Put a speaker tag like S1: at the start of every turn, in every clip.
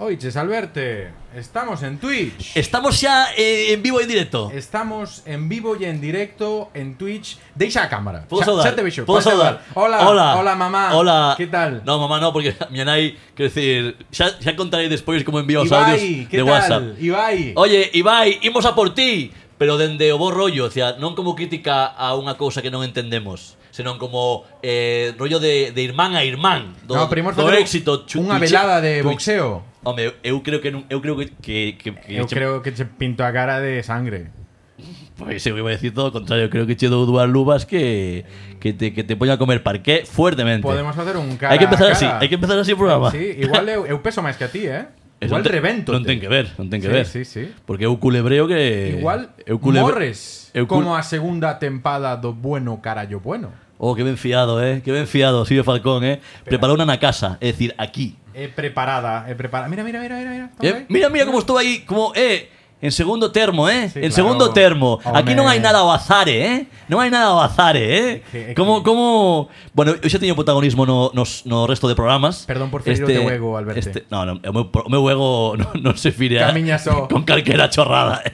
S1: Oiches, Alberte, estamos en Twitch.
S2: Estamos xa eh, en vivo e en directo.
S1: Estamos en vivo e en directo en Twitch. Deixa a cámara. Xa-
S2: Podo saudar.
S1: xa te vexo, podes
S2: Podo saudar.
S1: saudar. Hola, hola, mamá.
S2: Hola.
S1: Que tal?
S2: No, mamá no, porque a miña nai, quero dicir, xa, xa contarei despois como envío os audios
S1: Ibai, que
S2: de
S1: tal?
S2: WhatsApp.
S1: Ibai.
S2: Oye, Ibai, imos a por ti, pero dende o bo rollo, o sea, non como crítica a unha cousa que non entendemos, senón como eh, rollo de, de irmán a irmán, do,
S1: No, primor
S2: do
S1: facer
S2: éxito. chu-
S1: unha
S2: Twitch-
S1: velada de
S2: Twitch.
S1: boxeo.
S2: Home, eu, eu creo que non, eu creo que que, que, que
S1: Eu creo que che pinto a cara de sangre.
S2: Pois eu Pues iba a decir todo o contrario, creo que che dou dúas luvas que que te que te poño a comer parqué fuertemente.
S1: Podemos facer un cara
S2: Hai que empezar
S1: a
S2: así,
S1: cara.
S2: hai que empezar así o programa.
S1: Sí, igual eu, eu peso máis que a ti, eh?
S2: Eso
S1: Igual
S2: non te-
S1: revento.
S2: Non ten que ver, non ten que
S1: Sí,
S2: ver.
S1: sí, sí.
S2: Porque eu culebreo que
S1: Igual
S2: eu culebre-
S1: morres
S2: eu cul-
S1: como a segunda tempada do bueno carallo bueno.
S2: Oh, que ben fiado, eh? Que ben fiado, Silvio Falcón, eh? Preparou una na casa, é dicir, aquí.
S1: É preparada, é preparada. Mira, mira, mira, mira, mira. Toma
S2: Eh,
S1: aí.
S2: mira, mira como estou aí, como, eh, en segundo termo, eh?
S1: Sí, claro.
S2: en
S1: Oh,
S2: segundo termo. Aquí non hai
S1: Home.
S2: nada ao azare, eh? Non hai nada ao azare, eh?
S1: que- é
S2: Como,
S1: que-
S2: como... Bueno, eu xa teño protagonismo no, nos, no resto de programas.
S1: Perdón por ferir o teu ego, Alberto.
S2: Este, no, no, o meu, pro- o meu ego non, non se fire a-
S1: Camiña só.
S2: con calquera chorrada, eh?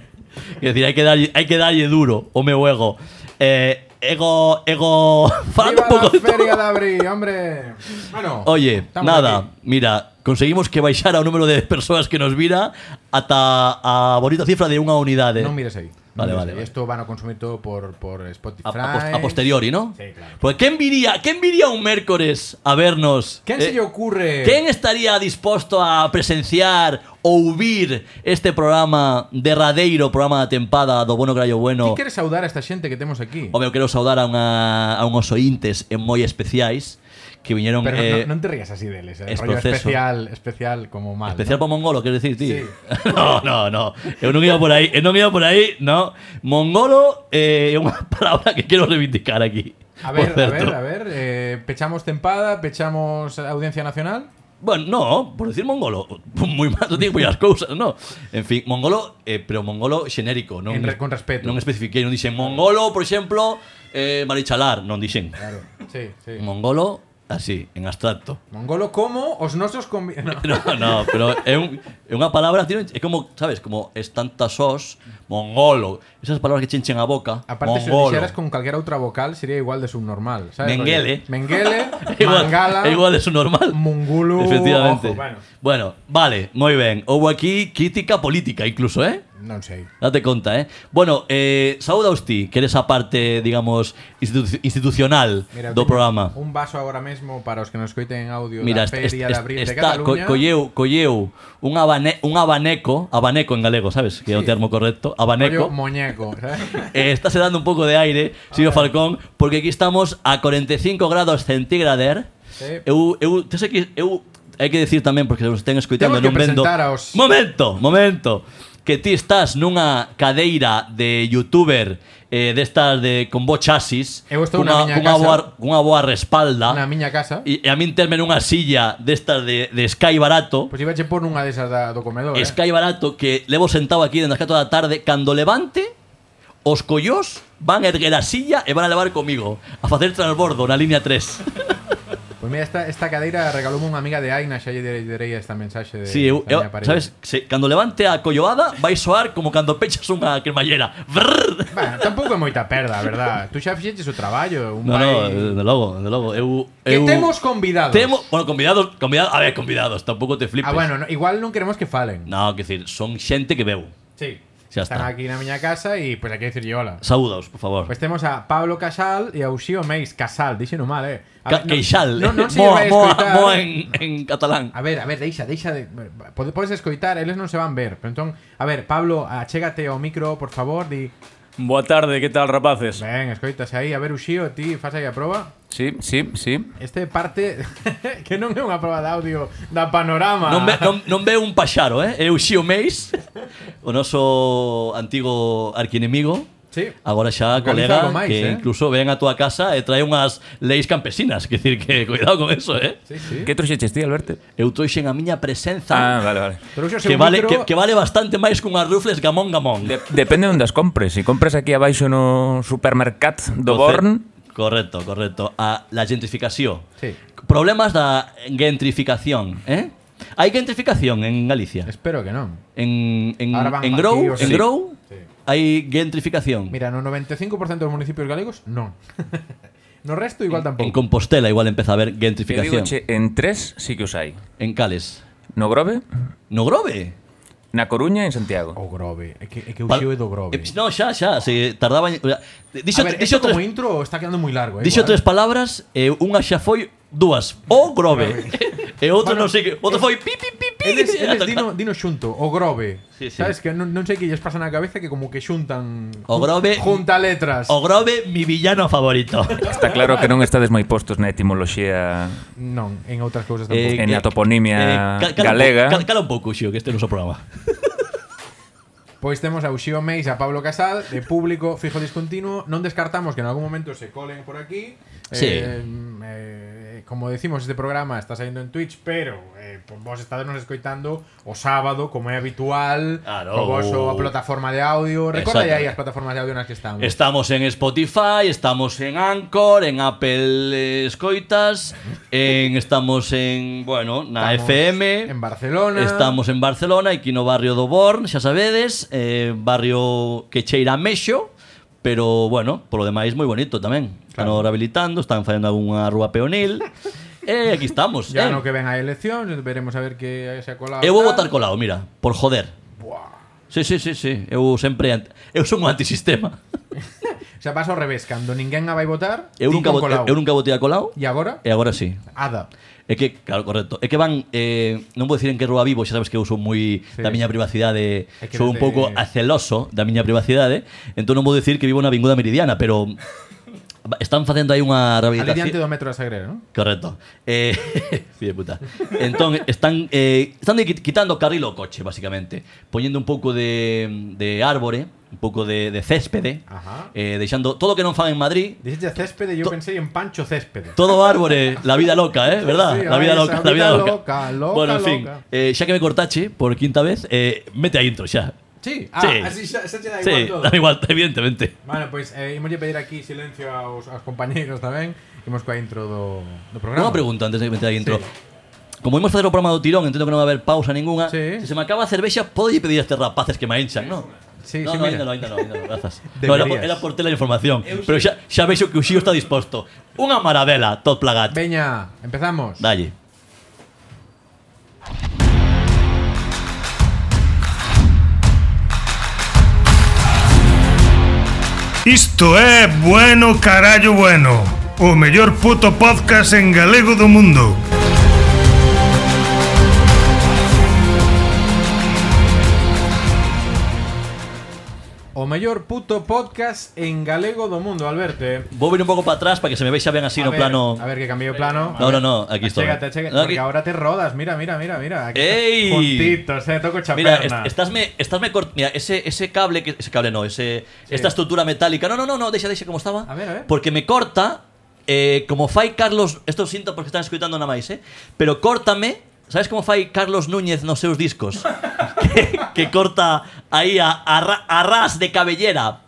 S2: Quer decir, hai que darlle, hai que darlle duro o meu ego. Eh, ego, ego...
S1: Viva
S2: Falando un pouco
S1: la
S2: de todo.
S1: feria de abril, hombre. Bueno,
S2: Oye,
S1: estamos
S2: nada,
S1: aquí.
S2: mira, conseguimos que baixara o número de persoas que nos vira ata a bonita cifra de unha unidade.
S1: No mires ahí. No mires
S2: Vale, vale,
S1: ahí.
S2: vale.
S1: Esto van a consumir todo por, por Spotify.
S2: a, a pos- a posteriori, ¿no?
S1: Sí, claro.
S2: Porque quen viría, quen viría un mércores a vernos?
S1: ¿Quién
S2: Eh,
S1: se le ocurre?
S2: quen estaría disposto a presenciar ou vir este programa derradeiro, programa da tempada do Bueno Grallo
S1: ¿Quién
S2: Bueno?
S1: quiere saudar a esta gente que tenemos aquí?
S2: Home, eu quero saudar a, unha, a unhos ointes en moi especiais que viñeron...
S1: Pero
S2: eh,
S1: no, no te rías así de él, ese
S2: es
S1: rollo
S2: proceso.
S1: especial, especial como mal.
S2: Especial para mongolo, quero dicir, ti.
S1: Sí.
S2: no, no, no. Eu non iba por aí, eu non iba por aí, no. Mongolo eh, é unha palabra que quero reivindicar aquí.
S1: ¿no? A ver,
S2: por
S1: a
S2: certo.
S1: ver, a ver. eh, pechamos tempada, pechamos audiencia nacional.
S2: Bueno, no, por decir mongolo, moi mal, non digo as cousas, no. En fin, mongolo, eh, pero mongolo xenérico, non
S1: En re- con respeto.
S2: Non especifiquei, non dixen mongolo, por exemplo, eh, marichalar, non dixen.
S1: Claro. Sí, sí.
S2: Mongolo, así, en abstracto.
S1: Mongolo como os nosos combi- no.
S2: No, no, pero é, un, é unha palabra, tío, é como, sabes, como es tanta sos, mongolo, esas palabras que chinchen a boca,
S1: Aparte, si lo
S2: mongolo.
S1: dijeras con cualquier otra vocal, sería igual de subnormal. ¿sabes?
S2: Menguele.
S1: Menguele,
S2: igual,
S1: Mangala,
S2: é igual de su normal.
S1: Mungulu.
S2: Efectivamente.
S1: ojo, bueno,
S2: bueno. vale, moi ben. Houve aquí crítica política incluso, eh?
S1: no sé.
S2: Date conta, eh? Bueno, eh, saudaos ti, que eres a parte, digamos, institu- institucional
S1: Mira,
S2: do
S1: teño
S2: programa.
S1: Un vaso ahora mismo para los que nos escuiten en audio da
S2: Mira, est-
S1: Feria
S2: est-
S1: de
S2: est-
S1: Abril de
S2: está, co-
S1: Cataluña.
S2: colleu, colleu un, abane- un abaneco, abaneco en galego, sabes? Que é
S1: Sí.
S2: o termo correcto, abaneco.
S1: Rollo Muñeco. ¿sabes?
S2: Eh, está se dando un poco de aire, Silvio Falcón, porque aquí estamos a 45 grados centígrader.
S1: Sí.
S2: Eu, eu, tes aquí, eu, hai que decir tamén, porque nos estén escuitando
S1: Temos que
S2: non vendo...
S1: presentar aos-
S2: Momento, momento. Que ti estás nunha cadeira de youtuber eh, destas de con bo chasis,
S1: Eu estou na miña
S2: cunha
S1: casa.
S2: boa, cunha boa respalda,
S1: Na miña casa.
S2: e, e a min terme nunha silla destas de, de Sky barato.
S1: Pues Pois iba a por una de esas da, do comedor. eh.
S2: Sky Barato que levo sentado aquí dende as 4 da tarde cando levante os collós van a erguer a silla e van a levar comigo a facer transbordo na línea 3.
S1: Pues Pois mira, esta, esta cadeira regalóme una amiga de Aina, xa lle dire- direi esta mensaxe de
S2: Si, eu,
S1: da
S2: eu
S1: miña parella.
S2: sabes, se, cando levante a colloada vai soar como cando pechas unha cremallera. Brrr.
S1: Bueno, tampouco é moita perda, a verdad. Tú xa fixeches o traballo, un
S2: No,
S1: pai...
S2: no, de logo, de logo. Eu,
S1: Que
S2: eu,
S1: temos convidados.
S2: Temo, bueno, convidados, convidados, a ver, convidados, tampouco te flipes.
S1: Ah, bueno, no- igual no queremos que falen.
S2: pues. No, que decir, son xente que veu.
S1: Sí.
S2: Xa
S1: Están
S2: está.
S1: aquí na miña casa y pues hay que decir hola.
S2: Saudaos, por favor.
S1: Pues tenemos a Pablo Casal y a Uxío Meis. Casal, díxeno mal, eh. A
S2: Ca-
S1: ver,
S2: Queixal. eh,
S1: No, non se
S2: moa,
S1: vai
S2: moa,
S1: escoitar.
S2: moa en, en catalán.
S1: A ver, a ver, deixa, deixa de... Pode- Podes escoitar, eles non se van ver. Pero entón, a ver, Pablo, achégate ao micro, por favor, di...
S3: Boa tarde, que tal rapaces?
S1: Ben, escoitase aí. A ver, Uxío, ti, faz aí a proba.
S3: Sí, sí, sí.
S1: Este parte que non é unha proba de audio da panorama.
S2: Non, ve, non, non veo un paxaro, eh? É o Xio Meis, o noso antigo arquinemigo.
S1: Sí.
S2: Agora xa
S1: Organiza
S2: colega
S1: algo máis,
S2: que
S1: eh?
S2: incluso ven a túa casa e trae unhas leis campesinas, que decir que cuidado con eso, eh?
S1: Sí, sí.
S3: Que trouxeches ti, Alberto?
S2: Eu trouxen a miña presenza
S3: Ah, vale, vale.
S1: Trouxose un
S2: que vale
S1: micro-
S2: que, que vale bastante máis cunhas rufles gamón gamón.
S3: De, depende onde as compres. Se compras aquí abaixo no supermercat do
S2: Co-
S3: Born,
S2: Correcto, correcto. A la gentrificación.
S1: Sí.
S2: Problemas da gentrificación, eh? Hai gentrificación en Galicia.
S1: Espero que non.
S2: En, en,
S1: Ahora van
S2: en Grou,
S1: partidos,
S2: en
S1: sí.
S2: Grou
S1: Sí.
S2: hai gentrificación.
S1: Mira, no 95% dos municipios galegos, non. no resto igual
S2: en
S1: tampouco.
S2: Compostela igual empeza a haber
S3: Que digo,
S2: gentrificación.
S3: che, en tres sí que os hai.
S2: En Cales.
S3: No Grove,
S2: No Grove.
S3: na Coruña e en Santiago.
S1: O Oh, Grove, é que, é que
S2: Pa-
S1: uxiu é do Grove.
S2: Eh, no, xa, xa, se tardaba en- o sea, Dixo,
S1: a ver,
S2: dixo
S1: esto como
S2: tres,
S1: intro está quedando moi largo, eh.
S2: dixo
S1: igual.
S2: tres palabras e unha xa foi dúas. O Grove. e outro
S1: Bueno,
S2: non sei que, outro
S1: es-
S2: foi pi pi pi pi.
S1: Eles,
S2: ata
S1: eles
S2: que-
S1: dino, dino xunto, o grove.
S2: Sí, sí.
S1: Sabes que non, non sei que lles pasa na cabeza que como que xuntan
S2: O grove-
S1: junta letras.
S2: O Grove, mi villano favorito.
S3: Está claro que non estades moi postos na etimoloxía
S1: Non, en outras cousas
S2: Eh,
S1: tampouco.
S3: en
S2: que-
S3: a toponimia
S2: ca- cala un
S3: galega.
S2: pou- Cala, cala un pouco, Xio, que este é o noso programa.
S1: Pois temos a Uxío Meis e a Pablo Casal de público fijo discontinuo. Non descartamos que en algún momento se colen por aquí.
S2: Sí.
S1: Eh, eh, como decimos, este programa está saindo en Twitch, pero eh, pues vos estadenos escoitando o sábado, como é habitual,
S2: Claro.
S1: o
S2: Uh.
S1: voso plataforma de audio. Recorda
S2: Exacto.
S1: aí as plataformas de audio nas que estamos.
S2: Estamos en Spotify, estamos en Anchor, en Apple eh, Escoitas, en, estamos en, bueno, na
S1: Estamos
S2: FM.
S1: En Barcelona.
S2: Estamos en Barcelona, aquí no barrio do Born, xa sabedes, eh, barrio que cheira a mexo, pero bueno, polo demais moi bonito tamén. Están
S1: Claro.
S2: claro. habilitando, están facendo algunha rúa peonil. e aquí estamos.
S1: Ya
S2: eh.
S1: no que ven a elección, veremos a ver que se ha colado.
S2: Eu vou
S1: tal.
S2: votar colado, mira, por joder.
S1: Buah.
S2: Sí, sí, sí, sí. Eu sempre ant- eu son un antisistema.
S1: O sea, pasa ao revés, cando ninguén a vai votar,
S2: Eu
S1: ti
S2: nunca
S1: con
S2: vo- eu,
S1: colao.
S2: eu nunca votei a colado
S1: E agora?
S2: e agora sí.
S1: Ada.
S2: É que, claro, correcto. É que van, eh, non vou dicir en que rúa vivo, xa sabes que eu sou moi
S1: Sí.
S2: da miña privacidade,
S1: É que
S2: sou un
S1: desde-
S2: pouco aceloso da miña privacidade, entón non vou dicir que vivo na Avinguda Meridiana, pero están facendo aí unha
S1: Ali diante
S2: rehabilitación.
S1: do metro da Sagrera, non?
S2: Correcto. Eh, fillo de puta. Entón, están, eh, están de qui- quitando carril ao coche, basicamente. Poñendo un pouco de, de árbore, un pouco de, de céspede,
S1: Ajá.
S2: eh, deixando todo o que non fan en Madrid,
S1: Dixete céspede, eu
S2: To-
S1: pensei en Pancho Céspede.
S2: Todo árbore, la vida loca, ¿eh? ¿Verdad?
S1: Sí,
S2: la
S1: esa
S2: vida loca,
S1: vida
S2: la vida loca.
S1: loca, loca,
S2: bueno, en fin,
S1: loca.
S2: eh, ya que me cortache por quinta vez, eh, mete a intro ya.
S1: Sí, ah,
S2: Sí.
S1: así xa, xa che da igual
S2: Sí,
S1: todo.
S2: da igual, evidentemente.
S1: Bueno, pois pues, eh, imos pedir aquí silencio aos, aos compañeros tamén. Imos coa intro do, do programa.
S2: Una pregunta antes de meter a intro.
S1: Sí.
S2: Como hemos hacer el programa do tirón, entiendo que no va a haber pausa ninguna.
S1: Sí.
S2: Si se me acaba a cerveza, podéis pedir a estos rapaces que me hinchan, ¿no?
S1: Sí,
S2: no,
S1: sí,
S2: no,
S1: mira.
S2: ainda no, ainda no, ainda no, grazas. No, era, por-
S1: Deberías.
S2: era por tela de información. Pero ya, ya veis que Uxío está dispuesto. Una maravela, Todd Plagat.
S1: Veña, empezamos.
S2: Dalle.
S4: Isto é Bueno Carallo Bueno O mellor puto podcast en galego do mundo
S1: O mellor puto podcast en galego do mundo, Alberto. eh.
S2: Voy a venir un poco para atrás para que se me veáis ya bien así,
S1: a
S2: no
S1: ver,
S2: plano.
S1: A ver, que cambié de plano. A
S2: No,
S1: ver.
S2: no, no, aquí estoy.
S1: Achégate, achégate,
S2: No, aquí-
S1: Porque ahora te rodas. Mira, mira, mira, mira. Aquí
S2: ¡Ey!
S1: Juntitos, eh, toco
S2: Mira,
S1: chaperna.
S2: est- estás me, estás me cort- Mira, ese, ese cable, que, ese cable no, ese, esta estructura metálica. No, no, no, no, deixa, deixa como estaba.
S1: A ver, a ver.
S2: Porque me corta, eh, como fai Carlos, esto siento porque están escuchando nada máis, eh, pero córtame, sabes como fai Carlos Núñez nos seus discos? que, que corta aí a, a, ra- a ras de cabellera,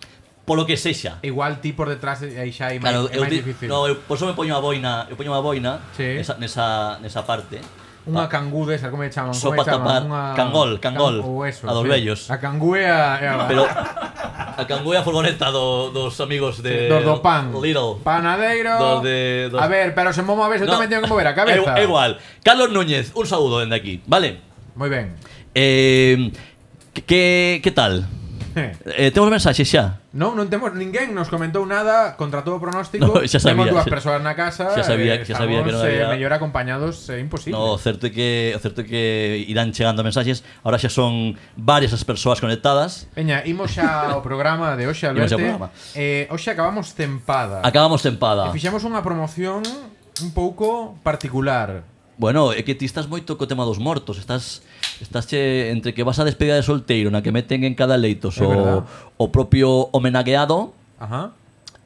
S2: polo que sexa.
S1: Igual ti por detrás e aí xa é máis,
S2: Claro,
S1: é
S2: eu,
S1: máis
S2: di-
S1: difícil.
S2: no, eu, por eso me poño a boina, eu poño a boina
S1: Sí.
S2: nesa, nesa, nesa parte.
S1: Unha cangú desa, como lle chaman?
S2: Só
S1: Como lle
S2: pa
S1: chaman?
S2: tapar.
S1: Unha...
S2: Cangol, cangol.
S1: Can- ou eso,
S2: A dos
S1: sí.
S2: vellos.
S1: A cangú é a... é a-
S2: Pero a canguea furgoneta do, dos amigos de
S1: dos do pan.
S2: eh, Little.
S1: Panadeiro.
S2: Dos de- dos-
S1: A ver, pero se mova a ver, eu tamén teño que mover a cabeza.
S2: É, é igual. Carlos Núñez, un saúdo dende aquí, vale?
S1: Moi ben.
S2: Eh, que, que tal?
S1: Eh.
S2: Eh, temos mensaxes xa?
S1: Non, non temos ninguén nos comentou nada contra todo pronóstico.
S2: No, xa
S1: temos
S2: sabía,
S1: dúas
S2: xa-
S1: persoas na casa.
S2: xa sabía-
S1: eh,
S2: xa sabía que non
S1: estamos, eh,
S2: había-
S1: mellor acompañados é imposible.
S2: No, o certo é que o certo é que irán chegando mensaxes. Ahora xa son varias as persoas conectadas.
S1: Peña, imos xa ao programa de hoxe,
S2: Imos
S1: Alberto.
S2: ao programa.
S1: Eh, hoxe acabamos tempada.
S2: Acabamos
S1: E
S2: tempada.
S1: fixemos unha promoción un pouco particular.
S2: Bueno, é que ti estás moito co tema dos mortos, estás estás che, entre que vas a despedida de solteiro na que meten en cada leito
S1: É verdad.
S2: o, o propio homenagueado,
S1: Ajá,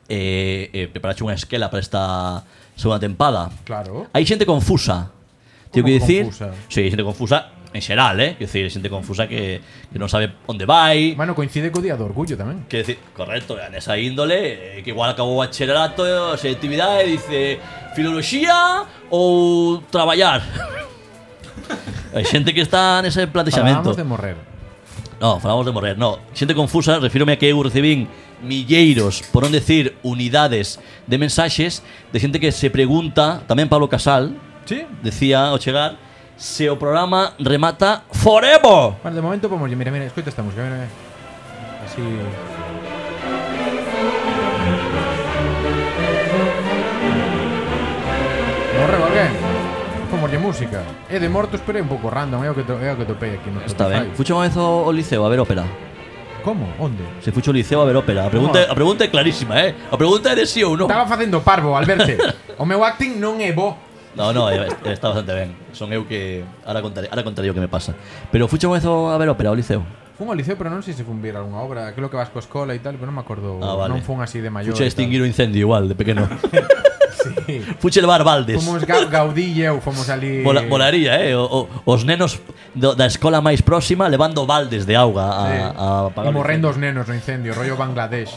S2: eh, eh, preparache unha esquela para esta segunda tempada.
S1: claro.
S2: Hai xente confusa. Tengo que
S1: Como
S2: dicir,
S1: confusa?
S2: sí, xente confusa en xeral, eh? Quer dicir, xente confusa que, que non sabe onde vai,
S1: Bueno, coincide co Día do Orgullo tamén.
S2: Que decir, correcto, nesa índole, eh, que igual acabou o bacharelato, a selectividade, e dice filoloxía ou traballar. Hai xente que está nese plantexamento.
S1: Falábamos de morrer.
S2: No, falamos de morrer, no. Xente confusa, refírome a que eu recibín milleiros, por non decir unidades de mensaxes de xente que se pregunta, tamén Pablo Casal,
S1: Sí.
S2: decía ao chegar, se o programa remata forever.
S1: Bueno, de momento vamos, mira, mira, escoita esta música, mira, mira. Así Morre, alguén. Pomoslle música. É de mortos, pero é un pouco random, é o que to, é o que topei aquí no
S2: Está ben.
S1: Spotify.
S2: Fuche unha vez ao ao liceo a ver ópera.
S1: Como? Onde?
S2: Se fuche ao liceo a ver ópera. A pregunta, a pregunta é clarísima, eh? A pregunta é de sí ou non.
S1: Estaba facendo parvo al verte. o meu acting non é bo.
S2: No, no, eh, eh, está bastante ben. Son eu que ahora contaré, ahora contaré o que me pasa. Pero fuche unha vez ao- a ver ópera ao liceo.
S1: Fun ao liceo, pero non sei se fun ver algunha obra, creo que vas coa escola e tal, pero non me acordo.
S2: Ah, vale.
S1: Non fun así de maior. e
S2: Fuche a
S1: tal.
S2: extinguir o incendio igual, de pequeno.
S1: Sí.
S2: Fuche levar baldes.
S1: Fomos ga Gaudí e eu fomos ali.
S2: Mola, molaría, eh? O, o, os nenos do, da escola máis próxima levando baldes de auga a,
S1: Sí.
S2: a
S1: E
S2: apagar o
S1: morrendo
S2: incendio.
S1: os nenos no incendio, rollo Bangladesh.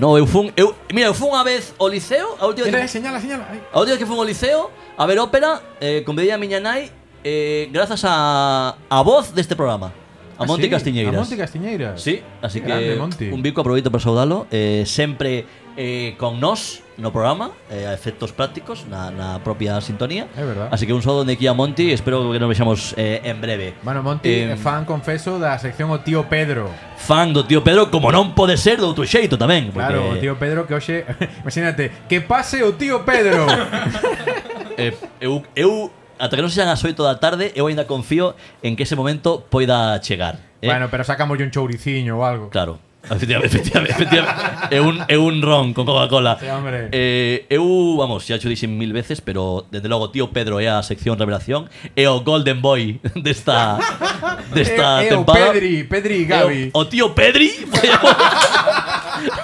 S2: No, eu fun, eu, mira, eu fun unha vez ao liceo, a última,
S1: Mira, eh,
S2: que,
S1: señala, señala. Ay.
S2: a última que fun ao liceo a ver ópera, eh, convidei a miña nai eh, grazas a, a voz deste programa, a
S1: Ah,
S2: Monte
S1: sí,
S2: Castiñeiras.
S1: A Monte Castiñeiras.
S2: Sí, así
S1: Qué grande,
S2: que
S1: Monti.
S2: un bico aproveito para saudalo eh, Sempre eh, con nos no programa eh, A efectos prácticos na, na propia sintonía
S1: É verdad.
S2: Así que un saludo de aquí a Monti Espero que nos vexamos eh, en breve
S1: Bueno, Monti é
S2: Eh,
S1: fan, confeso, da sección O Tío Pedro.
S2: Fan do tío Pedro como non pode ser do outro xeito tamén porque,
S1: Claro, o Tío Pedro que hoxe... Imagínate, que pase o Tío Pedro.
S2: eh, eu, eu Ata que non sexan as 8 da tarde Eu aínda confío en que ese momento poida chegar eh?
S1: Bueno, pero sacámoslle un chouriciño ou algo.
S2: Claro. Efectivamente, efectivamente, efectivamente. É un, é un ron con Coca-Cola.
S1: Sí, hombre.
S2: Eh, eu, vamos, xa xo dixen mil veces, pero desde logo, tío Pedro é a sección revelación, é o Golden Boy desta desta
S1: É- é Eh, o
S2: temporada.
S1: Pedri, Pedri e
S2: É o-
S1: Gavi.
S2: Eh, O, tío Pedri.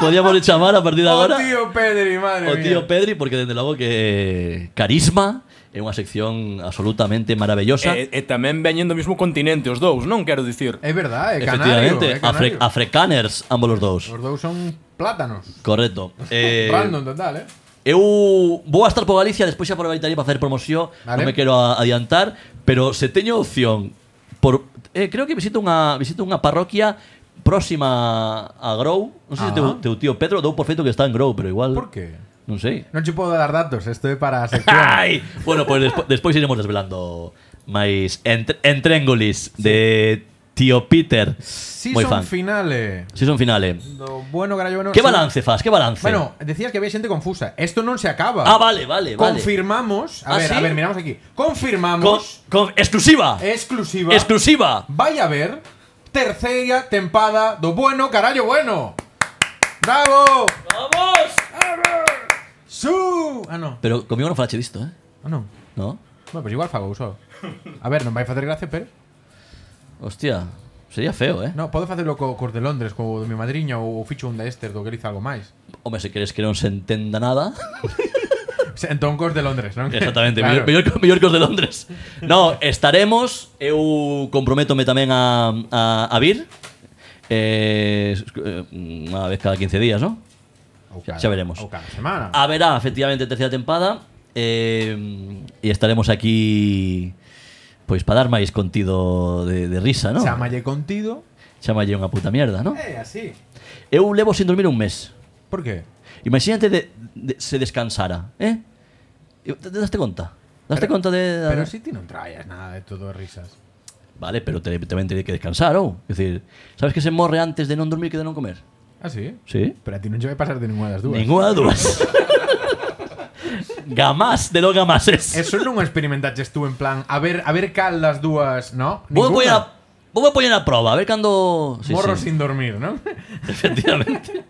S2: Podíamos chamar a partir de
S1: O
S2: agora
S1: Tío Pedri, madre
S2: o
S1: mía.
S2: tío Pedri porque desde logo que carisma é unha sección absolutamente maravillosa.
S1: Eh,
S3: E, e tamén veñen do mismo continente os dous, non quero dicir.
S1: É verdade, é canario.
S2: Efectivamente,
S1: É canario.
S2: afre- afrecaners ambos os dous.
S1: Os dous son plátanos.
S2: Correcto. Eh,
S1: Random total, eh.
S2: Eu vou a estar por Galicia, despois xa aproveitaré para facer promoción,
S1: Vale.
S2: non me quero a- adiantar, pero se teño opción por eh, creo que visito unha visito unha parroquia próxima a Grou. Non sei se
S1: Ah.
S2: teu, teu tío Pedro dou por feito que está en Grou, pero igual
S1: Por que?
S2: non sei.
S1: Non che podo dar datos, isto é para a sección.
S2: Ai, bueno, pois pues despois iremos desvelando máis entr entréngolis de tío Peter. Moi
S1: Season
S2: fan.
S1: finale.
S2: Si son finale.
S1: Do bueno, carallo, bueno. sí.
S2: Que balance fas? Que balance?
S1: Bueno, decías que había gente confusa. Esto no se acaba.
S2: ah, vale, vale, vale.
S1: Confirmamos. A
S2: ¿Ah,
S1: ver,
S2: sí?
S1: a ver, miramos aquí.
S2: Con,
S1: Confirmamos.
S2: con exclusiva.
S1: Exclusiva.
S2: Exclusiva.
S1: Vaya a ver. Tercera tempada do bueno, carallo, bueno. ¡Bravo!
S2: ¡Vamos!
S1: ¡Su! Ah, no.
S2: Pero comigo non falache disto, eh?
S1: Ah, no.
S2: No?
S1: Bueno, pues igual fago uso. A ver, non vai facer gracia, pero...
S2: Hostia, sería feo, eh?
S1: No, podo facelo co, cos de Londres, co de mi madriña ou ficho un de Esther do que liza algo máis.
S2: Home, se queres que non se entenda nada
S1: Se- Entón cos de Londres, non?
S2: Exactamente,
S1: Claro.
S2: mellor, mellor, que- mellor que os de Londres No, estaremos Eu comprométome tamén a, a, a vir eh, es- eh, Unha vez cada 15 días, non?
S1: Ou
S2: xa-
S1: cada-
S2: xa veremos. Ah,
S1: Ou cada semana.
S2: Haberá efectivamente terceira tempada eh, E estaremos aquí Pois para dar máis contido de, de risa, non?
S1: Chamalle contido.
S2: Chamalle unha puta mierda, non?
S1: É así.
S2: Eu levo sin dormir un mes
S1: Por qué?
S2: Imagínate de, de- se descansara, ¿eh? ¿Te, te daste cuenta? ¿Daste cuenta de.?
S1: Pero si ti non traías nada de todo risas.
S2: Vale, pero te, también tenés que descansar, ¿o? Es decir, ¿sabes que se morre antes de no dormir que de no comer?
S1: Ah, sí?
S2: Sí.
S1: Pero a ti non che vai pasar de ninguna das dúas.
S2: Ninguna dudas. gamás de los gamases.
S1: Eso non o experimentaches tú en plan, a ver, a ver cal das dúas, no?
S2: Vou a poñer
S1: Ninguna.
S2: a, vou a poñer a proba, a ver cando. Sí,
S1: Morro
S2: sí,
S1: sin dormir, non?
S2: Efectivamente.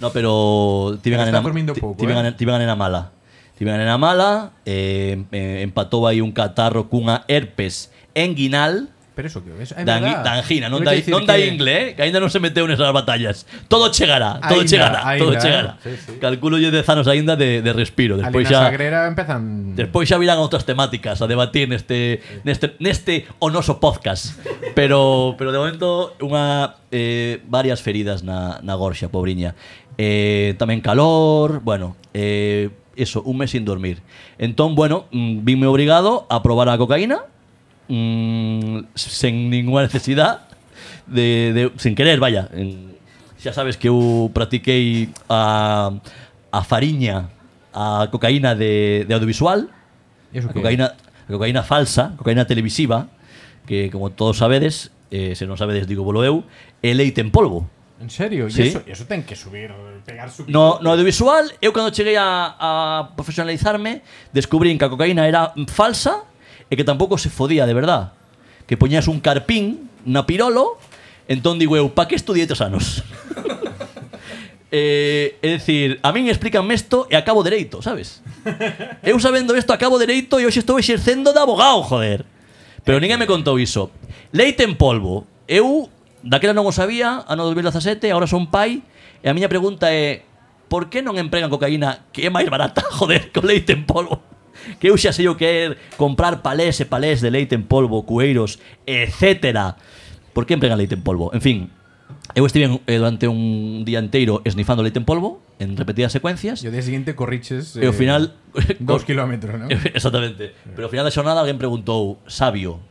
S2: No, pero. Tive
S1: Pero
S2: a
S1: está dormindo pouco, eh.
S2: Tive ganena mala. Tive ganena mala. Eh, eh, empatou aí un catarro cunha herpes enguinal.
S1: Pero eso que ves, é
S2: da, angui-
S1: verdad.
S2: da angina, non
S1: Quero
S2: da,
S1: dicir
S2: non da
S1: que-
S2: ingle, eh? que aínda non se meteu nesas batallas. Todo chegará, todo
S1: Aínda,
S2: chegará, todo
S1: aínda,
S2: chegará.
S1: eh? Sí, sí.
S2: Calculo yo 10 anos aínda de, de respiro.
S1: Ali na
S2: Despois xa,
S1: Sagrera empezan...
S2: despois xa virán outras temáticas a debatir neste, neste, neste o noso podcast. Pero, pero de momento, unha, eh, varias feridas na, na gorxa, pobriña. Eh, tamén calor, bueno, eh, eso, un mes sin dormir. Entón, bueno, mm, vinme obrigado a probar a cocaína, mm, sen ninguna necesidad de, de- sen querer, vaya. En- xa sabes que eu practiquei a a fariña, a cocaína de, de audiovisual,
S1: Eso
S2: a
S1: que
S2: cocaína, a cocaína falsa, cocaína televisiva, que como todos sabedes, eh, se non sabedes digo bolo eu, é leite en polvo.
S1: ¿En serio? ¿Y
S2: Sí.
S1: eso, y eso ten que subir, pegar su
S2: No, no audiovisual, eu cando cheguei a, a profesionalizarme, descubrín que a cocaína era falsa e que tampouco se fodía de verdad. Que poñías un carpín na pirolo, entón digo eu, pa que estudiei tres anos? eh, é dicir, a min explícanme isto e acabo dereito, sabes? Eu sabendo isto acabo dereito e hoxe estou exercendo de abogado, joder. Pero ninguén me contou iso. Leite en polvo. Eu daquela non o sabía, ano 2017, agora son pai, e a miña pregunta é por que non empregan cocaína que é máis barata, joder, que o leite en polvo? Que eu xa sei o que é comprar palés e palés de leite en polvo, cueiros, etcétera. Por que empregan leite en polvo? En fin, eu estive eh, durante un día enteiro esnifando leite en polvo en repetidas secuencias.
S1: Y al día siguiente corriches. eh,
S2: E ao final-
S1: Dos kilómetros, ¿no?
S2: Exactamente. Pero ao final da xornada alguén preguntou, sabio,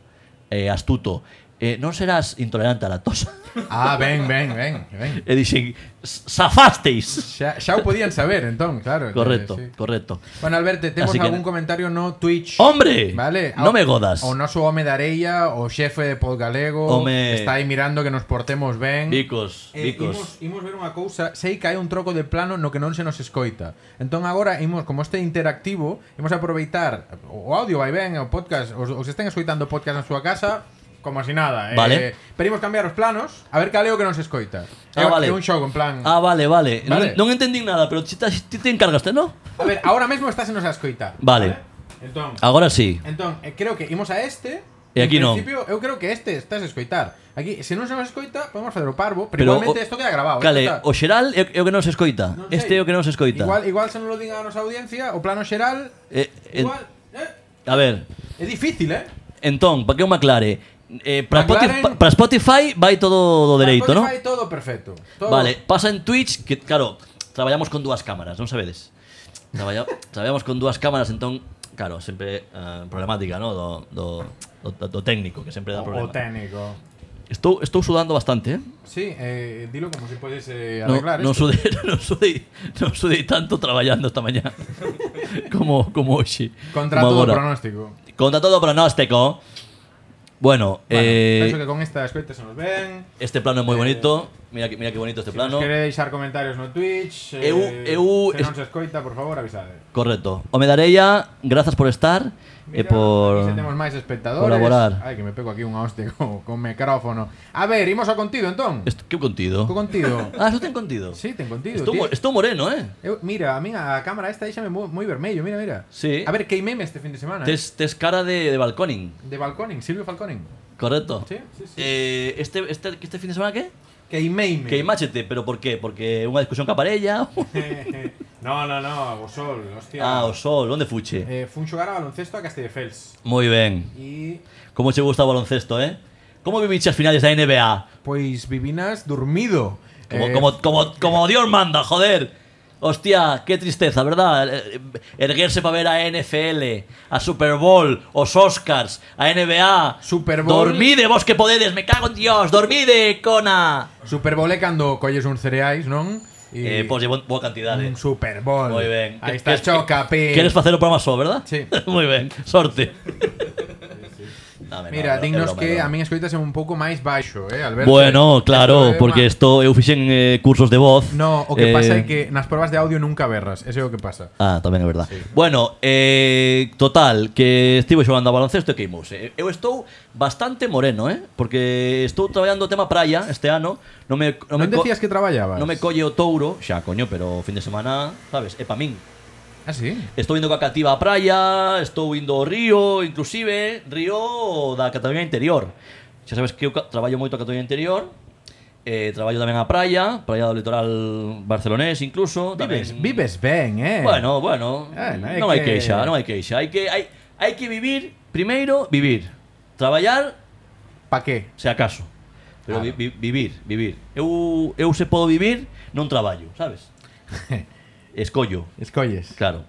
S2: eh, astuto, eh, non serás intolerante á lactosa?
S1: ah, ven, ven, ven. ven.
S2: E dixen, "S- safasteis.
S1: Ya, ya lo podían saber, entonces, claro.
S2: Correcto,
S1: Sí.
S2: correcto.
S1: Bueno, Alberto, tenemos
S2: Así que-
S1: algún comentario no Twitch.
S2: Hombre,
S1: Vale,
S2: no
S1: Ao-
S2: me godas.
S1: O noso home de Areia, o xefe de Podgalego,
S2: Home.
S1: está aí mirando que nos portemos ben.
S2: Vicos,
S1: Eh,
S2: vicos.
S1: imos, imos ver unha cousa Sei que hai un troco de plano no que non se nos escoita Entón agora, imos, como este interactivo Imos aproveitar O audio vai ben, o podcast Os, os estén escoitando o podcast na súa casa Como así nada eh,
S2: Vale.
S1: Pero imos cambiar os planos A ver cal é o que non se escoita
S2: Ah,
S1: É-
S2: vale.
S1: É un xogo, en plan
S2: Ah, vale, vale.
S1: Vale.
S2: Non, non entendín nada, pero ti, ta- ti te encargaste, ¿no?
S1: A ver, ahora mesmo estás en nos a escoitar
S2: Vale.
S1: Entón,
S2: Agora sí.
S1: Entón, eh, creo que imos a este
S2: E
S1: en
S2: aquí non.
S1: principio, eu creo que este estás a escoitar Aquí, se non se nos escoita, podemos facer o parvo Pero,
S2: Pero
S1: igualmente
S2: o-
S1: isto queda grabado ¿eh?
S2: Cale,
S1: isto está-
S2: o xeral é é o que non se escoita.
S1: Non sei.
S2: Este é o que non se escoita.
S1: Igual, igual se non lo diga a nosa audiencia, o plano xeral,
S2: Eh, eh,
S1: igual, eh,
S2: a ver,
S1: é difícil, eh?
S2: entón, para que eu me aclare, eh, para,
S1: McLaren-
S2: Spotify, para Spotify vai todo do dereito, non?
S1: Spotify todo perfecto. Todo.
S2: Vale, pasa en Twitch que, claro, traballamos con dúas cámaras, non sabedes? Traballa, traballamos con dúas cámaras, entón, claro, sempre eh, problemática, no? Do, do, do, do técnico, que sempre dá
S1: O, o
S2: problema.
S1: técnico.
S2: Estou, estou sudando bastante, eh?
S1: Sí, eh, dilo como si puedes eh,
S2: No,
S1: arreglar
S2: non
S1: esto.
S2: sudei, non sudei, non sudei tanto traballando esta mañá como como hoxe.
S1: Contra
S2: como
S1: todo
S2: agora.
S1: pronóstico.
S2: Contra todo pronóstico. Bueno,
S1: Bueno,
S2: eh,
S1: penso que con esta escoita se nos ven.
S2: este plano é moi
S1: eh,
S2: bonito. Mira que mira que bonito este
S1: Se nos
S2: plano.
S1: queréis deixar comentarios no Twitch, eh,
S2: Eu- eu-
S1: se non se escoita, por favor, avisade.
S2: Correcto. O Medarella, grazas por estar e
S1: Mira,
S2: por
S1: aquí se temos máis espectadores.
S2: colaborar.
S1: Ai, que me pego aquí unha hostia co, con micrófono. A ver, imos ao contido, entón.
S2: Est- Que
S1: Co
S2: contido?
S1: contido.
S2: Ah, eso ten contido.
S1: Sí, ten contido.
S2: Estou,
S1: tío.
S2: mo- estou moreno, eh?
S1: Eu, mira, a mí a cámara esta deixame moi, moi vermello, mira, mira.
S2: Sí.
S1: A ver, queimeme este fin de semana. eh.
S2: Tes, tes cara de, de balconing,
S1: De Balconing, Silvio Falconing.
S2: correcto?
S1: Sí, sí, sí.
S2: Eh, este, este, este fin de semana que?
S1: Queimeime.
S2: Que imáchete, pero por qué? Porque unha discusión ca parella
S1: no, no, no, o sol, hostia.
S2: Ah, o sol, onde fuche?
S1: Eh, fun xogar a baloncesto a Castelldefels.
S2: Moi ben
S1: E
S2: Como che gusta o baloncesto, eh? Como viviche as finales da NBA?
S1: pois pues, vivinas dormido.
S2: Como,
S1: Eh,
S2: como, como, como Dios manda, joder Hostia, qué tristeza, verdad? Eh, eh, Erguerse para ver a NFL, a Super Bowl, os Oscars, a NBA
S1: Super Bowl.
S2: Dormide vos que podedes, me cago en Dios, dormide, cona
S1: Super Bowl é cando colles uns cereais, non?
S2: Eh, pois llevo boa cantidade.
S1: un Super Bowl.
S2: Moi ben.
S1: Aí
S2: Que-
S1: está
S2: que-
S1: Choca, pin.
S2: Queres facer o programa só, verdad?
S1: Sí.
S2: Moi ben, sorte. Dame,
S1: Mira,
S2: no, é
S1: dignos
S2: broma, é
S1: que
S2: broma.
S1: a min escoitas un pouco máis baixo, eh, Alberto.
S2: Bueno, claro,
S1: Esto é
S2: porque
S1: ma-
S2: isto eu fixen eh, cursos de voz.
S1: No, o que
S2: eh,
S1: pasa é que nas probas de audio nunca berras, ese é o que pasa.
S2: Ah, tamén é verdad. Bueno, eh, total, que estivo xogando a baloncesto e queimouse. Eu estou bastante moreno, eh? Porque estou traballando o tema praia este ano. Non me, non
S1: Non,
S2: me co-
S1: decías que traballabas?
S2: non me colle o touro, xa, coño, pero o fin de semana, sabes, é pa min.
S1: Ah, sí?
S2: Estou indo coa cativa á praia, estou indo ao río, inclusive, río da Cataluña interior. Xa sabes que eu ca- traballo moito a Cataluña interior, eh, traballo tamén a praia, praia do litoral barcelonés incluso.
S1: Vives,
S2: tamén-
S1: vives ben, eh?
S2: Bueno, bueno,
S1: Eh, non hai
S2: non hai
S1: que-
S2: queixa, non hai queixa. Hai que, hai, hai que vivir, primeiro, vivir. Traballar,
S1: Pa que?
S2: se acaso. Pero
S1: Claro.
S2: vi, vi, vivir, vivir. Eu, eu se podo vivir, non traballo, sabes? Escollo.
S1: Escolles.
S2: Claro.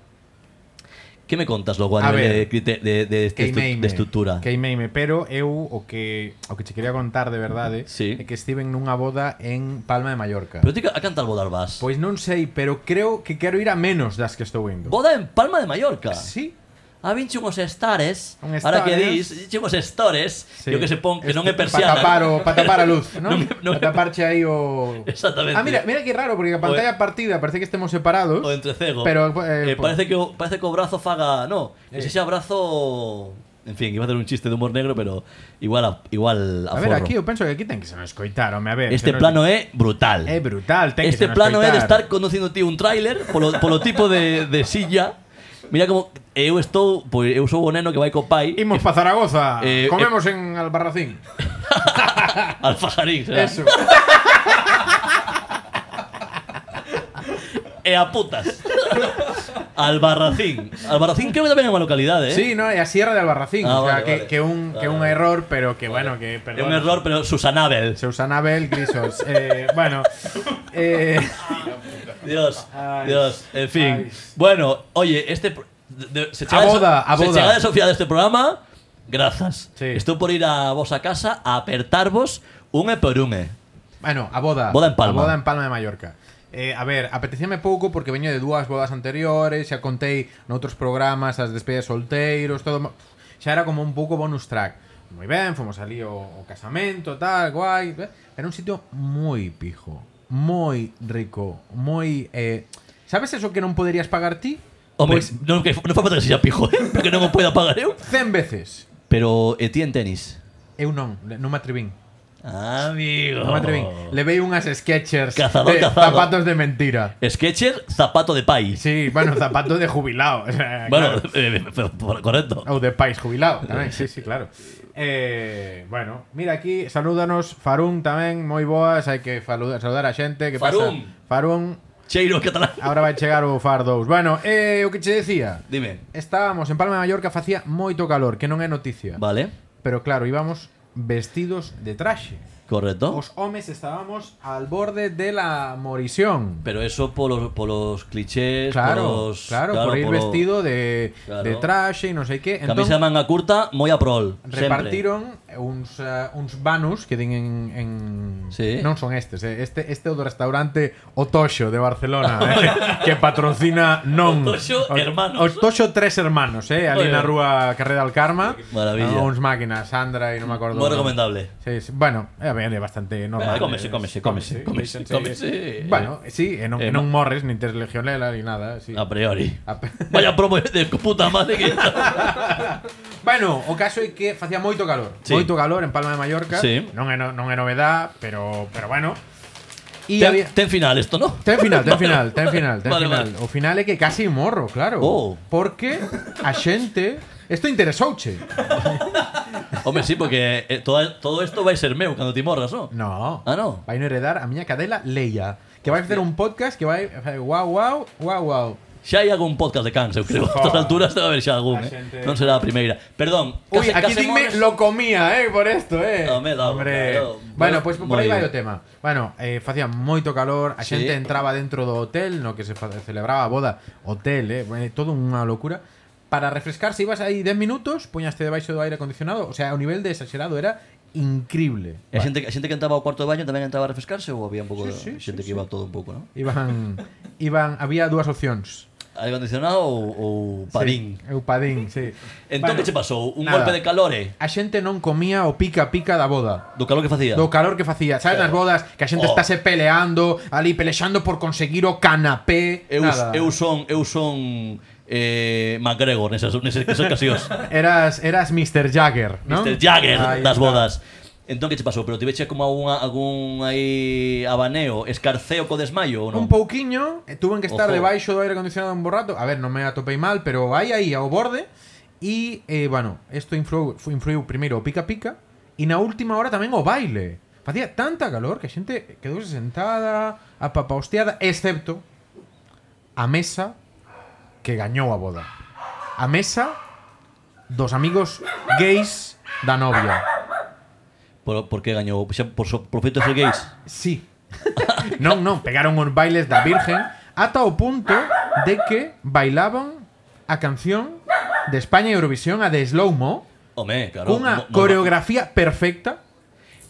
S2: Que me contas logo a,
S1: A ver,
S2: nivel de, crite- de, de, de, estu-
S1: Queimeime,
S2: de estrutura?
S1: Queimeime, pero eu o que o que che quería contar de verdade
S2: Sí.
S1: é que estiven nunha boda en Palma de Mallorca.
S2: Pero ti a cantar bodar vas?
S1: Pois non sei, pero creo que quero ir a menos das que estou indo.
S2: Boda en Palma de Mallorca.
S1: Sí.
S2: A vinche uns estares,
S1: Un
S2: ahora que
S1: estares.
S2: dis, vinche uns estores,
S1: Sí.
S2: yo que se pon, que non é
S1: Este, Para
S2: persiana.
S1: tapar, o, para tapar a luz, ¿no?
S2: Non é- non é-
S1: para taparche aí o...
S2: Exactamente. Pues-
S1: Ah, mira, mira que raro, porque a pantalla partida parece que estemos separados.
S2: O entrecego.
S1: Pero, eh,
S2: Eh,
S1: po-
S2: parece que o, parece que o brazo faga, no,
S1: Eh.
S2: que se xa brazo, en fin, iba a hacer un chiste de humor negro, pero igual a, igual
S1: A
S2: a,
S1: ver,
S2: forro.
S1: aquí eu penso que aquí ten que se nos coitar, home, a ver.
S2: Este
S1: se nos-
S2: plano é brutal.
S1: É brutal, ten Eh, que
S2: este
S1: se nos
S2: plano é de
S1: coitar.
S2: estar conducindo ti un tráiler polo, polo tipo de, de silla. Mira como eu estou, pois eu sou o neno que vai co pai
S1: Imos pa Zaragoza,
S2: Eh,
S1: comemos en Albarracín.
S2: al fajarín, será.
S1: Eso.
S2: e a putas. Albarracín. Albarracín creo que tamén é unha localidade, eh?
S1: Sí, no, é a Sierra de Albarracín,
S2: Ah,
S1: o sea,
S2: vale,
S1: que,
S2: vale.
S1: que un que un
S2: Vale.
S1: error, pero que bueno, que
S2: É
S1: perdón.
S2: un error, pero Susanabel.
S1: Susanabel Grisos. eh, bueno, eh,
S2: Dios,
S1: Ay.
S2: Dios, en fin.
S1: Ay.
S2: Bueno, oye, este pro- de- de- se
S1: A boda, a
S2: se
S1: boda.
S2: chegades ao final deste este programa, grazas.
S1: Sí.
S2: Estou por ir a vosa casa a apertarvos un e por un e.
S1: bueno, Ah, a boda.
S2: Boda en Palma.
S1: A boda en Palma de Mallorca. Eh, a ver, apetecíame pouco porque veño de dúas bodas anteriores, xa contei noutros programas as despedidas de solteiros, todo mo- xa era como un pouco bonus track. Moi ben, fomos ali o, o casamento, tal, guai. eh. Era un sitio moi pijo, moi rico, moi eh, Sabes eso que non poderías pagar ti?
S2: Home,
S1: Pois
S2: non, que, non foi para que sexa pijo, eh? porque non o poida pagar eu.
S1: 100 veces.
S2: Pero e ti en tenis?
S1: Eu non, le- non me atrevín.
S2: Amigo.
S1: Non me atrevín. Levei unhas Skechers
S2: Oh.
S1: de
S2: Cazador, cazador.
S1: zapatos de mentira.
S2: Sketcher, zapato de pai.
S1: Sí, bueno, zapatos de jubilado. o sea,
S2: bueno,
S1: claro.
S2: eh, pero- pero correcto.
S1: Ou de pais jubilado tamén, sí, sí, claro. Eh, bueno, mira aquí, salúdanos Farún tamén, moi boas, hai que faluda- saludar a xente, que
S2: Farún.
S1: pasa? Farún,
S2: Cheiro catalán.
S1: agora vai chegar o Far 2. Bueno, eh, o que che decía,
S2: Dime.
S1: estábamos en Palma de Mallorca, facía moito calor, que non é noticia.
S2: Vale,
S1: Pero claro, íbamos vestidos de traxe.
S2: correcto.
S1: Os homes estábamos al borde de la morisión.
S2: Pero eso polos, polos clichés,
S1: Claro,
S2: polos...
S1: claro, por ir
S2: polo-
S1: vestido de,
S2: Claro.
S1: de traxe e non sei que. Entón,
S2: Camisa de manga curta, moi a prol. sempre.
S1: repartiron uns, eh, uns vanus que din en... en...
S2: Sí.
S1: Non son estes, eh. este, este é o do restaurante Otoxo de Barcelona, eh, que patrocina non.
S2: Otoxo
S1: O-
S2: Hermanos.
S1: Otoxo Tres Hermanos, eh, ali na
S2: Muy bien.
S1: rúa Carrera del Karma.
S2: Maravilla.
S1: Ah, Uns máquinas, Sandra e non me acordo. o
S2: Moi
S1: nome.
S2: recomendable.
S1: Sí, sí. Bueno, a ver, é bastante normal.
S2: Ah, cómese,
S1: eh,
S2: cómese, cómese, cómese, cómese.
S1: Bueno, sí, e non,
S2: Eh,
S1: e
S2: Ah,
S1: non morres, nin tes legionela, ni nada. Sí.
S2: A priori.
S1: A pe-
S2: Vaya promo de puta madre que...
S1: bueno, o caso é que facía moito calor.
S2: Sí.
S1: Moito calor en Palma de Mallorca.
S2: Sí.
S1: Non, é, no- non é novedad, pero, pero bueno. E
S2: ten,
S1: había...
S2: ten final esto, ¿no?
S1: Ten final, ten final, ten final, ten
S2: Vale,
S1: final.
S2: vale.
S1: O final é que casi morro, claro.
S2: Oh.
S1: Porque a xente... Isto interesouche.
S2: Hombre, sí, porque eh, toda- todo esto vai ser meu cando ti morras, ¿no?
S1: No.
S2: Ah, no?
S1: Vai no heredar a miña cadela Leia. Que vai facer un podcast que vai... Wow, wow, wow, wow.
S2: Xa hai algún podcast de Cans, eu creo. A estas
S1: Joder.
S2: alturas debe haber xa algún,
S1: A
S2: eh?
S1: xente-
S2: Non será a primeira. Perdón,
S1: Uy,
S2: case-
S1: aquí
S2: case
S1: dime
S2: morres-
S1: lo comía, eh, por esto, eh.
S2: Home, dá, claro.
S1: Bueno, pues por aí
S2: Moi
S1: vai o
S2: ben.
S1: tema. Bueno, eh, facía moito calor, a
S2: Sí.
S1: xente entraba dentro do hotel, no que se fa- celebraba a boda, hotel, eh, eh, todo unha locura. Para refrescarse ibas aí 10 minutos, poñaste debaixo do aire acondicionado, o sea, o nivel de exagerado era increíble.
S2: E A xente, a xente que entraba ao cuarto de baño tamén entraba a refrescarse ou había un pouco
S1: Sí,
S2: de
S1: sí,
S2: xente
S1: sí,
S2: que iba todo un pouco, ¿no?
S1: Iban iban había dúas opcións.
S2: Aire acondicionado ou, ou parín.
S1: Sí, eu padín, sí. Bueno,
S2: Entón, que che pasou? Un
S1: nada.
S2: golpe de calore
S1: A xente non comía o pica-pica da boda.
S2: do calor que facía?
S1: Do calor que facía, sabes, nas bodas que a xente
S2: Oh.
S1: estáse peleando, ali pelexando por conseguir o canapé,
S2: Eu,
S1: nada.
S2: eu son, eu son eh, McGregor nesas, nesas, nesas ocasións.
S1: Eras eras Mr. Jagger, ¿no?
S2: Mr. Jagger
S1: Aí
S2: das
S1: está.
S2: bodas. Entón, que che pasou? Pero tiveche como unha, algún aí abaneo, escarceo co desmaio ou
S1: Un
S2: non?
S1: pouquiño, eh, tuven que estar
S2: Ojo.
S1: debaixo do aire acondicionado un bo rato. A ver, non me atopei mal, pero aí aí ao borde e eh, bueno, isto influiu, fu- influiu primeiro o pica-pica e na última hora tamén o baile. Facía tanta calor que a xente quedouse sentada, apapaosteada, excepto a mesa que gañou a boda. A mesa dos amigos gays da novia.
S2: Por, por que gañou? Xa, por, so, por feito de ser gays?
S1: Sí. non, non, pegaron uns bailes da Virgen ata o punto de que bailaban a canción de España e Eurovisión a de slow mo
S2: Home, claro.
S1: cunha coreografía perfecta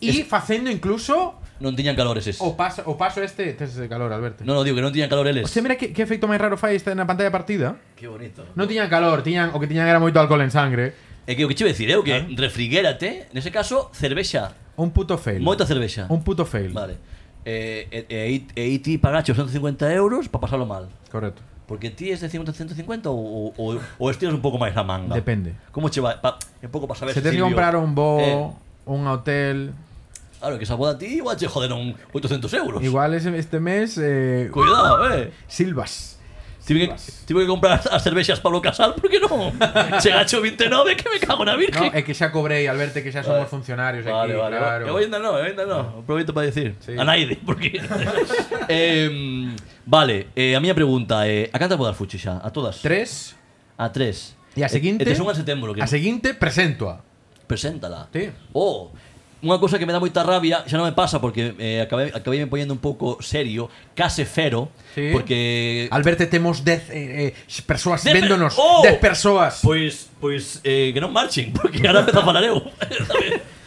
S1: e facendo incluso
S2: Non tiñan calores es.
S1: o paso o paso este tes de calor Alberto.
S2: Non, no, digo que non tiñan calor eles.
S1: Hostia, mira que, que efecto máis raro fai esta na pantalla partida.
S2: Que bonito.
S1: Non tiñan calor, tiñan o que tiñan era moito alcohol en sangre.
S2: É que o que che decir, eu que
S1: Ah.
S2: refriguérate, nese caso, cervexa.
S1: Un puto fail.
S2: Moita cervexa.
S1: Un puto fail.
S2: Vale. Eh, e, e, e, e ti pagache os 150 euros para pasarlo mal.
S1: Correcto.
S2: Porque ti es de 50 150 ou, ou, ou, ou estiras un pouco máis a manga?
S1: Depende.
S2: Como che vai? Pa, un pouco para saber
S1: Se tes que
S2: Silvio-
S1: comprar un bo,
S2: Eh,
S1: un hotel,
S2: claro, que esa boda a ti igual che joderon 800 euros.
S1: igual ese- este mes eh,
S2: Cuidado, eh.
S1: silvas.
S2: Tive que, tive que comprar as cervexas Pablo Casal porque non. Chegacho 29 que me cago
S1: No,
S2: na virgen.
S1: é que xa cobrei, Alberto, que xa somos funcionarios
S2: Vale,
S1: aquí,
S2: vale.
S1: claro.
S2: Eu ainda non, eu ainda non. Aproveito eh, para decir.
S1: Sí.
S2: A naide, porque... eh, vale, eh, a miña pregunta é... Eh, a cantas podas fuchi xa? A todas?
S1: Tres,
S2: A tres.
S1: e a
S2: E-
S1: seguinte...
S2: E tes unha en setembro. Que
S1: A seguinte, presentoa.
S2: preséntala.
S1: Sí.
S2: Oh, unha cousa que me dá moita rabia, xa non me pasa porque eh, acabei, acabei me poñendo un pouco serio, case fero,
S1: Sí.
S2: porque...
S1: Alberto, temos 10 eh, eh, persoas
S2: Dez per-
S1: véndonos.
S2: Oh!
S1: 10 persoas.
S2: Pois, pois eh, que non marchen, porque ahora empeza a falar eu.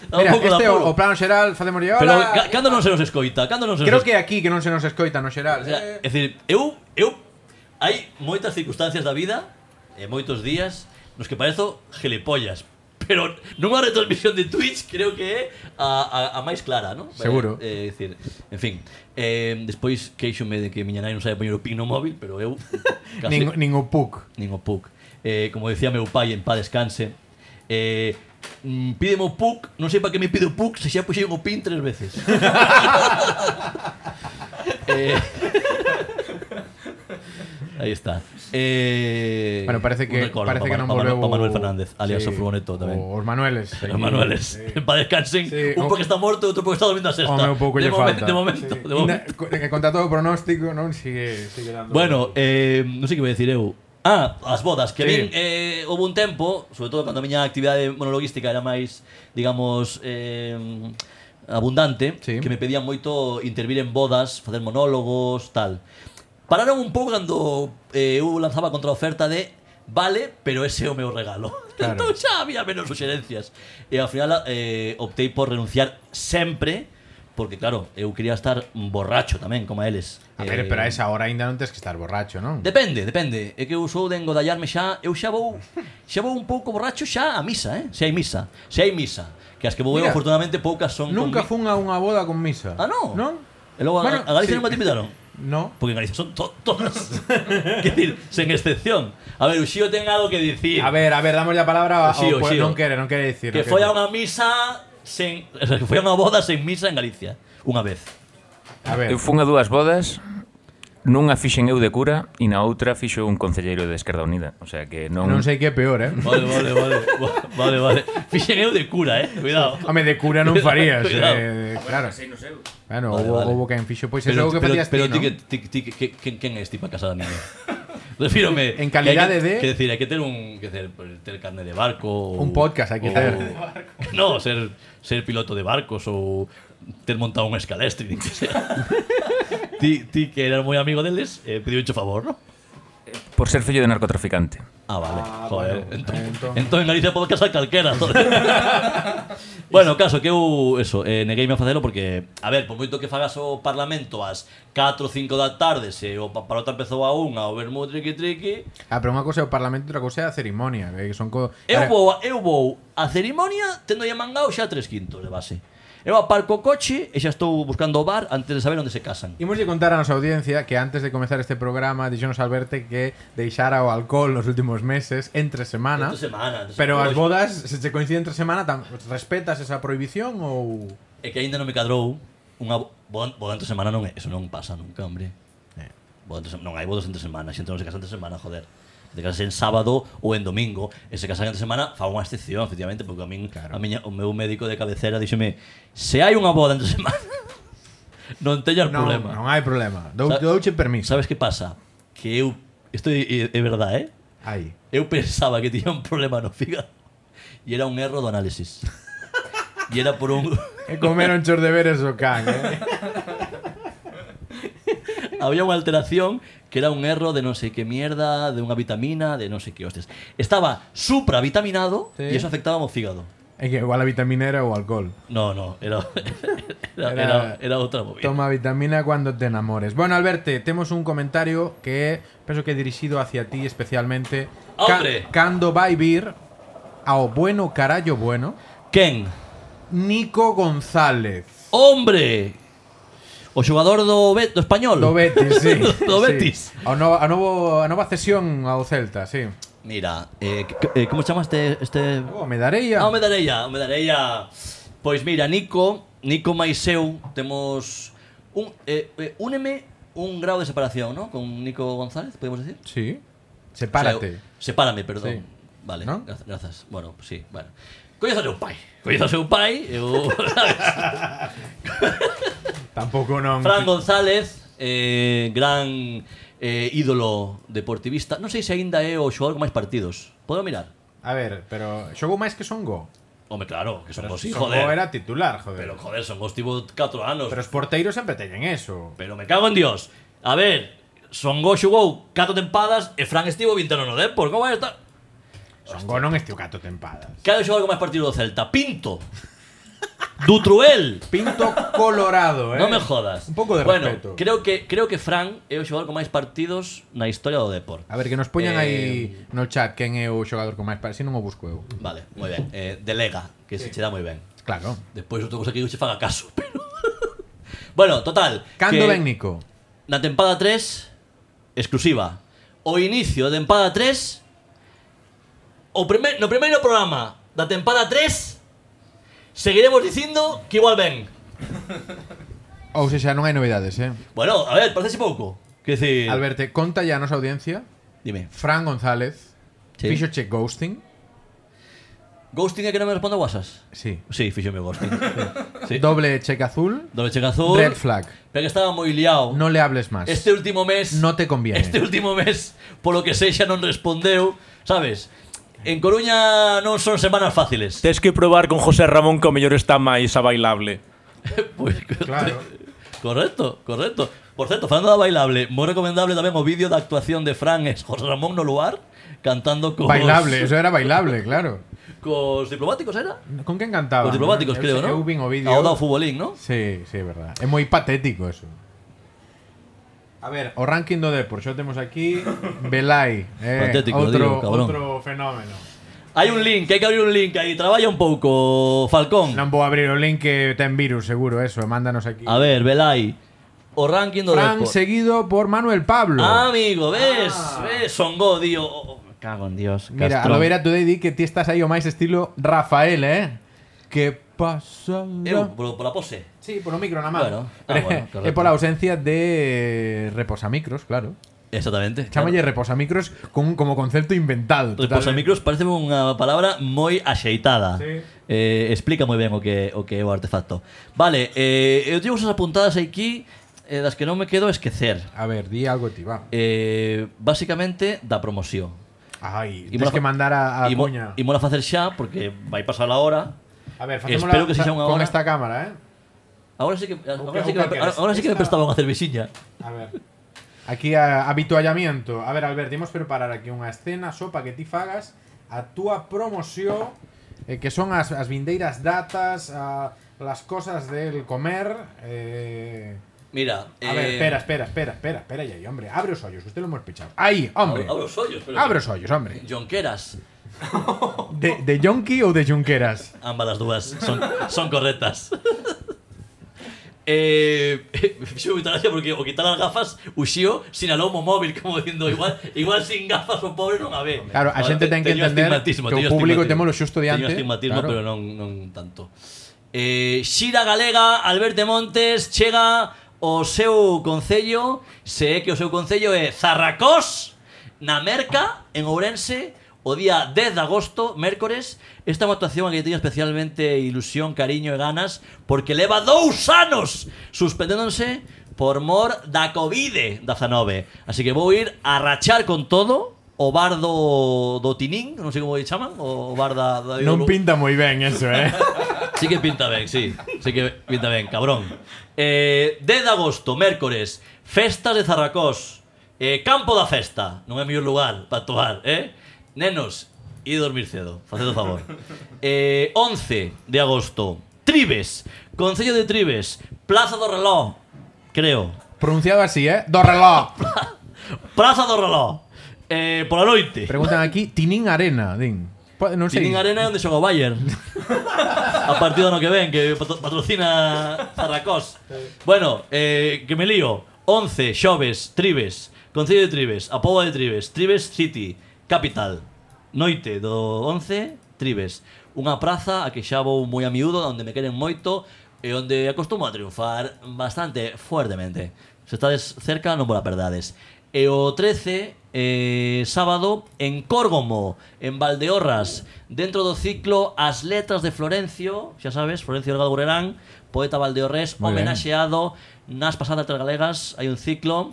S2: Dá
S1: Mira,
S2: de
S1: este o,
S2: apuro.
S1: o plano xeral, facemos lle
S2: Pero
S1: hola.
S2: ca- cando non se nos escoita, cando non se
S1: Creo
S2: nos
S1: que é aquí que non se nos escoita no xeral.
S2: O sea,
S1: eh.
S2: é dicir, eu, eu hai moitas circunstancias da vida e moitos días nos que parezo gelepollas. Pero nunha retransmisión de Twitch creo que é a, a, a máis clara, non?
S1: Seguro.
S2: Eh, é dicir, en fin, eh, despois queixome de que miña nai non sabe poñer o pin no móvil, pero eu case
S1: Nin, nin o puc.
S2: nin o PUC. Eh, como decía meu pai en pá descanse, eh, mm, pídeme o PUC, non sei para que me pide o PUC se xa puxen o PIN tres veces. eh, aí está. Eh,
S1: Bueno, parece
S2: un
S1: que
S2: recordo
S1: parece
S2: pa
S1: que
S2: Manu-
S1: non
S2: pa Manu-
S1: volveu
S2: pa Manuel Fernández, alias o Furgoneto tamén.
S1: O, os Manueles.
S2: Os Manueles, en paz descansen,
S1: Sí, o-
S2: un porque está morto, outro porque está dormindo a sexta.
S1: O meu pouco
S2: de,
S1: lle
S2: momen-
S1: falta.
S2: de momento,
S1: Sí.
S2: de momento.
S1: Inda- co- que contra todo pronóstico, non sigue, sigue dando.
S2: Bueno, eh, non sei que vou decir eu. Ah, as bodas, que
S1: Sí.
S2: sí. eh, houve un tempo, sobre todo cando a miña actividade monologuística era máis, digamos, eh, abundante,
S1: Sí.
S2: que me pedían moito intervir en bodas, facer monólogos, tal. Pararon un pouco cando eh, eu lanzaba contra a oferta de vale, pero ese é o meu regalo.
S1: Claro.
S2: Entón xa había menos suxerencias. E ao final eh, optei por renunciar sempre, porque claro, eu quería estar borracho tamén, como a eles.
S1: a ver, Ah,
S2: Eh,
S1: pero a esa hora ainda non tens que estar borracho, non?
S2: Depende, depende. É que eu sou de engodallarme xa, eu xa vou, xa vou un pouco borracho xa a misa, eh? Se hai misa, se hai misa. Que as que vou eu,
S1: Mira,
S2: afortunadamente, poucas son
S1: Nunca
S2: con...
S1: fun
S2: mi-
S1: a unha boda con misa.
S2: Ah, non?
S1: Non?
S2: E logo a-
S1: Bueno,
S2: a, Galicia
S1: sí.
S2: non me te invitaron.
S1: No.
S2: Porque en Galicia son to todas. Quer dizer, sen excepción. A ver, o Xío ten algo que dicir.
S1: A ver, a ver, damos a palabra ao
S2: Sí, o
S1: pues,
S2: sí, o.
S1: non quere, non quere dicir. non
S2: que foi a
S1: quere
S2: unha misa sen... O sea, que foi a unha boda sen misa en Galicia. Unha vez.
S1: dicir. A ver.
S3: Eu fun a dúas bodas, nunha fixen eu de cura e na outra fixo un concelleiro de Esquerda Unida. O sea que non...
S1: Non sei que é peor, eh.
S2: Vale, vale, vale. vale, vale. Fixen eu de cura, eh? Cuidado.
S1: Home, de cura non farías,
S2: Cuidado.
S1: eh, claro. Bueno,
S2: Vale,
S1: houbo
S2: vale.
S1: houbo quen fixo, pois é o pues que
S2: pero,
S1: facías
S2: pero
S1: ti, non?
S2: que, ti, ti, que, que, quen es ti para casar a niña? Refírome.
S1: En calidade
S2: que hai que-
S1: de-
S2: Que decir, hai que ter un... Que ter, pues, ter carne de barco. ou-
S1: Un podcast hai que
S2: ou-
S1: ter.
S2: No, ser, ser piloto de barcos ou ter montado un escalestre, nin que sea. ti, ti que eras moi amigo deles, eh, pediu un favor, no?
S3: Por ser fillo de narcotraficante.
S2: Ah, vale.
S1: Ah,
S2: Joder.
S1: bueno,
S2: Entón,
S1: entón.
S2: entón en Galicia podo casar calquera. joder. bueno, caso que eu eso, eh, negueime a facelo porque a ver, por moito que fagas o parlamento ás 4 ou 5 da tarde, se o paparota empezou a unha, o vermú triqui triqui,
S1: Ah, pero unha cousa é o parlamento, outra cousa é a cerimonia, eh, que son co...
S2: eu
S1: Ahora-
S2: vou, a- eu vou a cerimonia tendo ya mangado xa 3 quintos de base. Eu aparco o coche e xa estou buscando o bar antes de saber onde se casan.
S1: Imos de contar a nosa audiencia que antes de comezar este programa dixonos Alberte que deixara o alcohol nos últimos meses entre semana.
S2: Entre semana, entre
S1: Pero
S2: semana. pois,
S1: as bodas, se che coincide entre semana, tam, respetas esa prohibición ou
S2: É que aínda non me cadrou unha bo- boda, boda entre semana non é, eso non pasa nunca, hombre. Boda entre, sem- non hai bodas entre semana, a xente non se casa entre semana, joder. De casa en sábado ou en domingo, e se casan entre semana fa unha excepción, efectivamente, porque a min
S1: Claro.
S2: a miña, o meu médico de cabecera díxome, se hai unha boda entre semana, non teñas
S1: non,
S2: problema.
S1: non hai problema. Dou,
S2: Sa-
S1: douche permiso.
S2: Sabes que pasa? Que eu isto é, é verdade, eh?
S1: Aí.
S2: Eu pensaba que tiña un problema no fígado e era un erro do análisis. E era por un
S1: E comeron chos deberes o can, eh?
S2: había unha alteración que era un erro de non sei que mierda, de unha vitamina, de non sei que hostias. Estaba supravitaminado
S1: Sí.
S2: e eso afectaba ao fígado.
S1: É que igual a vitamina era o alcohol.
S2: No, no, era era,
S1: Era-
S2: era, era outra movida.
S1: Toma vitamina cuando te enamores. Bueno, Alberte, temos un comentario que penso que é dirixido hacia ti especialmente.
S2: Hombre.
S1: cando vai vir ao bueno carallo bueno,
S2: Quen?
S1: Nico González.
S2: Hombre! O xogador do, Be- do español.
S1: Do Betis, sí.
S2: Do
S1: Sí.
S2: Betis.
S1: Ao novo- a, novo- a nova cesión ao Celta, sí.
S2: Mira, eh, c- eh, como chamaste este
S1: Oh, me darei
S2: Ah, o Medarella, o Medarella. Pois mira, Nico, Nico máis eu temos un eh, eh, úneme un grau de separación, ¿no? Con Nico González, podemos decir.
S1: Sí. Sepárate.
S2: O sea, eu- sepárame, perdón.
S1: Sí.
S2: Vale,
S1: ¿No?
S2: gra- grazas. Bueno, pues sí, bueno. Coño seu pai. Coño seu pai, eu
S1: Tampouco non.
S2: Fran González, eh, gran eh, ídolo deportivista. Non sei se aínda é o xogador con máis partidos. Podo mirar?
S1: A ver, pero xogou máis que Songo.
S2: Home, claro, que son vos,
S1: Songo
S2: joder.
S1: era titular, joder.
S2: Pero joder, son vos tivo 4 anos.
S1: Pero os porteiros sempre teñen eso.
S2: Pero me cago en Dios. A ver, Songo xogou 4 tempadas e Fran estivo 20 no Depor. Como vai estar?
S1: Songo non estiu cato tempadas.
S2: Que hai o xogador con máis partido do Celta? Pinto. Dutruel.
S1: Pinto colorado, eh.
S2: No me jodas.
S1: Un pouco de
S2: bueno,
S1: respeto.
S2: creo que creo que Fran é o xogador con máis partidos na historia do Depor.
S1: A ver, que nos poñan
S2: Eh,
S1: aí no chat quen é o xogador con máis para, si non o busco eu.
S2: Vale, moi ben. Eh, delega, que se che dá moi ben.
S1: Claro.
S2: Despois outra cousa que eu che faga caso, pero Bueno, total.
S1: Cando
S2: que
S1: ven Nico?
S2: Na tempada 3 Exclusiva O inicio da tempada 3 o primer, No primeiro programa Da tempada 3 Seguiremos dicindo que igual ven
S1: Ou se xa non hai novidades, eh.
S2: Bueno, a ver, parece pouco Que decir
S1: Alberto, conta ya a nosa audiencia.
S2: Dime
S1: Fran González.
S2: Sí.
S1: Fixo che ghosting.
S2: Ghosting é que non me respondo a whatsapps
S1: Sí.
S2: Sí, fixo meu ghosting sí.
S1: Doble cheque azul.
S2: Doble cheque azul
S1: Red flag.
S2: Pero que estaba moi liado
S1: No le hables más.
S2: Este último mes
S1: No te conviene.
S2: Este último mes, polo que sei xa non respondeu Sabes? En Coruña non son semanas fáciles
S5: Tes que probar con José Ramón que o mellor está máis a bailable.
S2: Pois,
S1: Claro.
S2: Pues, Correcto, correcto. Por certo, falando da bailable, moi recomendable tamén o vídeo da actuación de Fran e José Ramón no luar cantando cos
S1: Bailable, eso era bailable, claro.
S2: Cos diplomáticos era?
S1: Con quen cantaba?
S2: Cos
S1: Eu
S2: diplomáticos, creo,
S1: sei,
S2: ¿no?
S1: Eu vin Ah, o vídeo.
S2: Ao dao futbolín, ¿no?
S1: Sí, sí, é verdad. É moi patético eso. A ver, o ranking do Depor, xa o temos aquí Belai, eh,
S2: Patético,
S1: outro,
S2: digo, cabrón.
S1: outro fenómeno.
S2: Hai un link, hai que abrir un link aí, traballa un pouco, Falcón.
S1: Non vou abrir o link que ten virus, seguro, eso, e mándanos aquí.
S2: A ver, Belai. O ranking do
S1: Fran
S2: Depor.
S1: seguido por Manuel Pablo.
S2: Ah, amigo, ves? Ves, Songo, dio. Oh, oh, Cago en
S1: Ah.
S2: Dios,
S1: Mira, a
S2: Castrón.
S1: lo ver a Today di que ti estás aí o máis estilo Rafael, eh? Que pasa?
S2: Eu, por, por a pose.
S1: Sí, polo micro na
S2: Bueno,
S1: mano.
S2: ah,
S1: é
S2: bueno, correcto.
S1: pola ausencia de reposamicros, claro.
S2: Exactamente.
S1: Chámalle reposamicros con, como concepto inventado.
S2: Pues Reposamicros parece unha palabra moi axeitada.
S1: Sí.
S2: Eh, explica moi ben o que o que é o artefacto. Vale, eh, eu teño cousas apuntadas aquí eh, das que non me quedo a esquecer.
S1: A ver, di algo ti, va.
S2: Eh, basicamente da promoción.
S1: Ai,
S2: mola
S1: tens
S2: fa-
S1: que mandar a, a
S2: imo-
S1: cuña.
S2: imola facer xa porque vai pasar a hora.
S1: A ver,
S2: Espero
S1: facémola
S2: que sexa unha
S1: con
S2: hora.
S1: esta cámara, eh?
S2: Agora sí que agora
S1: que-
S2: sí
S1: o
S2: que,
S1: que
S2: me, agora, agora sí que me
S1: esta-
S2: prestaban a cervexiña.
S1: A ver. Aquí a, habituallamiento. A ver, Albert, imos preparar aquí unha escena só para que ti fagas a túa promoción eh, que son as, as vindeiras datas, a, las cosas del comer, eh,
S2: Mira,
S1: A ver, espera, espera, espera, espera, espera ya, ahí, hombre. Abre os hoyos, que usted lo hemos pechado. Ahí, hombre.
S2: Abro, abro os ollos, pero
S1: Abre os hoyos, hombre.
S2: Jonqueras,
S1: De, de Yonki ou de Junqueras?
S2: ambas as dúas son son correctas. Eh, fixo moita gracia porque o quitar as gafas uxío sinalou mo móvil como dicindo igual igual sin gafas o pobre non a ve.
S1: Claro, a xente ten que
S2: Teño
S1: entender
S2: estigmatismo,
S1: que o
S2: teño
S1: público
S2: estigmatismo.
S1: témolo xusto diante,
S2: Teño estigmatismo,
S1: claro.
S2: pero non non tanto. Eh, Xira Galega, Alberto Montes chega ao seu concello, se é que o seu concello é Zarracós, na Merca, en Ourense, o día 10 de agosto, mércores. Esta é unha actuación a que teño especialmente ilusión, cariño e ganas, porque leva dous anos suspendéndose por mor da Covid-19. Así que vou ir a rachar con todo o bar do, do Tinín, non sei como lle chaman, o bar da... da
S1: Non pinta moi ben eso, eh.
S2: Sí que pinta ben, sí. Sí que pinta ben, cabrón. Eh, 10 de agosto, mércores, festas de Zarracós. Eh, campo da festa, non é mellor lugar para actuar, eh? Nenos, e dormir cedo, faced o favor. Eh, 11 de agosto, Tribes, Concello de Tribes, Plaza do Reló, creo.
S1: Pronunciado así, ¿eh? Do reloj.
S2: Plaza do Reló. Eh, pola noite.
S1: Preguntan aquí, Tinín Arena, din. Po- Non sei.
S2: Tienen arena é onde xoga o Bayern A partido no que ven Que patro- patrocina Zarracós Bueno, eh, que me lío 11, Xoves, Tribes Concello de Tribes, Apoba de Tribes Tribes City, Capital Noite do 11, Tribes Unha praza a que xa vou moi a miúdo Onde me queren moito E onde acostumo a triunfar bastante fuertemente Se estades cerca non vos la perdades E o 13, eh, sábado, en Córgomo, en Valdeorras, dentro do ciclo As Letras de Florencio, xa sabes, Florencio Delgado Burerán, poeta valdeorrés,
S1: Moi ben.
S2: homenaxeado nas pasadas letras galegas, hai un ciclo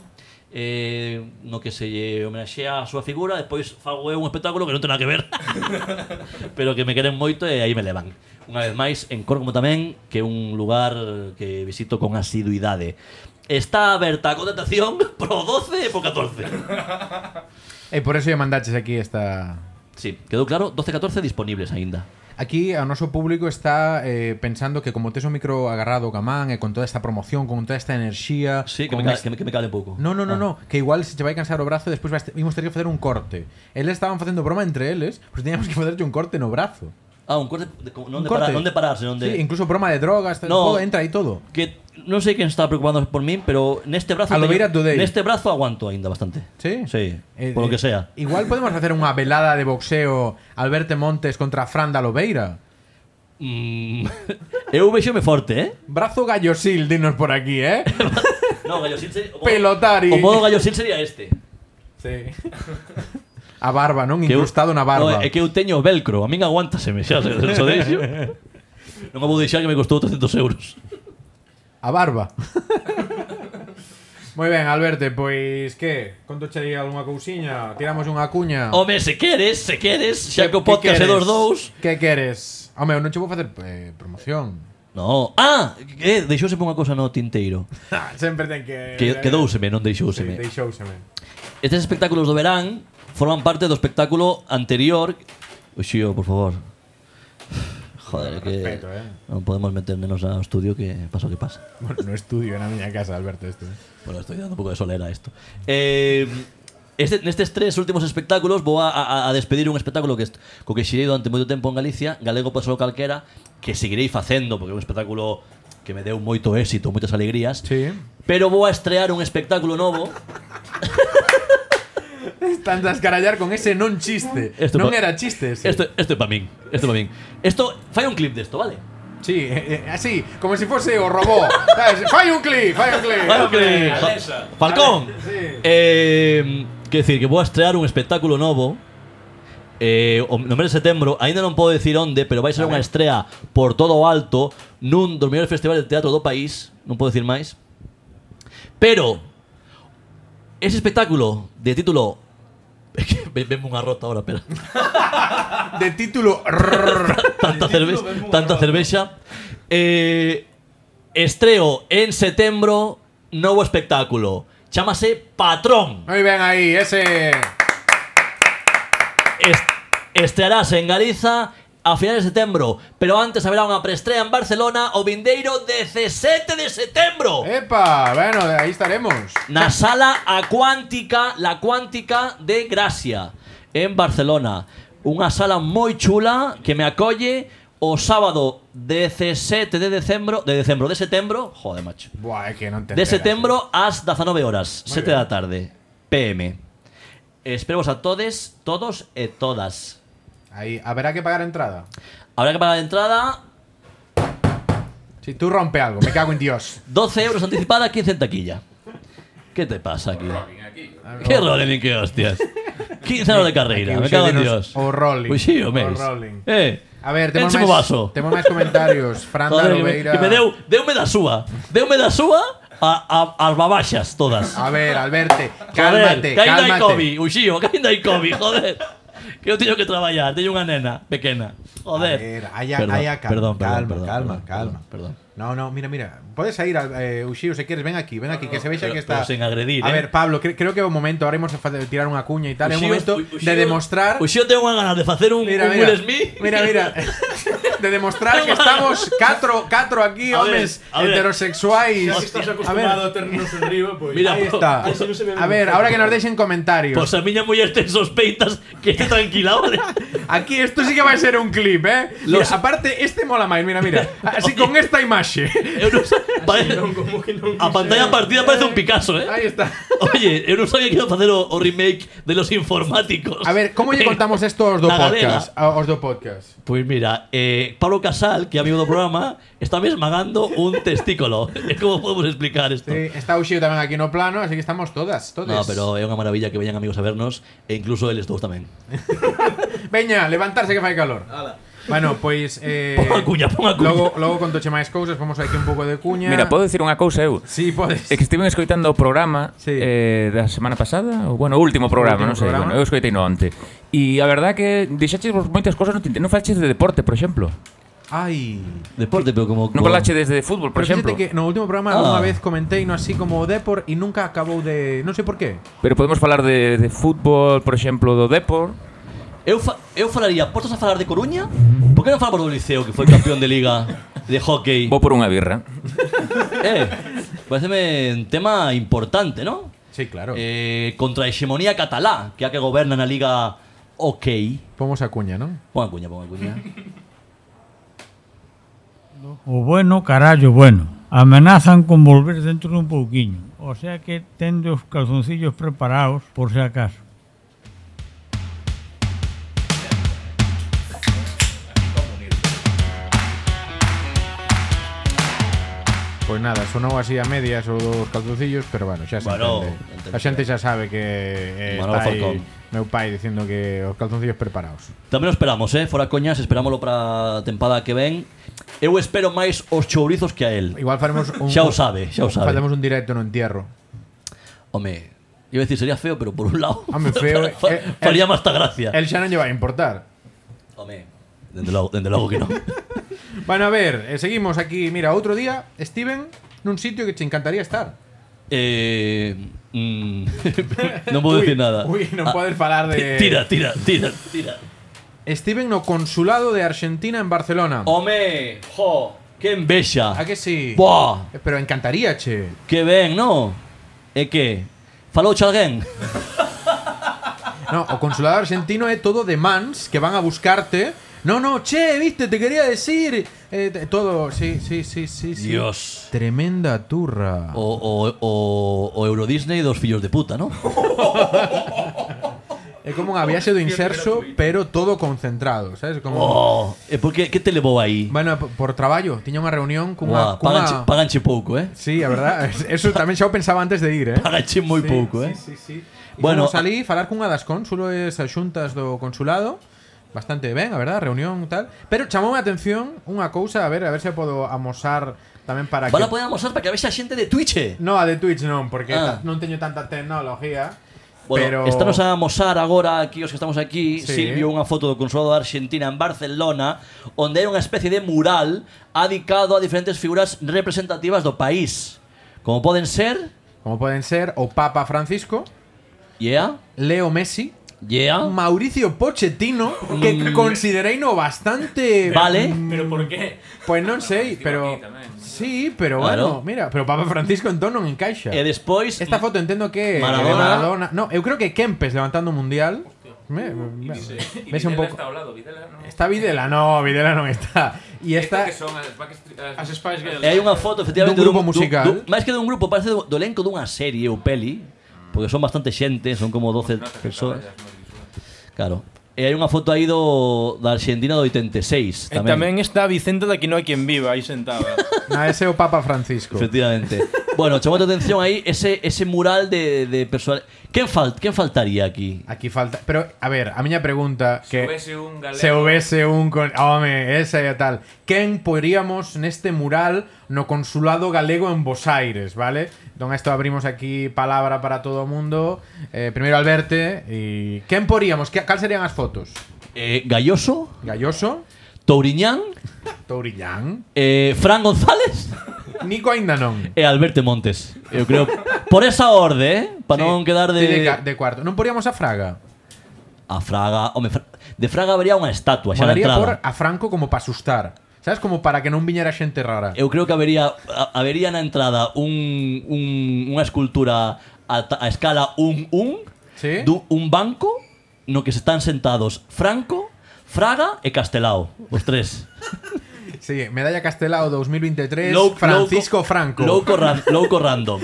S2: eh, no que se lle homenaxea a súa figura, despois fago eu un espectáculo que non ten nada que ver, pero que me queren moito e aí me levan. Unha vez máis, en Córgomo tamén, que é un lugar que visito con asiduidade. Está aberta a contratación pro 12 e pro 14.
S1: E por eso lle mandaches aquí esta...
S2: Sí, quedou claro, 12-14 disponibles aínda.
S1: Aquí o noso público está eh, pensando que como tes o micro agarrado ao camán e con toda esta promoción, con toda esta enerxía...
S2: Sí, que
S1: con
S2: me, ca-
S1: este-
S2: que, me, Ah. que me cale pouco.
S1: No, no, no, no, que igual se che vai cansar o brazo e despois vais te- imos ter que facer un corte. Eles estaban facendo broma entre eles, pois teníamos que facerlle un corte no brazo.
S2: Ah, un corte, de, como-
S1: Un
S2: non, de
S1: corte.
S2: parar, non de pararse, non
S1: Sí,
S2: de...
S1: incluso broma de drogas,
S2: No.
S1: todo entra aí todo.
S2: que non sei quen está preocupando por min, pero neste brazo
S1: A lo
S2: teño-
S1: Beira Today.
S2: neste brazo aguanto aínda bastante.
S1: Sí?
S2: Sí,
S1: Eh,
S2: por lo
S1: eh,
S2: que sea.
S1: Igual podemos hacer unha velada de boxeo Alberto Montes contra Fran da Lobeira.
S2: Mm, eu vexome forte, eh?
S1: Brazo gallosil, dinos por aquí, eh?
S2: No, Gallo Sil sería... o modo-
S1: Pelotari.
S2: O modo Gallo Sil sería este.
S1: Sí. A barba, non?
S2: eu-
S1: Incrustado na barba.
S2: No, eh, é que eu teño velcro, a min aguantaseme, xa, se se o deixo. Non me vou deixar que me costou 300 euros.
S1: A barba. Moi ben, Alberto, pois que? Conto che aí algunha cousiña? Tiramos unha cuña?
S2: Home, se queres, se queres,
S1: Que-
S2: Oh, xa que
S1: que
S2: o podcast é
S1: queres?
S2: dos dous...
S1: Que queres? Home, eu non che vou facer eh, promoción.
S2: No, ah, eh, deixouseme unha cosa no tinteiro.
S1: Sempre ten que...
S2: Ah. Que e quedouseme, non
S1: Sí, e
S2: deixouseme.
S1: deixouseme.
S2: Estes espectáculos do verán forman parte do espectáculo anterior. Uxío, por favor. Joder, que
S1: Respeto, eh.
S2: non podemos meternos ao estudio que pasa o que pasa.
S1: Bueno, no estudio na miña casa, eh. Alberto, isto.
S2: Bueno, estoy dando un poco de solera a esto. Eh, este, nestes tres últimos espectáculos vou a, a, a despedir un espectáculo que est- co que xirei durante moito tempo en Galicia, Galego Pasolo Calquera, que seguirei facendo, porque é un espectáculo que me deu moito éxito, moitas alegrías.
S1: Sí.
S2: Pero vou a estrear un espectáculo novo.
S1: Están a escarallar con ese non chiste.
S2: Esto
S1: non
S2: pa-
S1: era chiste ese.
S2: Esto, esto é para min. Esto é para min. Esto, fai un clip desto, vale?
S1: Sí, eh, eh, así, como si fuese o robó. ¿Sabes? ¡Fai un clip! ¡Fai un clip!
S2: Claro que-
S1: hombre!
S2: Fa- Falcón.
S1: Sí.
S2: Eh, quero decir que vou a estrear un espectáculo novo. Eh, o no mes de setembro, ainda non podo decir onde, pero vai ser unha estrea por todo o alto nun dos mellores festivales de teatro do país, non podo decir máis. Pero ese espectáculo de título É que ve- Venme unha rota ahora, pero
S1: De título. rrrr.
S2: tanta cerveza, tanta cervexa. Eh, estreo en setembro novo espectáculo. Chámase Patrón.
S1: Muy bien ahí, ese.
S2: Est- estrearase en Galiza a finales de setembro, pero antes haberá unha preestrea en Barcelona o vindeiro 17
S1: Eh,
S2: de setembro.
S1: ¡Epa! Bueno, ahí estaremos.
S2: Na sala acuántica, la cuántica de Gracia, en Barcelona. Unha sala moi chula que me acolle o sábado 17 de decembro, de decembro, de setembro, joder, macho.
S1: Buah, es que no te
S2: De
S1: enteras.
S2: setembro ás 19 horas,
S1: Muy bien.
S2: 7 da tarde, PM. Esperemos a todes, todos e todas.
S1: Ahí, habrá que pagar entrada.
S2: Habrá que pagar a entrada
S1: Si tú rompe algo, me cago en Dios.
S2: 12 euros anticipada, 15 en taquilla. ¿Qué te pasa aquí? ¿Qué rolling qué hostias? 15 euros de carreira,
S1: Aquí,
S2: me cago en
S1: ustedes nos-
S2: Dios.
S1: o rolling.
S2: Pois sí, o mes.
S1: O rolling.
S2: Eh,
S1: A ver, tenemos
S2: écheme o
S1: más,
S2: vaso.
S1: tenemos más comentarios. Fran
S2: Joder, que, me,
S1: Darobeira.
S2: que me deu, deume da súa. Deume da súa a, a, as babaxas todas.
S1: A ver, Alberto,
S2: Joder,
S1: cálmate,
S2: que ainda hai
S1: cálmate.
S2: COVID, uxío, que ainda hai COVID, joder. que eu teño que traballar, teño unha nena pequena. Joder.
S1: A ver, haya,
S2: Perdón,
S1: haya calma,
S2: perdón, perdón,
S1: calma,
S2: perdón,
S1: calma,
S2: perdón,
S1: calma.
S2: perdón, perdón.
S1: No, no, mira, mira. Puedes ir, eh, Uxiu, si quieres, ven aquí, ven aquí, que se vea
S2: pero-
S1: que está.
S2: pero sin agredir,
S1: A
S2: ¿eh?
S1: ver, Pablo, cre- creo que é un momento, ahora hemos de fa- de tirar unha cuña e tal, é un momento de demostrar.
S2: Uxío ten unha ganas de facer un,
S1: Mira,
S2: un
S1: mira,
S2: Will Smith.
S1: mira, mira. De demostrar que estamos catro, catro aquí,
S2: A ver,
S1: homes
S2: a ver.
S1: heterosexuais.
S6: Si estás
S1: A ver,
S6: acostumbrado a, ternos enriba, pois...
S2: Mira,
S1: aí
S2: pues,
S1: Pues está.
S6: Eso non se ve
S1: A ver,
S6: nunca.
S1: ahora que nos deixen comentarios.
S2: Pois pues a miña muller ten sospeitas este que este tranquila, hombre.
S1: Aquí esto sí que va a ser un clip, ¿eh? Mira,
S2: Los-
S1: aparte, este mola más, mira, mira. Así con esta imagen.
S2: Eu non sa- parece-
S6: Non, como que non
S2: a pantalla partida parece un Picasso, eh?
S1: Ahí está.
S2: Oye, eu non sabía que iba a facer o, o remake de los informáticos. Eh,
S1: A ver, ¿cómo le contamos esto a los dos
S2: La galega.
S1: podcasts? A Ah, os do podcast.
S2: Pois mira, eh, Pablo Casal, que é amigo do programa, está mesmagando un testículo. É como podemos explicar isto?
S1: Sí, está Ushio también aquí no plano, así que estamos todas, todas.
S2: No, pero é unha maravilla que veñan amigos a vernos e incluso eles dous tamén.
S1: Eh, Veña, levantarse que fai calor. Bueno, pues... Eh,
S2: Pon a cuña, pon a cuña.
S1: Luego, luego con Toche Máis Cousas, vamos aquí un poco de cuña.
S3: Mira, podo dicir unha cousa eu?
S1: Sí, podes.
S3: É que estiven escoitando o programa
S1: Sí.
S3: sí. eh, da semana pasada, ou bueno, o último programa,
S1: Último
S3: non sei,
S1: programa.
S3: bueno, eu escoitei no onte. E a verdad que dixaches vos moitas cosas, non, tinte- non falaches de deporte, por exemplo.
S1: Ay...
S2: Deporte, pero como...
S3: Non
S2: como-
S3: falaches desde de fútbol, por
S1: Pero fíjate
S3: exemplo.
S1: que no último programa
S2: Ah.
S1: alguna vez comenté no así como Depor y nunca acabó de... No sé por qué.
S3: Pero podemos falar de, de fútbol, por exemplo, do Depor.
S2: Eu, fa eu falaría, postos a falar de Coruña? Por que non falamos do Liceo, que foi campeón de liga de hockey?
S3: Vou por unha birra.
S2: Eh, pareceme un tema importante, ¿no?
S1: Sí, claro.
S2: Eh, contra a hexemonía catalá, que é a que goberna na liga OK.
S1: Pomos a cuña, ¿no?
S2: Pon a cuña, pon a cuña.
S7: O bueno, carallo, bueno. Amenazan con volver dentro dun pouquiño. O sea que tende os calzoncillos preparados, por se acaso.
S1: Pois Pues nada, sonou así a medias ou dos calzoncillos, pero bueno, xa se
S2: Bueno,
S1: entende.
S2: entende.
S1: A xente xa sabe que eh,
S2: Manolo
S1: está aí
S2: Falcón.
S1: meu pai dicindo que os calzoncillos preparados.
S2: Tamén o esperamos, eh? Fora coñas, esperámoslo para a tempada que ven. Eu espero máis os chourizos que a él.
S1: Igual faremos un
S2: Xa o sabe, xa o sabe.
S1: Faremos un directo no entierro.
S2: Home, iba a decir, sería feo, pero por un lado...
S1: Home, feo, eh,
S2: fa-
S1: eh,
S2: faría máis ta gracia.
S1: El xa non lle vai importar.
S2: Home, dende logo, dende logo que non.
S1: Bueno, a ver, eh, seguimos aquí. Mira, outro día, Steven, nun sitio que te encantaría estar.
S2: eh, mm, non vou dicir
S1: Ui,
S2: nada. Ah,
S1: ui, non podes falar de-
S2: Tira, tira, tira, tira.
S1: Steven no consulado de Argentina en Barcelona.
S2: Oh. Home, jo, que envexa.
S1: A que sí?
S2: Buah,
S1: Eh, Pero encantaría, che.
S2: que ben, no? E que? Falou xa alguén?
S1: No, o consulado argentino es todo de mans que van a buscarte. No, no, che, viste, te quería decir. Eh, te- todo, sí, sí, sí, sí, sí.
S2: Dios. Oh.
S1: Tremenda turra.
S2: O, o, o, o Euro Disney dos fillos de puta, no?
S1: Es como un viaxe do inserso, pero todo concentrado, ¿sabes? Como...
S2: Oh, e por que, que te levou aí?
S1: Bueno, p- por trabajo, tenía una reunión con
S2: Buah,
S1: una...
S2: paganche, paganche pouco, eh?
S1: Sí, a verdad. es- Eso también yo pensaba antes de ir, eh.
S2: Paganche moi pouco, eh?
S1: Sí, sí, sí. Bueno,
S2: Bueno,
S1: salí, falar cunha das cónsules xuntas do consulado, bastante ben, a verdad, reunión tal, pero chamoume a atención unha cousa, a ver, a ver se a podo amosar tamén para
S2: Van a
S1: que
S2: poder amosar para que vexa xente de Twitch. eh?
S1: No, a de Twitch non, porque ta-
S2: pues- Ah.
S1: non teño tanta tecnología.
S2: Bueno,
S1: pero
S2: estamos a mosar agora aquí os que estamos aquí
S1: Sí.
S2: Silvio unha foto do consulado da Argentina en Barcelona onde era unha especie de mural adicado a diferentes figuras representativas do país como poden ser
S1: como poden ser o Papa Francisco,
S2: Yeah,
S1: Leo Messi,
S2: yeah
S1: Mauricio Pochettino, que considerei no bastante
S2: Mm. Vale
S6: Pero por qué?
S1: Pois non sei, pero Sí, pero
S2: Claro.
S1: bueno, mira, pero Papa Francisco entón non encaixa.
S2: E despois
S1: Esta foto entiendo que é
S2: Maradona.
S1: de Maradona. No, eu creo que Kempes levantando o mundial. Me, me- ves un pouco. Está Videla, no, Videla non está. E
S3: Este
S1: esta
S6: As Spice Girls.
S2: E hai unha foto efectivamente
S1: Dun grupo musical.
S2: dun- máis que dun grupo, parece do, do elenco dunha serie ou peli, porque son bastante xente, son como 12 persoas. Claro. E hai unha foto aí do da Argentina do 86
S5: E
S2: tamén.
S5: tamén está Vicente da que no hai quen viva aí sentada.
S1: na ese é o Papa Francisco.
S2: Efectivamente. Bueno, chamou a atención aí ese, ese mural de, de persoal. Quen, fal, quen faltaría aquí?
S1: Aquí falta, pero a ver, a miña pregunta
S5: Se
S1: que
S5: houvese un galego-
S1: se houvese un con, home, esa e tal. Quen poríamos neste este mural no consulado galego en Bos Aires, vale? Don esto abrimos aquí palabra para todo o mundo. Eh, primeiro Alberte e quen poríamos? Que cal serían as fotos?
S2: Eh, Galloso,
S1: Galloso,
S2: Touriñán,
S1: Tourillán,
S2: eh, Fran González
S1: Nico aínda non.
S2: e Alberto Montes. Eu creo por esa orde, eh, para non quedar de,
S1: Sí, de, ca- de cuarto. Non poríamos a Fraga.
S2: a Fraga, home, Fra- de Fraga habría unha estatua xa na
S1: Molaría por
S2: Pues entrada.
S1: a Franco como para asustar. ¿Sabes? Como para que non viñera xente rara.
S2: Eu creo que habería a- habería na entrada un, un unha escultura a, ta- a escala 1-1
S1: Sí?
S2: dun un banco no que se están sentados Franco, Fraga e Castelao, os tres. Eh.
S1: Sí, medalla Castelao 2023,
S2: Lou-
S1: Francisco
S2: louco-
S1: Franco.
S2: Louco, ran- louco random.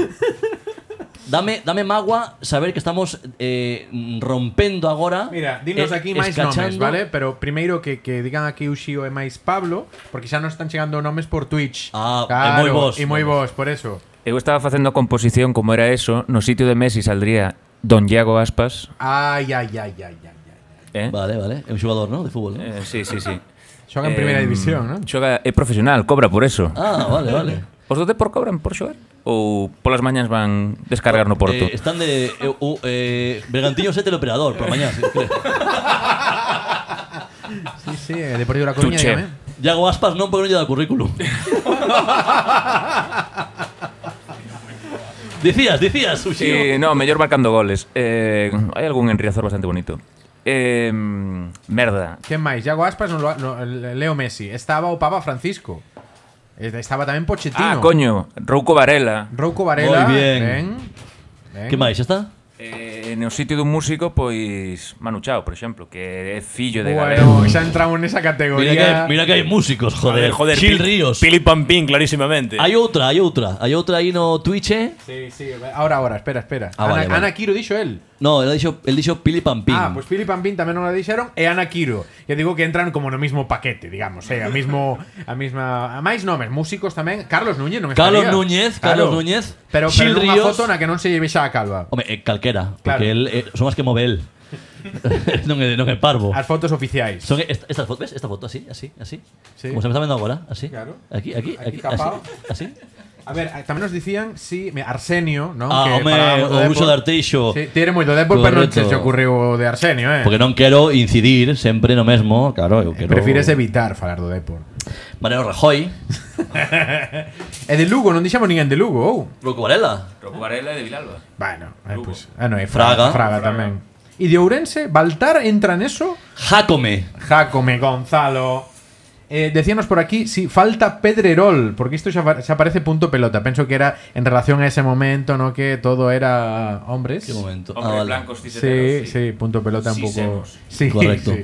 S2: Dame, dame magua saber que estamos eh, rompendo agora.
S1: Mira, dinos
S2: eh,
S1: aquí máis nomes,
S2: escachando-
S1: vale? Pero primeiro que, que digan aquí Uxío e máis Pablo, porque xa nos están chegando nomes por Twitch.
S2: Ah, e moi
S1: claro,
S2: vos,
S1: E moi
S2: nomes.
S1: vos, por eso.
S3: Eu estaba facendo a composición como era eso, no sitio de Messi saldría Don Iago Aspas,
S1: Ai, ai, ai, ai, ai. ai.
S3: eh?
S2: Vale, vale. É un xogador, non? De fútbol, non?
S3: Eh, sí, sí, sí.
S1: Xoga en primeira
S3: Em,
S1: división, non?
S3: Xoga é profesional, cobra por eso.
S2: Ah, vale, vale.
S3: Os do Depor cobran por xogar? Ou polas mañas van descargar no Porto?
S2: Eh, están de... Eh, uh, eh, Bergantiño é teleoperador, por mañá, si creo.
S1: Sí, sí, eh, Deportivo da Coruña,
S3: Tuche.
S1: dígame.
S2: Iago Aspas non, porque non lle dá currículum. dicías, dicías, Uxío.
S3: Sí, no, mellor marcando goles. Eh, hai algún enriazor bastante bonito. Eh, merda.
S1: Quen máis? Iago Aspas, non lo, no, Leo Messi. Estaba o Papa Francisco. Eh, Estaba tamén
S3: Ah,
S1: Pochettino.
S3: coño, Rouco Varela.
S1: Rouco Varela.
S2: Moi bien.
S1: ben.
S2: Que máis, xa está?
S3: Eh, no sitio dun músico, pois Manu Chao, por exemplo, que é fillo de galego.
S1: Bueno, xa entramos nesa
S2: Mira que,
S1: categoría.
S2: mira que hai músicos,
S5: A ver,
S2: joder.
S5: joder,
S2: Gil
S5: Pil-
S2: Ríos.
S5: Pili Pampín, clarísimamente.
S2: Hay otra, hay otra. Hay otra ahí no Twitch. eh.
S1: Sí, sí, ahora, ahora, espera, espera.
S2: Ah,
S1: Ana,
S2: vale, vale.
S1: Ana Quiro dixo el.
S2: No, él dicho, él dicho Pili Pampín.
S1: Ah, pues Philip Ampin tamén non la dixeron e Ana Quiro. Eu digo que entran como no mismo paquete, digamos, eh, a mismo a mesma a máis nomes, músicos tamén. Carlos Núñez non
S2: Carlos
S1: estaría.
S2: Núñez, Carlos Núñez,
S1: Pero, pero
S2: Xil
S1: nunha
S2: Ríos.
S1: foto na que non se lleve xa a calva.
S2: Hombre, eh, calquera.
S1: Claro.
S2: Porque él, eh, son as que move él. non, é, non é parvo.
S1: As fotos oficiais.
S2: Son est- estas fotos, ves? Esta foto así, así, así.
S1: Sí.
S2: Como se me está vendo agora, así.
S1: Claro.
S2: Aquí, aquí,
S1: Aquí
S2: aquí,
S1: tapado.
S2: así. así.
S1: A ver, eh, tamén nos dicían si mira, Arsenio, non?
S2: Ah, home,
S1: falábamos do
S2: o
S1: Depor.
S2: uso de arteixo.
S1: Sí, tiene moito Depor, pero non se
S2: Correcto.
S1: che ocorreu o de Arsenio, eh.
S2: Porque non quero incidir sempre no mesmo, claro, eu quero.
S1: Prefires evitar falar do Depor.
S2: Mariano Rajoy,
S1: E de Lugo, non dixemos ninguén de Lugo, ou?
S2: Rocco Varela,
S3: Rouco Varela é de Vilalba.
S1: Bueno, eh, pues, ah, no, é
S2: Fraga.
S1: Fraga, Fraga, tamén. E de Ourense, Baltar entra neso?
S2: Jacome.
S1: Jacome Gonzalo. Eh, decíanos por aquí, si falta Pedrerol, porque isto xa, fa- xa parece punto pelota. Penso que era en relación a ese momento, no que todo era hombres.
S2: Que momento. Ah,
S3: Hombre, blancos
S1: Sí,
S3: tiseteros,
S1: sí, punto pelota un
S3: Sí,
S1: pouco.
S3: semos.
S1: Sí,
S2: Correcto.
S1: sí.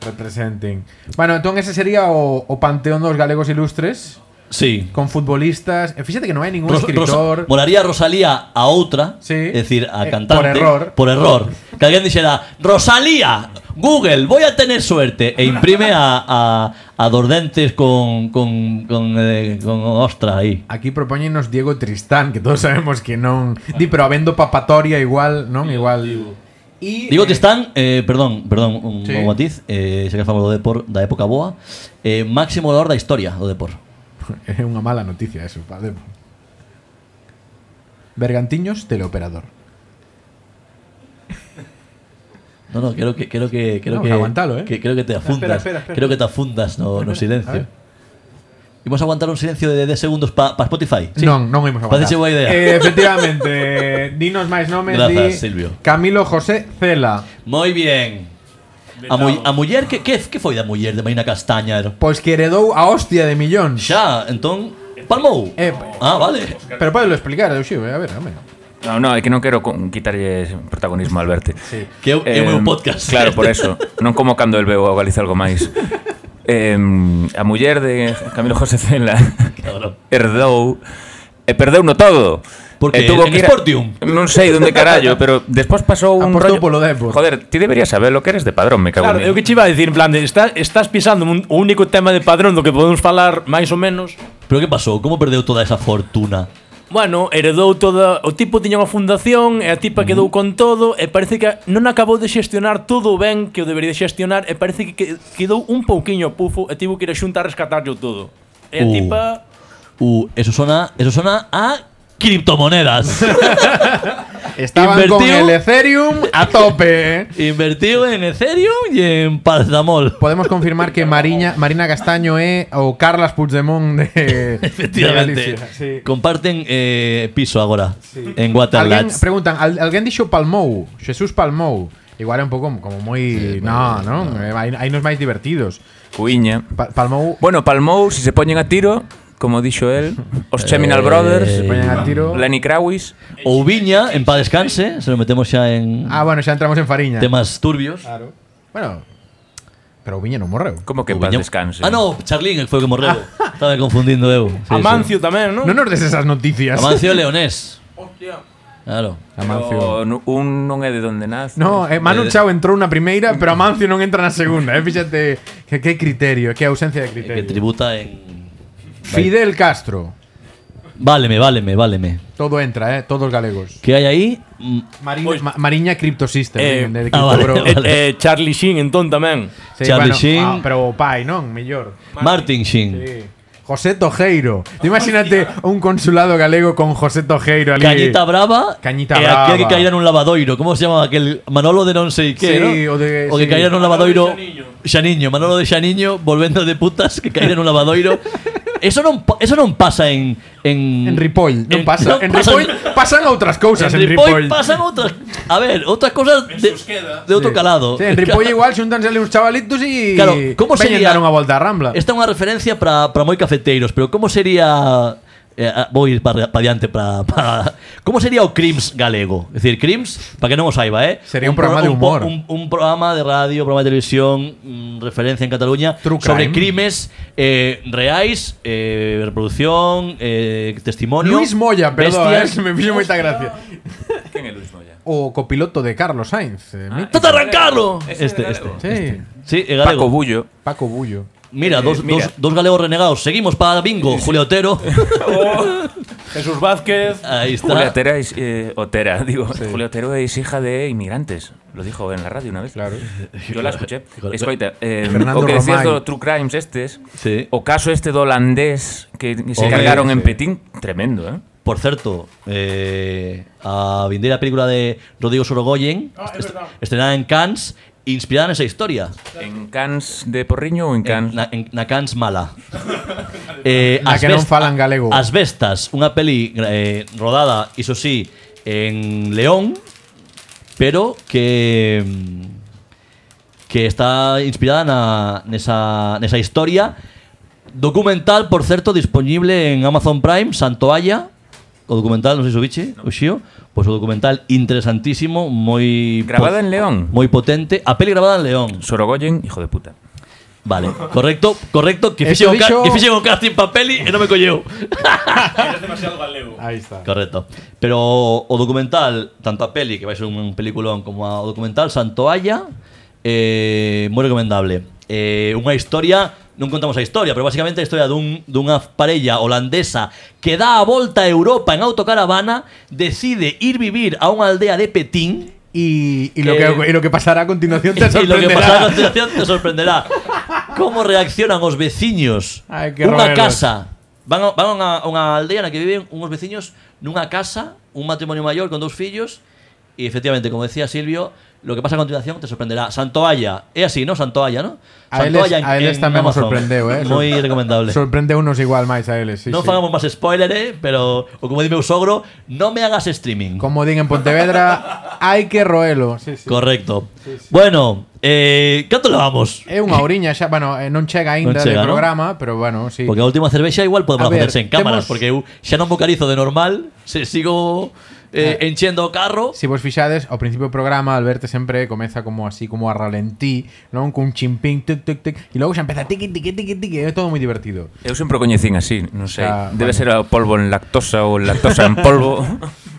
S1: Representing. Bueno, entón ese sería o, o panteón dos galegos ilustres
S2: Sí.
S1: con futbolistas. E fíxate que non hai ningún
S2: Ros- Rosa-
S1: escritor.
S2: molaría Rosalía a outra,
S1: Sí.
S2: es decir, a
S1: Eh,
S2: cantante.
S1: por error.
S2: Por error. Que alguien dijera, Rosalía, Google, voy a tener suerte. E imprime a, a, a Dordentes con, con, con, eh, con ostra ahí.
S1: Aquí propóñenos Diego Tristán, que todos sabemos que non, di, pero habendo papatoria igual, non igual. E
S2: Digo
S1: eh,
S2: que están, eh, perdón, perdón, un
S1: Sí.
S2: un matiz, eh, se que falamos do Depor da época boa, eh, máximo valor da historia do Depor.
S1: É unha mala noticia eso, vale. Bergantiños teleoperador.
S2: No, no, creo que creo que creo
S1: No,
S2: que,
S1: aguantalo, eh.
S2: que- creo que te afundas.
S1: espera, espera.
S2: Creo que te afundas no, no
S1: a ver.
S2: silencio. Vamos a aguantar un silencio de 10 segundos para Spotify.
S1: Non, non imos aguantar.
S2: Parece boa idea.
S1: Eh, efectivamente, dinos máis nomes di
S2: Grazas, Silvio.
S1: Camilo José Cela.
S2: Moi bien. A, mu a muller que, que que foi da muller de Marina Castaña?
S1: Pois Pues que heredou a hostia de millóns.
S2: Xa, entón palmou.
S1: Eh,
S2: ah, vale.
S1: Pero podelo explicar, eu xiu, eh? a ver, a ver.
S3: No, no, é que non quero con- quitarlle protagonismo a Alberto. Sí.
S2: Que eu- é o meu podcast.
S3: Claro, por eso. Non como cando el veu a Galiza algo máis. Eh, a muller de Camilo José Cela
S2: Cabrón.
S3: herdou e perdeu no todo.
S2: Por que?
S3: E tuvo
S2: En
S3: que ir a-
S2: Sportium?
S3: Non sei onde carallo, pero despois pasou un
S1: Apostou
S3: rollo...
S1: polo Depor.
S3: Joder, ti deberías saber lo que eres de padrón, me cago
S5: Claro,
S3: en
S5: eu que che iba a dicir, en plan, de, está, estás pisando un, o único tema de padrón do que podemos falar máis ou menos.
S2: Pero que pasou? Como perdeu toda esa fortuna?
S5: Bueno, heredou toda O tipo tiña unha fundación E a tipa quedou con todo E parece que non acabou de xestionar todo o ben Que o debería xestionar E parece que que- quedou un pouquiño pufo E tivo que ir a xunta a rescatarlo todo E
S2: Uh.
S5: a tipa
S2: Uh, eso suena, eso suena a criptomonedas.
S1: Estaban con
S2: Invertiu.
S1: el Ethereum a tope.
S2: Invertido en Ethereum y en Palzamol.
S1: Podemos confirmar que Mariña, Marina Castaño é o Carlas Puigdemont de, de
S2: Efectivamente.
S1: Galicia. Sí.
S2: Comparten eh, piso ahora en
S1: Alguén,
S2: Waterlats.
S1: preguntan, ¿al, alguén dixo Palmou, Jesús Palmou. Igual é un pouco como moi, no, no, eh, aí, aí nos máis divertidos.
S3: Cuiña.
S1: Pa- Palmou
S3: Bueno, Palmou, si se poñen a tiro, como dixo el, os Cheminal
S2: Eh,
S3: Brothers,
S2: se
S1: poñen a tiro.
S3: Lenny Krawis,
S2: O Viña, en paz descanse, se lo metemos ya en
S1: Ah, bueno, xa entramos en fariña.
S2: temas turbios.
S1: Claro. Bueno, pero o Viña non morreu.
S3: como
S2: O
S3: que en paz
S2: Viña-
S3: descanse.
S2: Ah, no, Charlín, el fue que morreu.
S1: Ah.
S2: Estaba confundindo eu. Sí, sí.
S5: Amancio tamén, non?
S1: Non nos des esas noticias.
S2: Amancio Leonés. Claro.
S3: Pero nu- un non é de donde nace.
S1: No, eh, Manu
S2: Eh,
S1: Chao entrou na primeira, pero Amancio non entra na segunda. Eh? Fíxate que, que criterio, que ausencia de
S2: Que
S1: criterio.
S2: tributa en.
S1: Fidel Castro.
S2: Váleme, váleme, váleme.
S1: Todo entra, eh, todos galegos.
S2: ¿Qué hay ahí? Mm,
S1: Mariña,
S5: Pois-
S1: Ma- Mariña Crypto System,
S5: Eh,
S1: de, de
S2: ah, vale,
S1: Crypto Bro.
S5: E,
S2: vale.
S3: Eh,
S5: e Charlie Sheen entón tamén
S1: Sí,
S2: Charlie
S1: bueno,
S2: Sheen.
S1: ah, pero o pai, non? Mellor.
S2: Martin Sheen.
S1: Sí. José Tojeiro. Tú imagínate un consulado galego con José Tojeiro ali.
S2: Cañita Brava.
S1: Cañita
S2: e
S1: Brava.
S2: aquel que caíra en un lavadoiro. ¿Cómo se llama aquel? Manolo de non sei
S1: Sí,
S2: qué,
S1: o
S2: ¿no?
S1: de- sí.
S2: que caíra en un
S5: Manolo de
S2: lavadoiro. Xaniño. Manolo de Xaniño volvendo de putas que caíra en un lavadoiro. Eso non, pa- eso non pasa en...
S1: En
S2: En,
S1: Ripoll, non pasa. En,
S2: pasa
S1: Ripoll pasan outras cousas en,
S2: en Ripoll
S1: Ripoll.
S2: pasan outras... A ver, outras cosas de, de outro
S1: Sí.
S2: calado.
S1: Sí, en Ripoll igual xuntanse ali uns chavalitos e
S2: Claro, como
S1: veñen
S2: sería-
S1: dar unha volta á Rambla.
S2: Esta é unha referencia para para moi cafeteiros, pero como sería eh, ah, vou ir para pa diante para para como sería o Crims galego? É dicir, Crims, para que non o saiba, eh?
S1: Sería un programa de
S2: pro-
S1: humor.
S2: Un, un, programa de radio, programa de televisión, mm, referencia en Cataluña
S1: True
S2: sobre
S1: crime.
S2: crimes eh, reais, eh, reproducción, eh, testimonio.
S1: Luis Moya, perdón, eh,
S2: bestias.
S1: que me fixo moita gracia.
S3: Quen é Luis Moya? Ah,
S1: O copiloto de Carlos Sainz. eh, mítico.
S2: ¡Tata arrancarlo!
S3: Ese
S2: Este,
S3: era
S2: este.
S3: galego.
S1: Sí,
S2: Sí, é
S3: Paco
S2: galego.
S3: Bullo.
S1: Paco Bullo.
S2: Mira,
S3: Eh,
S2: dos,
S3: mira.
S2: Dos, dos galegos renegados. Seguimos para bingo, Julio Otero.
S5: Jesús Vázquez
S2: Ahí está.
S3: Julia Otera es, eh, Otera, digo. Julia Otero es hija de inmigrantes. Lo dijo en la radio una vez. Claro. Yo la escuché. Escoita, eh,
S1: Fernando
S3: o que decías
S1: Romay.
S3: do True Crimes estes,
S2: Sí.
S3: o caso este do holandés que se
S2: Hombre,
S3: cargaron en
S1: sí.
S3: Petín, tremendo, ¿eh?
S2: Por certo, eh, a vindeira película de Rodrigo Sorogoyen est- estrenada en Cannes inspirada nesa historia
S3: En Cans de Porriño ou en Cans...
S2: na, en, na Cannes mala eh,
S1: Na
S2: As
S1: que non
S2: Best-
S1: falan galego.
S2: As Bestas, unha peli eh, rodada, iso sí en León pero que mm, que está inspirada na, nesa, nesa historia Documental, por certo, disponible en Amazon Prime, Santoalla. O documental, non sei se o biche, o xío. Pois o documental interesantísimo, moi...
S3: Grabada
S2: po-
S3: en León.
S2: Moi potente. A peli grabada en León.
S3: Sorogoyen, hijo de puta.
S2: Vale, correcto, correcto. Que
S1: Eso
S2: fixen o, ca
S1: dixo-
S2: que fixen o casting pa peli e non me colleu.
S1: Ahí está.
S2: Correcto. Pero o documental, tanto a peli, que vai ser un peliculón, como ao documental Santoalla, eh, moi recomendable. Eh, unha historia, non contamos a historia, pero basicamente a historia dun, dunha parella holandesa que dá a volta a Europa en autocaravana, decide ir vivir a unha aldea de Petín,
S1: Y, y lo
S2: Eh,
S1: que, y lo que pasará a continuación te
S2: y lo que pasará a
S1: sorprenderá.
S2: continuación te sorprenderá. Cómo reaccionan os veciños
S1: Ai, que
S2: Unha
S1: roeros.
S2: casa. Van a, van a unha, a unha aldea na que viven unos veciños nunha casa, un matrimonio maior con dous fillos e efectivamente, como decía Silvio, lo que pasa a continuación te sorprenderá. Santoalla, é así, ¿no? Santoalla, ¿no?
S1: A eles-
S2: Santoalla
S1: a eles tamén me
S2: Amazon.
S1: sorprendeu, eh.
S2: Moi recomendable.
S1: Sorprende unos igual máis a eles, sí,
S2: non
S1: sí.
S2: fagamos máis spoiler, eh, pero o como di meu sogro, non me hagas streaming.
S1: Como din en Pontevedra, hai que roelo. Sí, sí.
S2: Correcto. Bueno, eh, canto levamos?
S1: É unha oriña xa, bueno, eh, non chega aínda
S2: Non chega,
S1: de
S2: ¿no?
S1: programa, pero bueno, sí.
S2: Porque a última cervexa igual
S1: A
S2: podemos
S1: ver,
S2: ponerse en cámaras,
S1: temos-
S2: porque eu xa non vocalizo de normal, se sigo eh,
S1: Ah.
S2: enchendo o carro.
S1: Se vos fixades, ao principio do programa Alberto sempre comeza como así, como a ralentí Non? Cun chimpín, tic, tic, tic E logo xa empeza tiqui, tiqui, tiqui, tiqui É todo moi divertido
S3: Eu sempre o coñecín así, non sei.
S1: Ah,
S3: Debe ser o polvo en lactosa ou lactosa en polvo.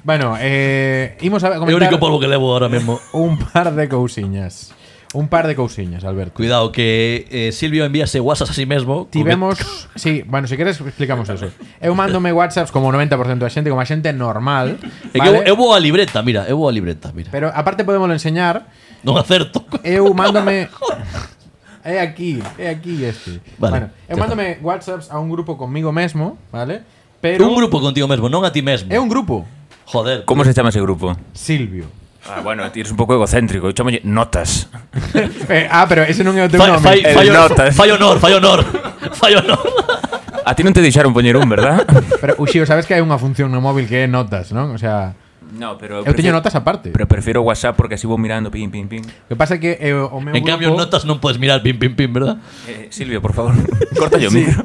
S1: Bueno, eh, imos a
S2: É o
S1: comentar
S2: único polvo que levo ahora mesmo.
S1: un par de cousiñas Un par de cousiñas, Alberto.
S2: Cuidado, que eh, Silvio envíase WhatsApp a sí mesmo. co que-
S1: Tivemos, sí, bueno, se queres explicamos eso. Eu mandome WhatsApps como 90% da xente, como a xente normal,
S2: É que
S1: vale?
S2: eu, eu vou a libreta, mira, eu vou a libreta, mira.
S1: Pero aparte podemos enseñar,
S2: Non acerto.
S1: eu mándome É aquí, é aquí este.
S2: Vale,
S1: bueno, eu
S2: ya
S1: mándome WhatsApps a un grupo conmigo mesmo, ¿vale? Pero
S2: un grupo contigo mesmo, non a ti mesmo.
S1: é un grupo,
S2: Joder.
S3: ¿Cómo se llama ese grupo?
S1: Silvio.
S3: Ah, bueno, tío, eres un poco egocéntrico. Yo chamo notas.
S1: Eh, ah, pero ese non é o teu
S2: Fai,
S1: nome. Eh,
S2: fai,
S3: El
S2: fai, honor,
S8: ¿eh?
S3: notas.
S2: fai honor, fai honor. Fai honor.
S3: A ti no te deixaron poner un, ¿verdad?
S1: Pero Uxío, sabes que hai unha función no móvil que é notas, non? O sea,
S3: No, pero.
S1: eu teño notas aparte.
S3: Pero prefiero WhatsApp porque así voy mirando, pim, pim, pim.
S1: O que pasa é que eh, o meu
S2: En
S1: grupo
S2: cambio, en notas non podes mirar pim, pim, pim, ¿verdad?
S3: Eh, Silvio, por favor, corta yo micro.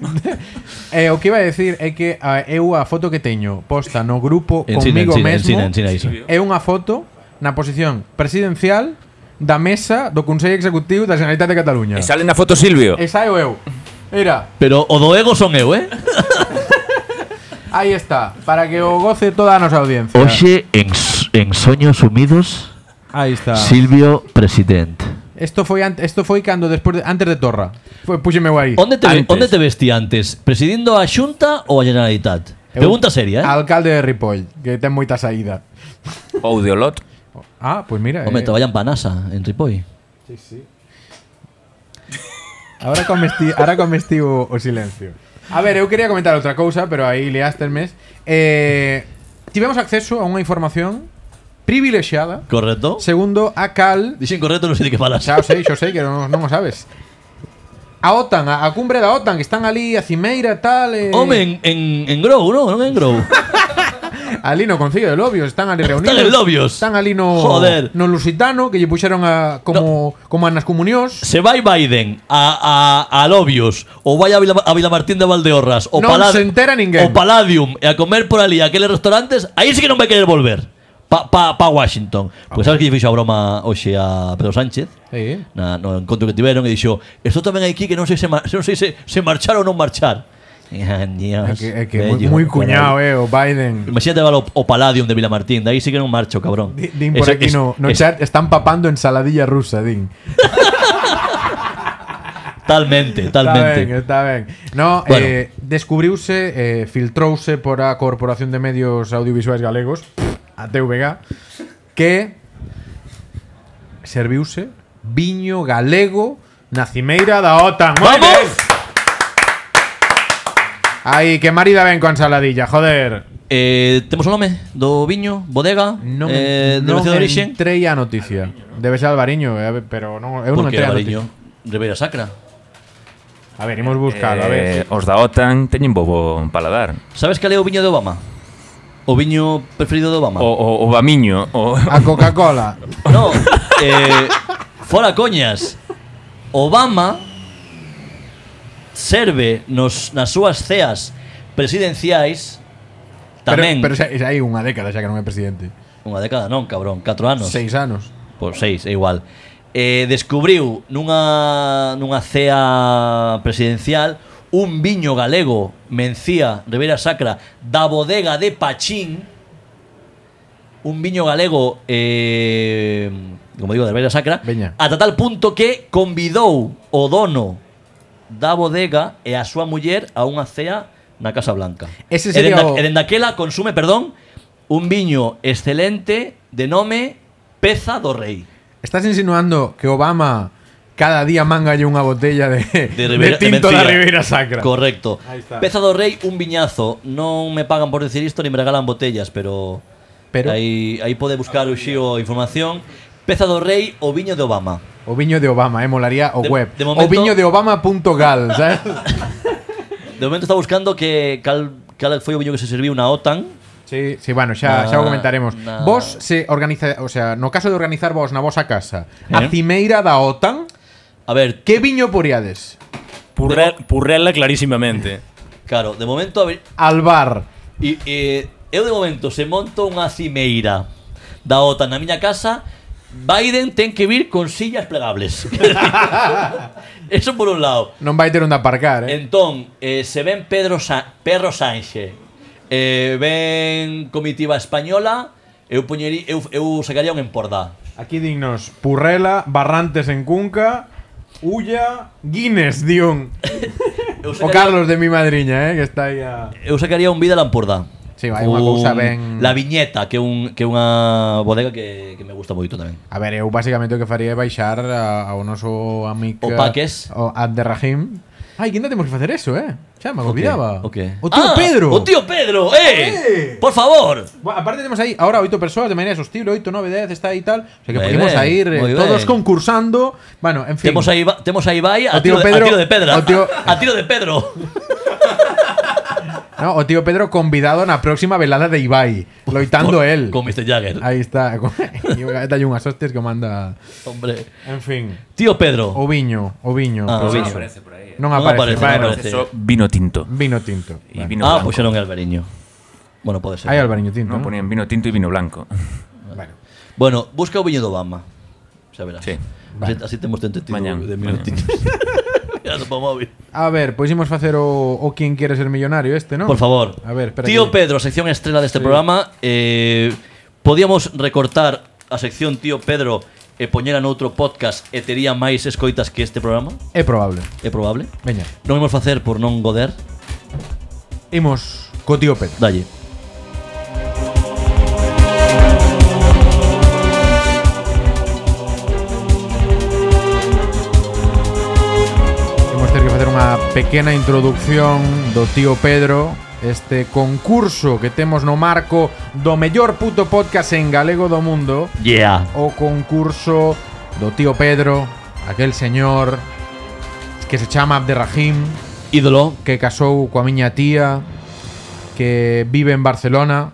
S1: Eh, o que iba a decir é que a, eu a foto que teño posta no grupo
S2: China,
S1: conmigo
S2: China, en
S1: mesmo
S2: China, en China, iso.
S1: é unha foto na posición presidencial da mesa do Consello Executivo da Generalitat de Cataluña.
S3: Eh, sale en la foto Silvio.
S1: Esa é o eu. E Mira,
S2: Pero o do ego son eu, eh?
S1: aí está, para que o goce toda a nosa audiencia.
S8: Oye, en, s- en Sueños Humidos,
S1: Aí está.
S8: Silvio, presidente.
S1: Esto foi ante, esto foi cando despois de, antes de Torra. Foi púxeme eu aí.
S2: Onde te, ve-
S3: Antes.
S2: onde te vestí antes? Presidindo a Xunta ou a Generalitat?
S1: Eu-
S2: Pregunta seria, eh?
S1: Alcalde de Ripoll, que ten moita saída.
S3: O de Olot.
S1: Ah, pois pues mira.
S2: Home, traballan pa NASA, en Ripoll.
S1: Ahora comesti, ahora comesti o, o silencio. A ver, eu quería comentar outra cousa, pero aí liástermes. Eh, tivemos acceso a unha información privilexiada
S2: Correcto?
S1: segundo a cal,
S2: Dixen correcto, non sei de que falas.
S1: xa o sei, xo sei que non, non o sabes. A OTAN, a, a cumbre da OTAN, que están ali a cimeira tal, eh,
S2: Home, en, en, en Grou, non? Non en Grou.
S1: ali no Concello de Lobios, están ali reunidos.
S2: en Lobios.
S1: Están ali no
S2: Joder.
S1: no Lusitano que lle puxeron a como como a nas comunións.
S2: Se vai Biden a, a, a Lobios ou vai a, Vila, a Vilamartín de Valdeorras ou
S1: Non se entera ninguén.
S2: o Palladium e a comer por ali aqueles restaurantes, aí sí que non vai querer volver. Pa, pa, pa Washington. Pois
S1: Ah.
S2: sabes que lle fixo a broma hoxe a Pedro Sánchez?
S1: Sí.
S2: Na, no encontro que tiveron e dixo Esto tamén hai aquí que non sei se, mar, se, non sei se, se marchar ou non marchar Ah, Dios,
S1: É que, é que moi,
S2: bello,
S1: moi
S2: carai.
S1: cuñado, eh, o Biden.
S2: Imagínate va o, o Palladium de Vilamartín De aí sí que non marcho, cabrón
S1: Di- Din por
S2: Ese-
S1: aquí
S2: es-
S1: no, no
S2: es-
S1: chat están papando ensaladilla rusa, Din.
S2: Talmente,
S1: Está eh. ben,
S2: talmente
S1: está ben. No,
S2: Bueno.
S1: eh, descubriuse, eh, filtrouse por a Corporación de Medios Audiovisuais Galegos, a TVG, que serviuse viño galego na cimeira da OTAN. Moi
S2: Vamos!
S1: ben. Ai, que marida ben con ensaladilla, joder.
S2: Eh, temos o nome do viño, bodega,
S1: Non,
S2: eh,
S1: non
S2: denominación de orixen.
S1: entrei a noticia. Debe ser Alvariño, eh, pero non, eu non entrei
S2: Porque
S1: a
S2: Albariño,
S1: noticia.
S2: Ribeira Sacra.
S1: A ver, imos buscalo, a ver.
S3: Eh, os da OTAN teñen bobo paladar.
S2: Sabes cal é o viño de Obama? O viño preferido de Obama?
S3: O, o, o bamiño. O,
S1: A Coca-Cola.
S2: No, eh, fora coñas. Obama serve nos, nas súas ceas presidenciais tamén
S1: Pero, pero xa, xa hai unha década xa que non é presidente.
S2: unha década non, cabrón, 4 anos.
S1: Seis anos.
S2: Por seis, é igual. Eh, descubriu nunha, nunha cea presidencial un viño galego, Mencía, Ribeira Sacra, da bodega de Pachín. Un viño galego, eh, como digo, de Ribeira Sacra,
S1: Veña.
S2: ata tal punto que convidou o dono da bodega e a súa muller a unha cea na Casa Blanca.
S1: Ese
S2: E
S1: sería
S2: denda-
S1: o-
S2: e denda daquela consume, perdón, un viño excelente de nome Peza do Rei.
S1: Estás insinuando que Obama cada día mangalle unha botella de, de,
S2: Ribeira-
S1: tinto da
S2: Mencía.
S1: Ribeira Sacra.
S2: Correcto.
S1: Ahí está.
S2: Peza do Rei, un viñazo. Non me pagan por decir isto ni me regalan botellas, pero,
S1: Pero-
S2: aí, aí pode buscar o xío información. Peza do Rei, o viño de Obama.
S1: O viño de Obama, eh, molaría o
S2: De-
S1: web.
S2: de momento-
S1: O viño de Obama.gal, ¿sabes?
S2: De momento está buscando que cal, cal foi o viño que se serviu na OTAN.
S1: Sí, sí, bueno, xa,
S2: Na-
S1: xa o comentaremos.
S2: na-
S1: Vos se organiza, o sea, no caso de organizar vos na vosa casa, a
S2: Eh.
S1: cimeira da OTAN,
S2: A ver,
S1: que viño poríades?
S5: Purrel- purrela clarísimamente.
S2: claro, de momento a ver,
S1: Albar.
S2: E, e eu de momento se monto unha cimeira da OTAN na miña casa, Biden ten que vir con sillas plegables. Eso por un lado.
S1: Non vai ter onde aparcar, eh.
S2: Entón, eh, se ven Pedro Sa Perro Sánchez, eh, ven comitiva española, eu poñería eu, eu sacaría un empordá.
S1: Aquí dignos Purrela, Barrantes en Cunca, Ulla, Guinness, Dion.
S2: Eu
S1: O Carlos de mi madriña, eh, que está aí a...
S2: Eu sacaría un Vidal Empordá.
S1: Sí, vai unha cousa ben-
S2: La Viñeta, que é un que é unha bodega que, que me gusta moito tamén.
S1: A ver, eu basicamente o que faría é baixar a- ao noso amigo...
S2: O Paques.
S1: O Abderrahim. Ai, que ainda temos que facer eso, eh? Xa, me olvidaba.
S2: O que?
S1: O tío
S2: Ah,
S1: Pedro.
S2: O tío Pedro,
S1: Eh.
S2: eh. Por favor.
S1: Bueno, aparte tenemos ahí ahora oito persoas de maneira sostible, oito, nove, dez, está aí tal. O sea que
S2: Muy
S1: podemos
S2: ben,
S1: a ir eh,
S2: muy
S1: todos
S2: ben.
S1: concursando. Bueno, en fin.
S2: Temos aí temos aí vai a
S1: O tío
S2: tiro, de-
S1: Pedro-
S2: a tiro de pedra.
S1: o tío-
S2: a tiro de Pedro.
S1: No, o tío Pedro convidado na próxima velada de Ibai, loitando
S2: Por-
S1: él.
S2: Con Mr. Jagger.
S1: Ahí está. Dai unhas hostias que manda.
S2: Hombre.
S1: En fin,
S2: Tío Pedro.
S1: o viño, o viño. Pero
S2: Ah, o viño.
S1: non
S3: Aparece por ahí. eh.
S1: Non
S2: Non
S1: aparece,
S2: aparece, non
S1: bueno,
S2: aparece.
S3: Eso, vino tinto.
S1: vino tinto.
S3: Y
S1: Bueno.
S3: vino
S2: Ah,
S3: blanco.
S2: puxeron Albariño. Bueno, pode ser.
S1: Hai Albariño tinto.
S3: No, ponían vino tinto y vino blanco.
S1: Bueno.
S2: Bueno, busca o viño do Obama. Xa verás.
S3: Sí.
S2: Así, así temos tentativo
S3: Mañán,
S2: de
S3: mañán.
S2: minutitos. Mirando pa móvil.
S1: A ver, pois imos facer o, o quen quere ser millonario este, non?
S2: Por favor.
S1: A ver, espera.
S2: Tío
S1: que-
S2: Pedro, sección estrella de este programa. Eh, podíamos recortar a sección Tío Pedro e poñela noutro podcast e tería máis escoitas que este programa?
S1: É probable.
S2: É probable.
S1: Veña,
S2: Non imos facer por non goder.
S1: imos co tío Pedro.
S2: Dalle.
S1: Imos ter que facer unha pequena introducción do tío Pedro Este concurso que temos no marco do mellor puto podcast en galego do mundo
S2: Yeah.
S1: O concurso do tío Pedro, aquel señor que se chama Abderrahim
S2: Ídolo.
S1: Que casou coa miña tía, que vive en Barcelona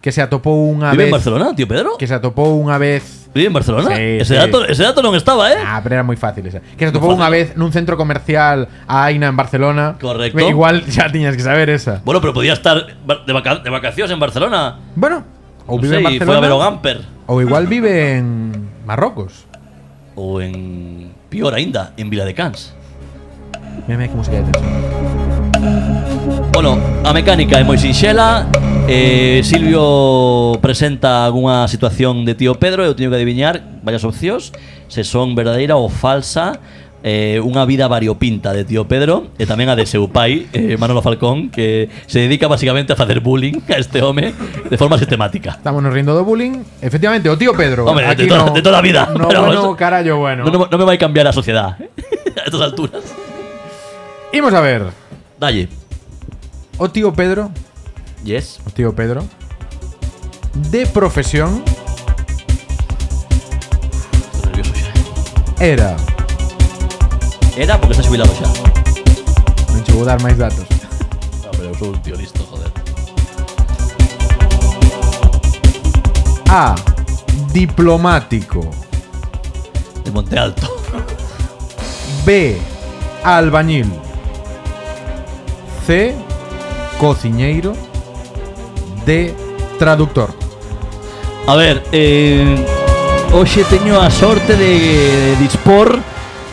S1: Que se atopou unha
S2: Vive
S1: vez
S2: en Barcelona, tío Pedro?
S1: Que se atopou unha vez
S2: Vive en Barcelona?
S1: Sí,
S2: ese,
S1: sí.
S2: dato, ese dato non estaba, eh?
S1: Ah, pero era muy fácil esa. Que se topó una vez en un centro comercial a Aina en Barcelona.
S2: Correcto.
S1: Ve, Igual ya tenías que saber esa.
S2: Bueno, pero podía estar va- de, vaca- de vacaciones en Barcelona.
S1: Bueno, o
S2: No
S1: vive
S2: sé,
S1: en
S2: y fue a ver o
S1: Barcelona.
S2: Gamper.
S1: O igual vive en Marruecos.
S2: O en. Pior ainda, en Vila de Cans.
S1: Mira, mira qué música de tensión.
S2: Bueno, a mecánica é moi sinxela eh, Silvio presenta algunha situación de tío Pedro Eu teño que adivinar varias opcións Se son verdadeira ou falsa eh, Unha vida variopinta de tío Pedro E tamén a de seu pai, eh, Manolo Falcón Que se dedica basicamente a facer bullying a este home De forma sistemática
S1: Estamos nos riendo de bullying. Efectivamente, o tío Pedro.
S2: Hombre, de
S1: aquí
S2: toda-
S1: no-
S2: de toda a vida,
S1: No,
S2: pero
S1: bueno,
S2: eso-
S1: carallo, bueno.
S2: Non, non me vai cambiar a sociedade A estas alturas
S1: Imos a ver.
S2: Dalle
S1: O tío Pedro.
S2: Yes
S1: O tío Pedro. De profesión
S2: Estou nervioso xa
S1: era.
S2: Era porque está xubilado xa
S1: Non che vou dar máis datos.
S2: No, pero eu sou un tío listo, joder
S1: A. Diplomático.
S2: De Monte Alto
S1: B. Albañil. C. Cociñeiro. D. Traductor.
S2: A ver, eh, hoxe teño a sorte de dispor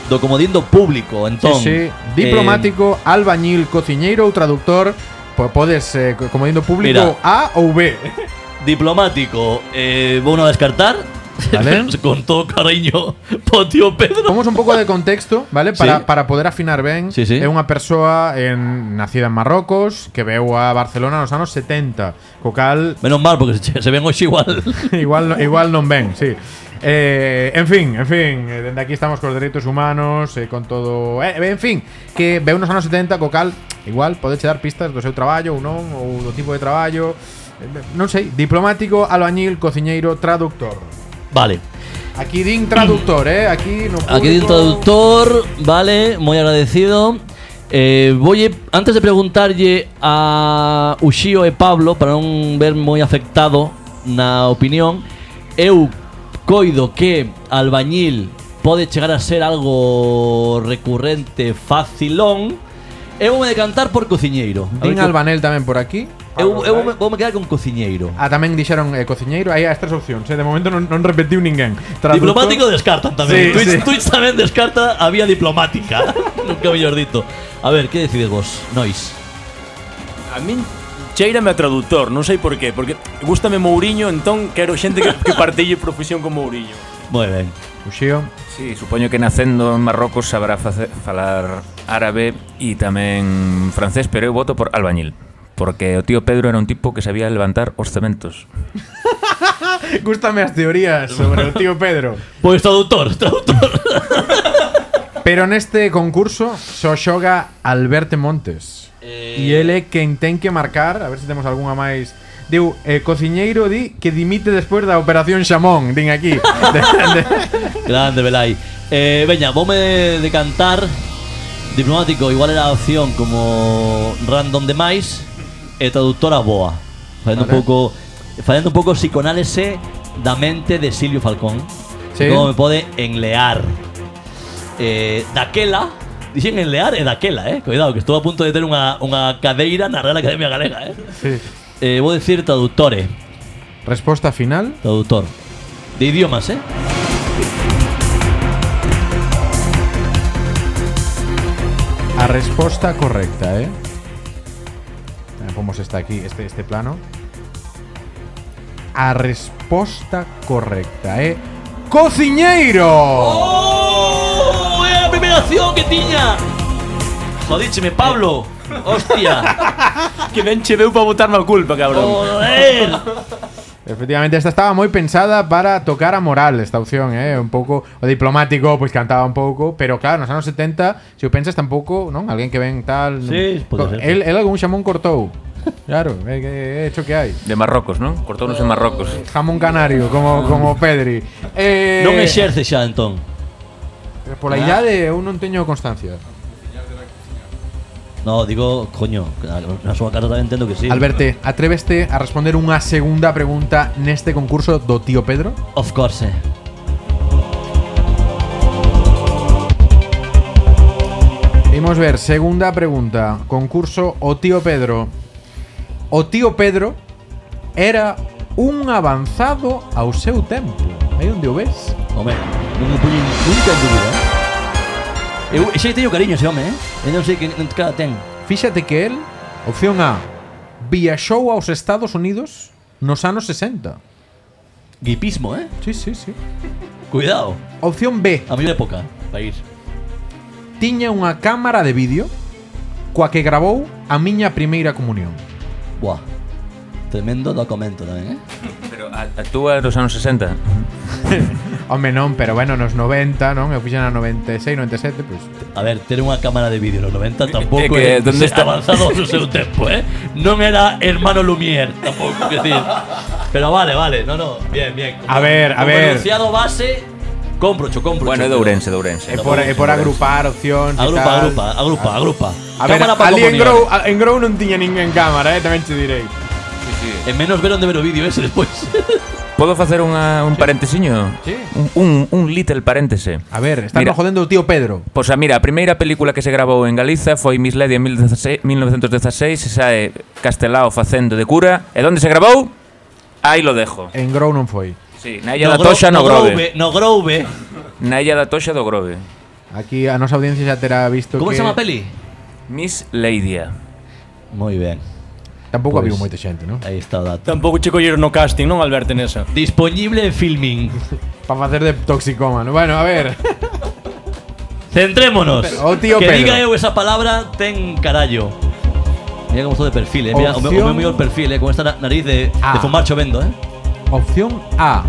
S2: do comodín do público, entón. Eh,
S1: Sí, sí. Diplomático, albañil, cociñeiro ou traductor. Po- Podes, eh, co- como dindo público,
S2: Mira.
S1: A ou B.
S2: Eh, diplomático, eh, vou a descartar.
S1: Vale.
S2: Con todo cariño, po tío Pedro.
S1: Pongamos un pouco de contexto, ¿vale? Para,
S2: Sí.
S1: para poder afinar ben.
S2: Sí, sí.
S1: É unha persoa en, nacida en Marrocos que veu a Barcelona nos anos 70. Co cal,
S2: Menos mal, porque se, se ven hoxe igual.
S1: igual, no- igual non ven, sí. Eh, en fin, en fin, eh, dende aquí estamos cos dereitos humanos, eh, con todo... Eh, en fin, que veu nos anos 70, co cal, igual, podeche dar pistas do seu traballo ou non, ou do tipo de traballo... eh, Non sei, diplomático, albañil, cociñeiro, traductor.
S2: vale.
S1: Aquí din traductor, eh? Aquí no
S2: Aquí hay un traductor, vale, muy agradecido. Eh, voy antes de preguntarle a Uxío e Pablo para non ver moi afectado na opinión, eu coido que albañil pode chegar a ser algo recurrente facilón. Eu vou me decantar por cociñeiro. A ver
S1: Din
S2: que-
S1: albanel tamén por aquí.
S2: Eu, eu vou me- vou me quedar con cociñeiro.
S1: Ah, tamén dixeron eh, cociñeiro, aí as tres opcións, eh? De momento non, non repetiu ninguén. Traductor-
S2: Diplomático descartan
S1: Sí,
S2: tamén. Twitch,
S1: sí.
S2: Twitch tamén descarta a vía diplomática. Nunca mellor dito. A ver, que decides vos? Nois.
S5: A min Cheírame a traductor, non sei por qué, porque gustame Mourinho, entón quero xente que, que partille profesión con Mourinho.
S2: Moi ben.
S1: Uxío.
S3: Sí, supoño que nacendo en Marrocos sabrá face- falar árabe e tamén francés, pero eu voto por albañil. Porque o tío Pedro era un tipo que sabía levantar os cementos.
S1: Gústame as teorías sobre o tío Pedro.
S2: Pois Pues traductor, traductor.
S1: Pero neste concurso só xoga Alberto Montes. E ele é quen ten que marcar, a ver se temos algunha máis. Diu, eh, cociñeiro di que dimite despois da operación Xamón, din aquí. De- de-
S2: Grande, Belay. Eh, veña, voume decantar diplomático, igual era a opción como random demais e traductora boa. Facendo un pouco facendo un pouco psiconálise da mente de Silvio Falcón.
S1: Sí.
S2: Como me pode enlear. Eh, daquela, dixen enlear e daquela, eh. Cuidado, que estou a punto de ter unha, unha cadeira na Real Academia Galega, eh.
S1: sí.
S2: eh vou decir traductore,
S1: Resposta final.
S2: traductor. De idiomas, eh.
S1: A resposta correcta, eh. Eh, Pomos esta aquí, este, este plano. A resposta correcta, eh. ¡Cociñeiro!
S2: ¡Oh! Era la primera acción que tiña. Jodícheme, Pablo. Hostia.
S5: Que ben che veu para botarme a culpa, cabrón.
S2: Joder.
S1: Efectivamente, esta estaba moi pensada para tocar a moral esta opción, eh, un pouco o diplomático, pois cantaba un pouco, pero claro, nos anos 70, se o pensas tampouco, non? Alguén que ven tal,
S2: Sí, pode ser.
S1: el, el algún xamón cortou. Claro, é que é hecho que hai.
S3: De Marrocos, non? Cortounos en Marrocos.
S1: Jamón canario, como como Pedri. Eh,
S2: non exerce xa, entón.
S1: Pola idade eu non teño constancia.
S2: No, digo, coño, na- na súa casa tamén entendo que sí.
S1: Alberte, atréveste a responder unha segunda pregunta neste concurso do tío Pedro?
S2: Of course. eh.
S1: Imos ver, segunda pregunta. Concurso O tío Pedro. O tío Pedro era un avanzado ao seu tempo. Aí onde o ves?
S2: Home, non me puñen nunca en dúbida. Eu xa lle teño cariño a ese home, eh? Eu non sei que non cara ten.
S1: Fíxate que el, opción A, viaxou aos Estados Unidos nos anos 60.
S2: Guipismo, eh?
S1: Sí, sí, sí.
S2: Cuidado.
S1: Opción B,
S2: A mellor época para ir.
S1: tiña unha cámara de vídeo coa que grabou a miña primeira comunión.
S2: Buah. Tremendo documento tamén, eh?
S3: Pero a- actúa nos anos 60.
S1: Home, non, pero bueno, nos 90, non? Eu fixen a 96, 97, pois... Pues.
S2: A ver, ter unha cámara de vídeo nos 90 tampouco é
S3: É que, ¿dónde
S2: se-
S3: está?
S2: avanzado no seu tempo, eh? Non era hermano Lumière, tampouco, que decir. Pero vale, vale, no, no, bien, bien.
S1: A
S2: Como-
S1: ver, a
S2: como
S1: ver.
S2: enunciado base, compro, compro.
S3: Bueno, é de Ourense, de Ourense.
S1: É por, é por agrupar opcións e
S2: Agrupa,
S1: tal.
S2: agrupa, agrupa, agrupa.
S1: A ver,
S2: Cámara para
S1: ali ah, en
S2: comunión.
S1: Grow, a- en Grow non tiña ninguén cámara, eh, tamén che direi.
S2: En menos ver onde ver o vídeo ese despois.
S3: Podo facer unha, un parentesiño?
S1: Sí.
S3: Un, un, un little paréntese.
S1: A ver, están
S3: Mira.
S1: jodendo o tío Pedro.
S3: Pois a mira, a primeira película que se grabou en Galiza foi Miss Lady en 1916, 1916 e sae Castelao facendo de cura. E onde se grabou? Aí lo dejo.
S1: En Grow non foi.
S3: Sí, na Illa da Toxa no Grove.
S2: No Grove.
S3: Na Illa da Toxa do Grove.
S1: Aquí a nosa audiencia xa terá visto
S2: Como
S1: que
S2: se chama a peli?
S3: Miss Lady.
S2: Moi ben.
S1: Tampouco
S2: Pois.
S1: había moita xente, non?
S2: Aí está o dato.
S5: Tampouco che colleron no casting, non, Alberto, nesa.
S2: Disponible en filming.
S1: Para facer de toxicómano. Bueno, a ver.
S2: Centrémonos.
S1: O oh, tío
S2: que
S1: Pedro.
S2: diga eu esa palabra ten carallo. Mira como estou de perfil, eh. Mira, o meu, o
S1: Opción-
S2: meu mellor perfil, eh, con esta na- nariz de,
S1: Ah.
S2: de fumar chovendo, eh.
S1: Opción A.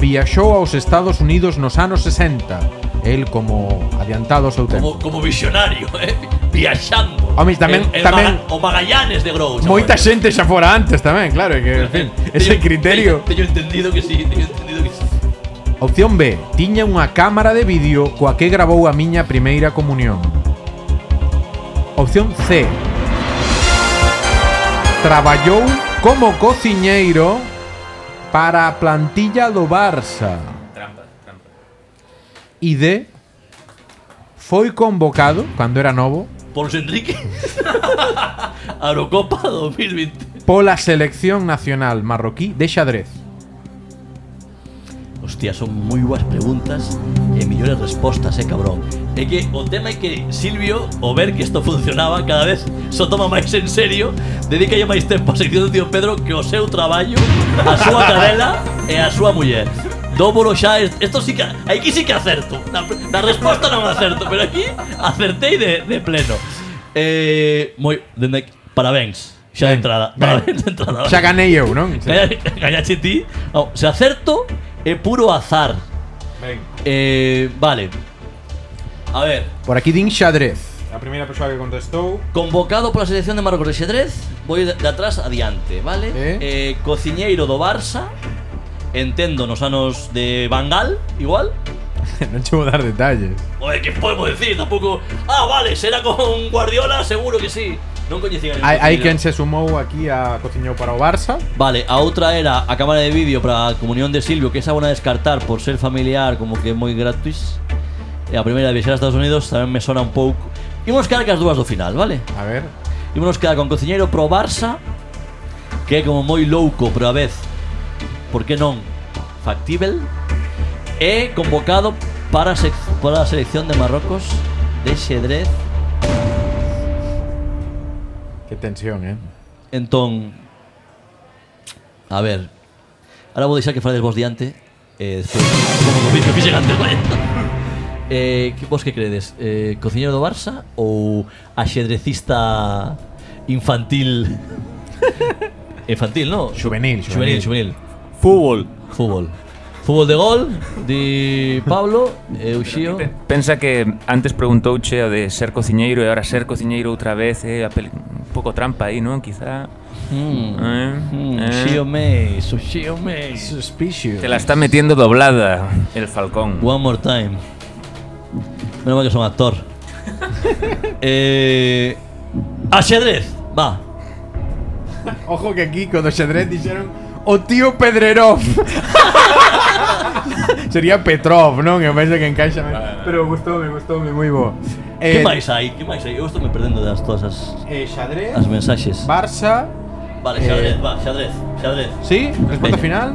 S1: Viaxou aos Estados Unidos nos anos 60. El como adiantado ao seu tempo.
S2: Como, como visionario, eh. Viaxando.
S1: Home, tamén-
S2: El- el
S1: tamén-
S2: Maga- o Magallanes de Grou. chaval.
S1: Moita xente xa fora antes tamén, claro, é que en fin, ese
S2: Teño-
S1: criterio.
S2: Teño, teño entendido que sí, teño entendido que sí.
S1: Opción B. Tiña unha cámara de vídeo coa que grabou a miña primeira comunión. Opción C. Traballou como cociñeiro para a plantilla do Barça. E D. Foi convocado, cando era novo,
S2: Por Enrique. Arocopa 2020.
S1: pola selección nacional marroquí de xadrez.
S2: Hostia, son moi boas preguntas e millores respostas, eh, cabrón. É que o tema é que Silvio, o ver que isto funcionaba cada vez só toma máis en serio, dedica máis tempo a sección do tío Pedro que o seu traballo, a súa cadela e a súa muller. Dóboro xa, est- esto sí que, aquí sí que acerto. Na, na resposta non acerto, pero aquí acertei de, de pleno. Eh, moi, dende aquí, parabéns. Xa de
S1: Ben,
S2: entrada,
S1: ben.
S2: parabéns de entrada.
S1: Xa ganei eu, non?
S2: Gallache ti. No, se acerto é puro azar.
S6: Ven,
S2: Eh, vale. A ver,
S1: Por aquí din xadrez.
S6: a primeira persoa que contestou
S2: convocado pola selección de Marrocos de xadrez, vou de, de atrás adiante, vale?
S1: Eh?
S2: Eh, cociñeiro do Barça, entendo nos anos de Bangal, igual.
S1: non che vou dar detalles.
S2: Joder, que podemos decir? Tampouco... Ah, vale, será con Guardiola, seguro que sí. Non coñecían el
S1: Hai, hai
S2: cociñeiro.
S1: quen se sumou aquí a cociñou para o Barça.
S2: Vale, a outra era a cámara de vídeo para a comunión de Silvio, que esa van a descartar por ser familiar, como que moi gratis. E a primeira de viaxar a Estados Unidos tamén me sona un pouco. Imos quedar que as dúas do final, vale?
S1: A ver.
S2: Imos quedar con cociñeiro pro Barça, que é como moi louco, pero a vez, por que non, factível, e convocado para, a sec para a selección de Marrocos de xedrez.
S1: Que tensión, eh.
S2: Entón, a ver, ahora vou deixar que falades vos diante, e despois, como o vídeo que fixen antes, vaya. Eh, que vos que credes? Eh, cociñero do Barça ou axedrecista infantil? infantil, no?
S1: Juvenil,
S2: Juvenil,
S1: juvenil.
S2: juvenil. Fútbol. Fútbol. Fútbol de gol, di Pablo, eh, eu xío.
S3: Pensa que antes preguntouche o de ser cociñeiro e ahora ser cociñeiro outra vez é a peli- un pouco trampa aí, non? Quizá
S2: Mm,
S3: eh,
S5: Hmm,
S2: mm,
S3: eh.
S2: Xío me, xío me.
S1: Suspicious.
S3: te la está metiendo doblada el falcón.
S2: One more time. Menos mal que son actor. eh, ajedrez, va.
S1: Ojo que aquí con do xadrez dixeron o "Oh, tío Pedrerov. Sería Petrov, non? Eu penso que encaixa ben. Pero gustoume, gustoume moi bo.
S2: Que máis hai? Que máis hai? Eu estou me perdendo das todas as,
S1: Eh, xadrez,
S2: as mensaxes.
S1: Barça,
S2: Vale,
S1: eh,
S2: xadrez, va, xadrez, xadrez.
S1: sí? Resposta
S2: Veña.
S1: final.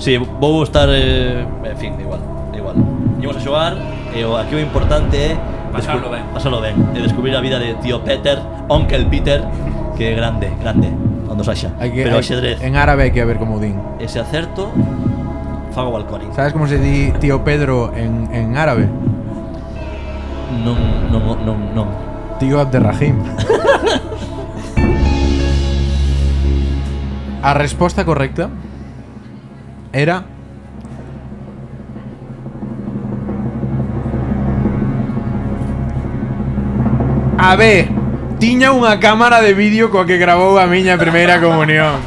S2: Sí, vou estar eh, en fin, da igual, da igual. Imos a xogar e o aquí o importante é
S5: Pasarlo
S2: descu-
S5: ben.
S2: Pasarlo ben, e descubrir a vida de tío Peter, Onkel Peter, que é grande, grande, onde os haxa.
S1: Hai que-
S2: Pero
S1: hai-
S2: xadrez,
S1: En árabe hai que ver como din.
S2: ese acerto fago balcón.
S1: Sabes como se di tío Pedro en, en árabe?
S2: Non, non, non, non.
S1: Tío Abderrahim. A resposta correcta era A ver, tiña unha cámara de vídeo coa que grabou a miña primeira comunión.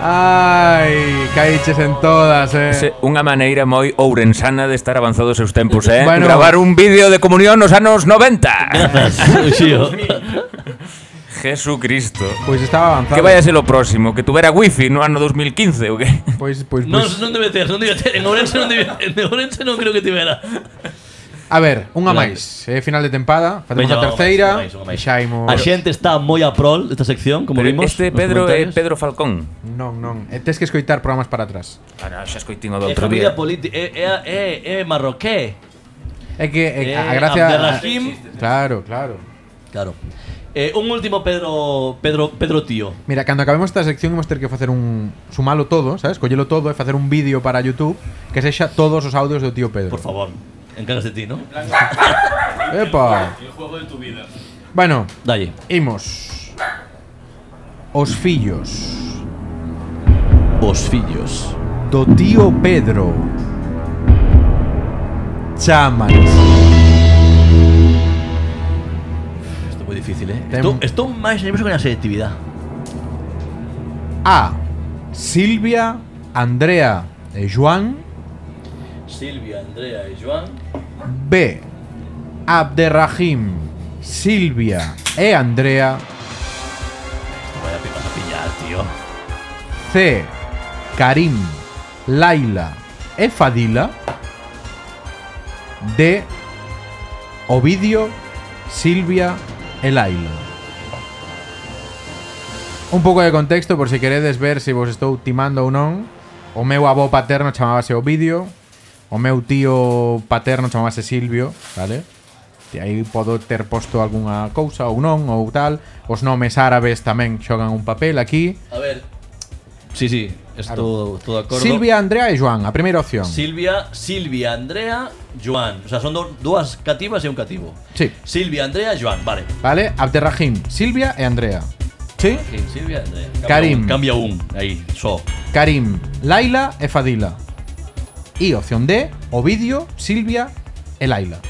S1: Ai, caíches en todas, eh.
S3: Ese, unha maneira moi ourensana de estar avanzados seus tempos, eh?
S1: Bueno.
S3: Gravar un vídeo de comunión nos anos 90.
S2: Xío.
S3: Jesucristo.
S1: Pois estaba avanzado.
S3: Que vaya ser o próximo, que tuvera wifi no ano 2015 ou que?
S1: Pois, pois, pois.
S2: non, non debe ter, non debe ter. En Ourense non debe ter. En Ourense non creo que tivera.
S1: A ver, unha
S2: Claro.
S1: máis. Eh, final de tempada, facemos a
S2: Veña,
S1: terceira
S2: unha máis, unha
S1: e
S2: máis.
S1: xa imos...
S2: A xente está moi a prol desta sección, como
S3: Pero
S2: vimos.
S3: este
S2: nos
S3: Pedro é
S2: comentarios.
S3: Pedro Falcón.
S1: Non, non. E tes que escoitar programas para atrás.
S3: Ara xa escoitín o do
S2: É
S3: outro
S2: familia eh,
S3: día.
S2: política, é, é, é, é marroqué.
S1: É que é,
S2: É
S1: a gracia...
S2: Abderrahim.
S1: Claro, claro.
S2: Claro. Eh, un último Pedro Pedro Pedro Tío.
S1: Mira, cando acabemos esta sección imos ter que facer un... Sumalo todo, sabes? Collelo todo e facer un vídeo para YouTube que sexa todos os audios do tío Pedro.
S2: Por favor, encargas de ti, ¿no?
S1: Epa!
S6: El juego de tu vida
S1: Bueno,
S2: Dalle.
S1: imos. Os fillos
S2: Os fillos.
S1: do tío Pedro chaman
S2: Isto é moi difícil, eh?
S1: Tem-
S2: Estou, estou máis nervioso que na selectividade.
S1: A. Silvia, Andrea e Joan.
S2: Silvia, Andrea e Joan.
S1: B. Abderrahim, Silvia e Andrea.
S2: Vaya pipas a pillar, tío.
S1: C. Karim, Laila e Fadila. D. Ovidio, Silvia e Laila. Un pouco de contexto por se queredes ver se vos estou timando ou non. O meu avó paterno chamábase Ovidio, o meu tío paterno chamase Silvio, vale? E aí podo ter posto algunha cousa ou non, ou tal. Os nomes árabes tamén xogan un papel aquí.
S2: A ver. Sí, sí, esto todo de acuerdo.
S1: Silvia, Andrea e Joan, a primeira opción.
S2: Silvia, Silvia, Andrea, Joan. O sea, son do- dos cativas y un cativo.
S1: Sí.
S2: Silvia, Andrea, Joan, vale.
S1: Vale? Abderrahim, Silvia e Andrea. Sí?
S2: Sí, Silvia, Andrea. Cambia
S1: Karim.
S2: un- Cambia un, ahí, so.
S1: Karim, Laila e Fadila. E opción D, Ovidio, Silvia e Laila.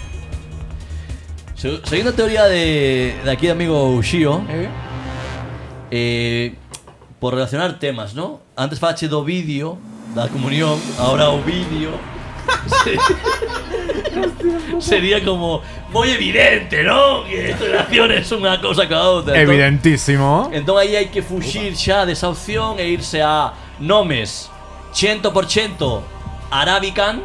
S2: Se- Siguiendo teoría de, de aquí de amigo Ushio, eh, por relacionar temas, ¿no? Antes fache do vídeo da comunión, ahora o vídeo. Se- sería como muy evidente, ¿no? Que esta relación es una cosa con la otra. Entón-
S1: Evidentísimo.
S2: Entón aí hai que fuxir xa desa opción e irse a nomes 100% Arabican,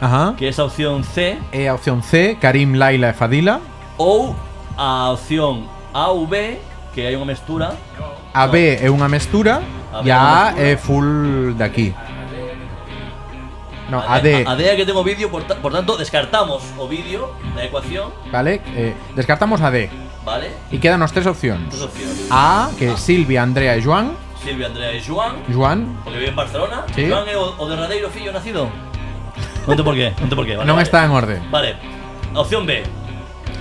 S1: Ajá.
S2: que é a opción C,
S1: E a opción C, Karim, Laila e Fadila.
S2: ou a opción AV, que hai unha mestura.
S1: A B é unha mestura
S2: A B
S1: e
S2: é unha
S1: a A
S2: mestura.
S1: é full daqui. No, a D,
S2: A D é que tengo vídeo, por, ta- por tanto, descartamos o vídeo da ecuación,
S1: vale? Eh, descartamos a D
S2: vale?
S1: e quedan os tres opcións.
S2: Dos opcións.
S1: A, que é Silvia, Andrea e Joan.
S2: Silvia, Andrea e Joan,
S1: Joan
S2: porque vive en Barcelona.
S1: Sí.
S2: Joan é o, o derradeiro fillo nacido. Non te por qué, non te por qué. Vale,
S1: non
S2: vale.
S1: está en orde.
S2: Vale, opción B,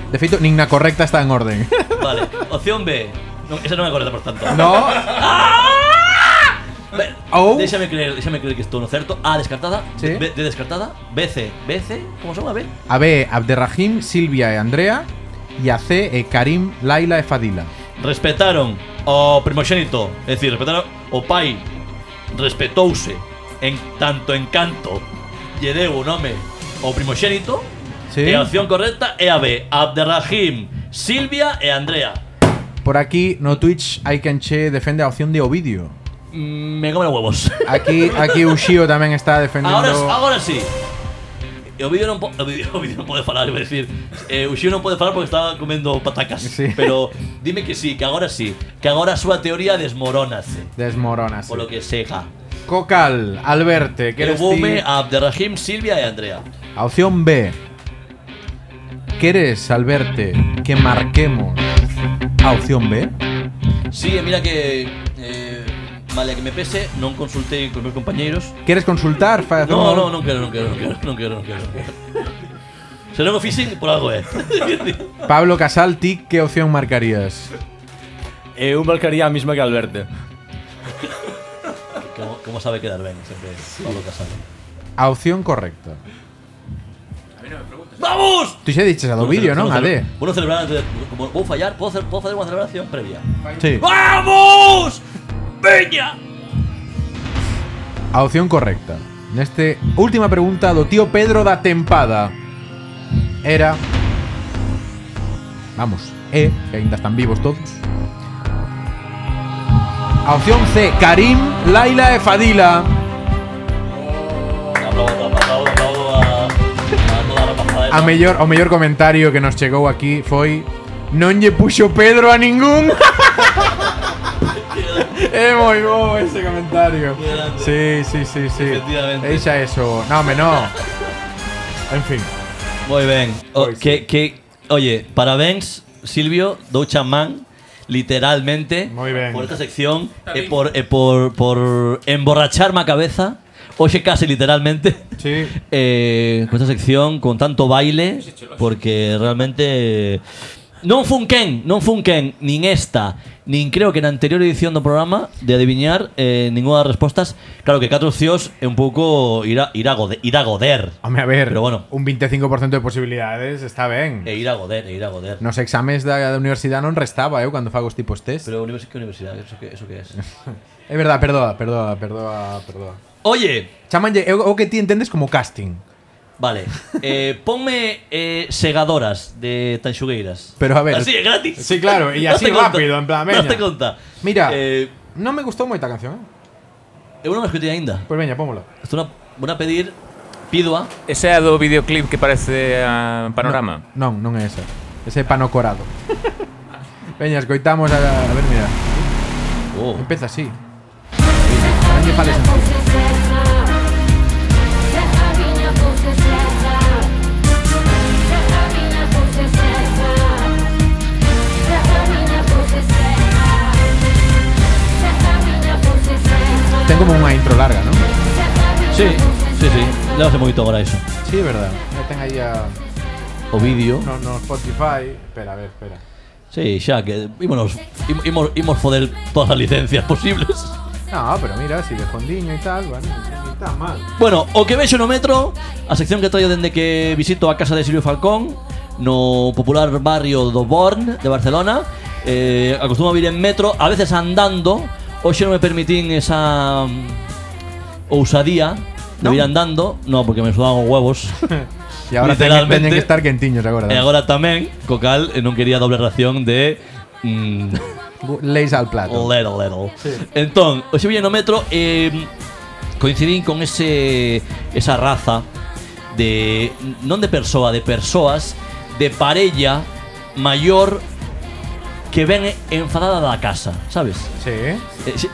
S1: De feito, nin na correcta está en orde.
S2: vale, opción B. Non, esa non é correcta, por tanto.
S1: no,
S2: Ve-
S1: Ou-
S2: Déxame creer, déxame creer que estou no certo. A descartada,
S1: Sí.
S2: B, D descartada, BC, BC, como son a B?
S1: a B, Abderrahim, Silvia e Andrea e a C é Karim, Laila e Fadila.
S2: Respetaron o primoxénito, é dicir, respetaron o pai respetouse en tanto encanto lle deu o nome o primoxénito.
S1: Sí.
S2: E a opción correcta é a B, Abderrahim, Silvia e Andrea.
S1: Por aquí no Twitch hai quen che defende a opción de Ovidio.
S2: Mm, Me come los huevos.
S1: Aquí aquí Ushio tamén está defendendo
S2: Ahora, ahora sí. O vídeo non, po o vídeo- o vídeo non pode falar, iba a decir. Eh, Uxiu non pode falar porque estaba comendo patacas.
S1: Sí.
S2: Pero dime que sí, que agora sí. Que agora a súa teoría desmoronase.
S1: desmoronas.
S2: Polo que seja.
S1: Cocal, Alberte,
S2: Que
S1: queres ti?
S2: bome a Abderrahim, Silvia e Andrea.
S1: A opción B. ¿Quieres, Alberte, que marquemos a opción B?
S2: Sí, e mira que... Eh, vale, que me pese, non consultei cos meus compañeiros.
S1: ¿Quieres consultar? Fa-
S2: No, no, non quero, non quero, non quero, non quero, non quero. Se non o fixen, por algo é.
S1: Pablo Casal, ti, ¿qué opción marcarías?
S5: Eu marcaría a mesma que Alberto.
S2: como, como sabe quedar ben, sempre Pablo Casado.
S1: A opción correcta.
S2: ¡Vamos!
S1: Tú ya dices a do vídeo, ¿no? A D.
S2: Bueno, celebrar antes de- como puedo fallar, puedo hacer, puedo hacer una celebración previa.
S1: Sí.
S2: ¡Vamos! ¡Peña!
S1: A opción correcta. Neste última pregunta do tío Pedro da tempada. Era Vamos, E, que ainda están vivos todos. A opción C, Karim, Laila e Fadila.
S2: Aplaudo, aplaudo, aplaudo a, a toda la pasada.
S1: A mellor, o mellor comentario que nos chegou aquí foi Non lle puxo Pedro a ningún É moi bo ese comentario
S2: grande.
S1: Sí, sí, sí, sí
S2: Efectivamente.
S1: Eixa eso No, me no En fin
S2: Muy bien. O- que, que, oye, parabéns, Silvio, Douchamán, literalmente,
S1: Muy bien.
S2: por esta sección, e por, e por, por emborracharme a cabeza, oye, casi literalmente.
S1: Sí
S2: eh, con esta sección, con tanto baile, porque realmente... Non funquen, non funquen nin esta, nin creo que na anterior edición do programa de adiviñar eh, ninguna das respostas. Claro que catro opcións é un pouco ir a, ir a, gode- ir a goder.
S1: Home, a ver
S2: Pero bueno.
S1: Un 25% de posibilidades Está ben
S2: E ir a goder, e ir a goder.
S1: Nos exames da, da universidad non restaba eh, eu Cando fago os tipos test
S2: Pero univers que universidade, eso que, eso que es.
S1: É verdad, perdoa, perdoa, perdoa, perdoa
S2: Oye,
S1: Chamanlle, é o o que ti entendes como casting
S2: vale, eh, ponme eh, segadoras de tanxugueiras.
S1: Pero a ver-
S2: Así, é gratis.
S1: Sí, claro, e así
S2: Daste conta,
S1: rápido, en plan, veña.
S2: Daste conta.
S1: Mira.
S2: Eh,
S1: Non me gustou moita a canción eh? Pues
S2: eu non me escutei ainda.
S1: Pois veña, pómola
S2: Estou na, vou a pedir Pidoa
S3: Ese é a do videoclip que parece a Panorama.
S1: Non, non é esa. Ese é pano corado. Veña, escoitamos a, a ver, mira.
S2: oh,
S1: Empeza así. Non lle fales en-
S9: Deja a miña
S1: Ten como unha intro larga, non?
S2: Sí, sí, sí. Le hace moito agora iso.
S1: Sí, verdad. Meten aí a...
S2: O vídeo.
S1: No, no Spotify. Espera, a ver, espera.
S2: Sí, xa que ímonos im- imos, imos foder todas as licencias posibles.
S1: No, pero mira, si de fondiño e tal, vale. Non está mal.
S2: Bueno, o que vexo no metro, a sección que traio dende que visito a casa de Silvio Falcón no popular barrio do Born de Barcelona. Eh, acostumo a vir en metro, a veces andando. Hoxe non me permitín esa mm, ousadía de vir andando, no, porque me sudaban os huevos.
S1: E agora teñen,
S2: Literalmente.
S1: teñen que estar quentiños agora.
S2: e agora tamén, co cal eh, non quería doble ración de mm,
S1: Bu- Leis al plato.
S2: Little, little. Entón, hoxe vine no metro e coincidín con ese esa raza de non de persoa, de persoas de parella maior que ven enfadada da casa, sabes?
S1: Sí.
S2: Eh,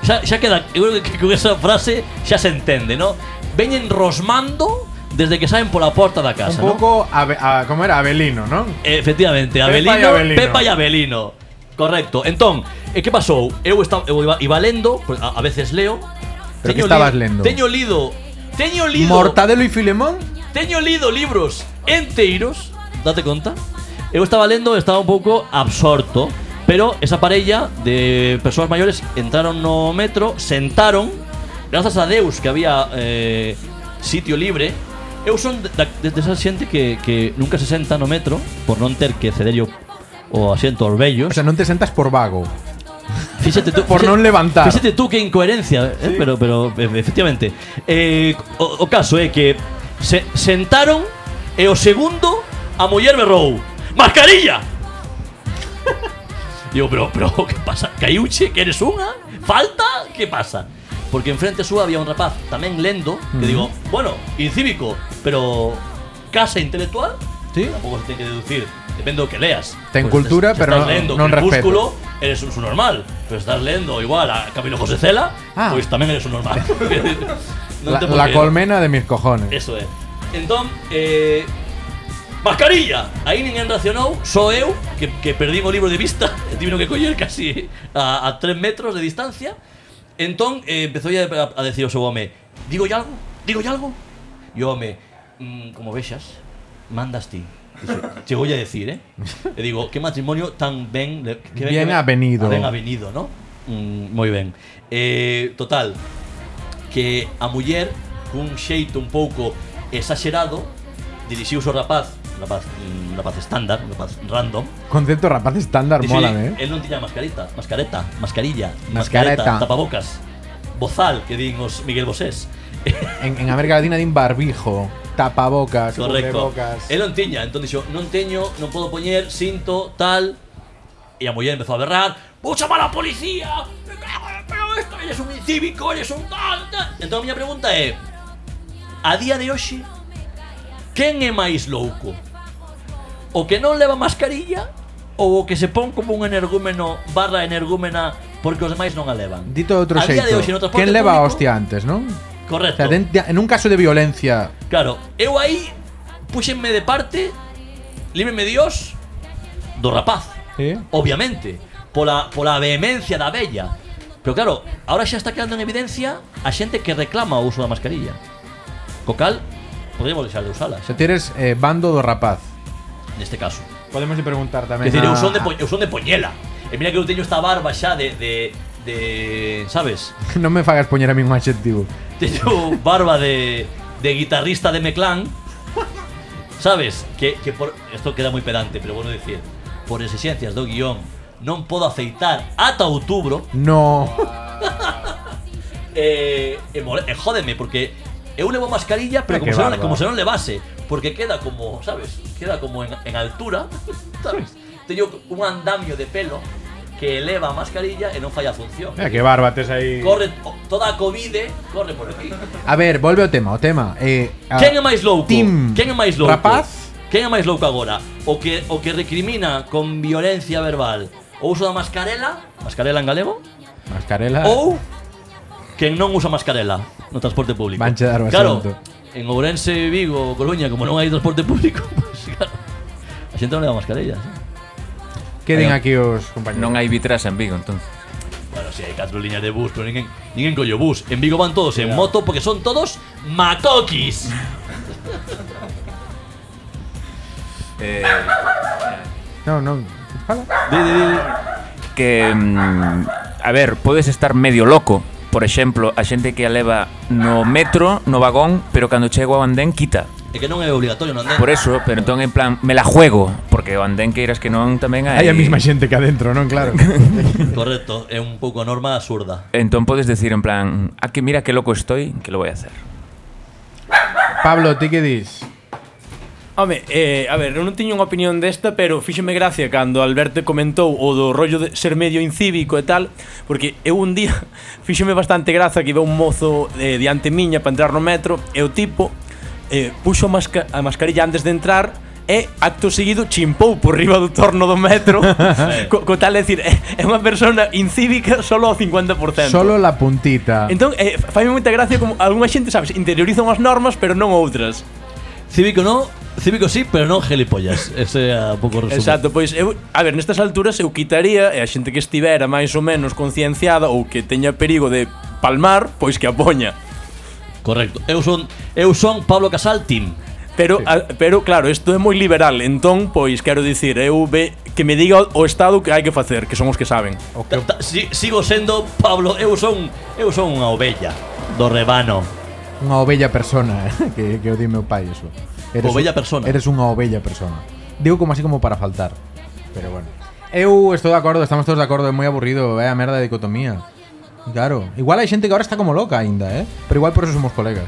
S2: xa, xa queda, eu creo que con esa frase xa se entende, ¿no? Veñen rosmando desde que saen pola porta da
S1: Un
S2: casa, ¿no?
S1: pouco a, a, como era Abelino, non?
S2: Efectivamente,
S1: Pepa
S2: Abelino,
S1: e Abelino.
S2: Pepa e Abelino. Correcto. Entón, eh, que pasou? Eu estaba eu iba, iba lendo, pois a, a veces leo.
S1: Pero que
S2: Teño
S1: estabas
S2: li-
S1: lendo?
S2: Teño lido. Teño lido.
S1: Mortadelo e Filemón.
S2: Teño lido libros enteiros, date conta. Eu estaba lendo, estaba un pouco absorto, pero esa parella de persoas maiores entraron no metro, sentaron, grazas a Deus que había eh, sitio libre. Eu son de, de, de esa xente que, que nunca se senta no metro por non ter que ceder yo o asiento
S1: O
S2: aos vellos.
S1: sea, non te sentas por vago.
S2: Fíxate tú,
S1: Por
S2: fíxate-
S1: non levantar.
S2: Fíxate tú que incoherencia, eh, pero pero e- efectivamente. Eh, o, o caso é que se sentaron e o segundo a muller berrou. Mascarilla. Digo, pero, pero, que pasa? Caiuche, que eres unha? Falta? Que pasa? Porque enfrente súa había un rapaz tamén lendo Que digo, bueno, incívico Pero casa intelectual
S1: Sí.
S2: Tampouco se ten que deducir Depende do que leas
S1: Ten
S2: Pois
S1: cultura,
S2: se
S1: pero
S2: estás
S1: non-
S2: lendo
S1: non
S2: Crepúsculo, eres un subnormal Pero estás lendo igual a Camilo José Cela
S1: Ah.
S2: Pois tamén eres un normal
S1: La,
S2: Non te
S1: la
S2: puedo creer.
S1: colmena de mis cojones.
S2: Eso é Entón, eh, Mascarilla! Aí ninguén racionou, só eu, que, que perdín o libro de vista, e tivino que coller casi a, a tres metros de distancia. Entón, eh, empezou a, a decir o seu home, digo algo, digo algo. E o home, mm, como vexas, mandas ti. Dixo, Chegou a decir, eh? E digo, que matrimonio tan ben... le- Que
S1: Bien
S2: que
S1: avenido.
S2: Ben avenido, ¿no? Mm, moi ben. Eh, total, que a muller cun xeito un pouco exagerado dirixiuse ao rapaz, rapaz, un rapaz estándar, un rapaz random.
S1: Concepto rapaz estándar,
S2: Dixo,
S1: mola, eh.
S2: el non tiña mascarita, mascareta, mascarilla, mascareta,
S1: Mascareta.
S2: tapabocas, bozal que din os Miguel Bosés.
S1: En, en América Latina din barbijo, tapabocas,
S2: Correcto. Eh,
S1: cubrebocas.
S2: El non tiña, entón dixo, non teño, non podo poñer cinto, tal. E a muller empezou a berrar, vou chamar a policía, me cago en- pero esto, eres un incívico, eres un tal, tal. Entón a miña pregunta é, a día de hoxe, quen é máis louco? O que non leva mascarilla ou o que se pon como un energúmeno barra energúmena porque os demais non a levan?
S1: Dito de outro
S2: a día
S1: xeito.
S2: de hoxe, no transporte
S1: Quen leva a
S2: público-
S1: hostia antes, non? O
S2: Correcto.
S1: sea, den- en un caso de violencia,
S2: Claro, eu aí puxenme de parte, líbreme Dios, do rapaz,
S1: Sí.
S2: obviamente, pola, pola vehemencia da bella. Pero claro, ahora xa está quedando en evidencia a xente que reclama o uso da mascarilla. Co cal, podríamos deixar de usala,
S1: se tires eh, bando do rapaz.
S2: neste caso.
S1: Podemos ir preguntar
S2: É
S1: tamén.
S2: dicir, eu
S1: a-
S2: son de, po- eu son de poñela. E mira que eu teño esta barba xa de... de, de sabes?
S1: Non me fagas poñer a mí un adxetivo.
S2: Teño barba de, de guitarrista de Meclán. Sabes? Que, que por. Esto queda moi pedante, pero bueno decir. Por exixencias do guión, non podo aceitar ata outubro.
S1: No.
S2: E, e, mole- e jódeme, porque eu levo mascarilla,
S1: Ah,
S2: pero
S1: que
S2: como se, non,
S1: barba.
S2: como se non levase. Porque queda como, sabes? Queda como en, en altura, sabes? Teño un andamio de pelo que eleva a mascarilla e non falla a función.
S1: Mira que barba tes aí.
S2: Corre o- toda a COVID, corre por aquí.
S1: A ver, volve ao tema, o tema. Eh, a-
S2: Quen é máis louco?
S1: Team
S2: Quen é máis louco?
S1: Rapaz?
S2: Quen é máis louco agora? O que o que recrimina con violencia verbal o uso da mascarela, mascarela en galego,
S1: Mascarela.
S2: ou quen non usa mascarela no transporte público.
S1: Vanche dar o
S2: claro,
S1: asunto.
S2: en Ourense, Vigo, Coruña, como non hai transporte público, pues, claro, a xente non leva mascarella. ¿sí?
S1: Que din
S3: Ahí va.
S1: aquí os compañeros?
S3: Non hai vitras en Vigo, entón.
S2: Bueno, sí, Si hai catro liñas de bus, pero ninguén, ninguén collo bus. En Vigo van todos en moto porque son todos macoquis.
S3: Eh,
S1: No, no. Fala.
S2: Di, di, di.
S3: que mm, a ver, podes estar medio loco, por exemplo, a xente que a leva no metro, no vagón, pero cando chego ao andén quita.
S2: É que non é obligatorio, non andén.
S3: Por eso, pero entón en plan me la juego, porque o andén que irás que non tamén hai.
S1: Hai a mesma xente que adentro, non? Claro.
S2: Correcto, é un pouco a norma absurda.
S3: Entón podes decir en plan, "A que mira que loco estoy, que lo voy a hacer."
S1: Pablo, ti que dis?
S5: Home, eh, a ver, eu non tiño unha opinión desta, pero fíxeme gracia cando Alberto comentou o do rollo de ser medio incívico e tal, porque eu un día fíxeme bastante gracia que iba un mozo eh, diante miña para entrar no metro e o tipo eh, puxo a, masca a mascarilla antes de entrar e acto seguido chimpou por riba do torno do metro co, co tal de decir, "Eh, é, é unha persona incívica solo ao 50%.
S1: Solo la puntita.
S5: Entón, eh, fai moita gracia como algunha xente, sabes, interiorizan as normas, pero non outras.
S2: Cívico no, cívico sí, pero non gelipollas. Ese é un pouco o resumo.
S5: Exacto, pois eu, a ver, nestas alturas eu quitaría e a xente que estivera máis ou menos concienciada ou que teña perigo de palmar, pois que a poña.
S2: Correcto. Eu son eu son Pablo Casal Team.
S5: Pero a, pero claro, isto é moi liberal, entón pois quero dicir, eu ve que me diga o, o estado que hai que facer, que son os que saben.
S1: O que
S2: Ta- ta- si- sigo sendo Pablo, eu son eu son unha ovella do rebano.
S1: unha ovella persona, eh, que, que o di meu pai eso.
S2: Ovella persona.
S1: Eres unha ovella persona. Digo como así como para faltar. Pero bueno. Eu estou de acordo, estamos todos de acordo, é moi aburrido, é a merda de dicotomía. Claro, igual hai xente que ahora está como loca aínda, eh? Pero igual por eso somos colegas.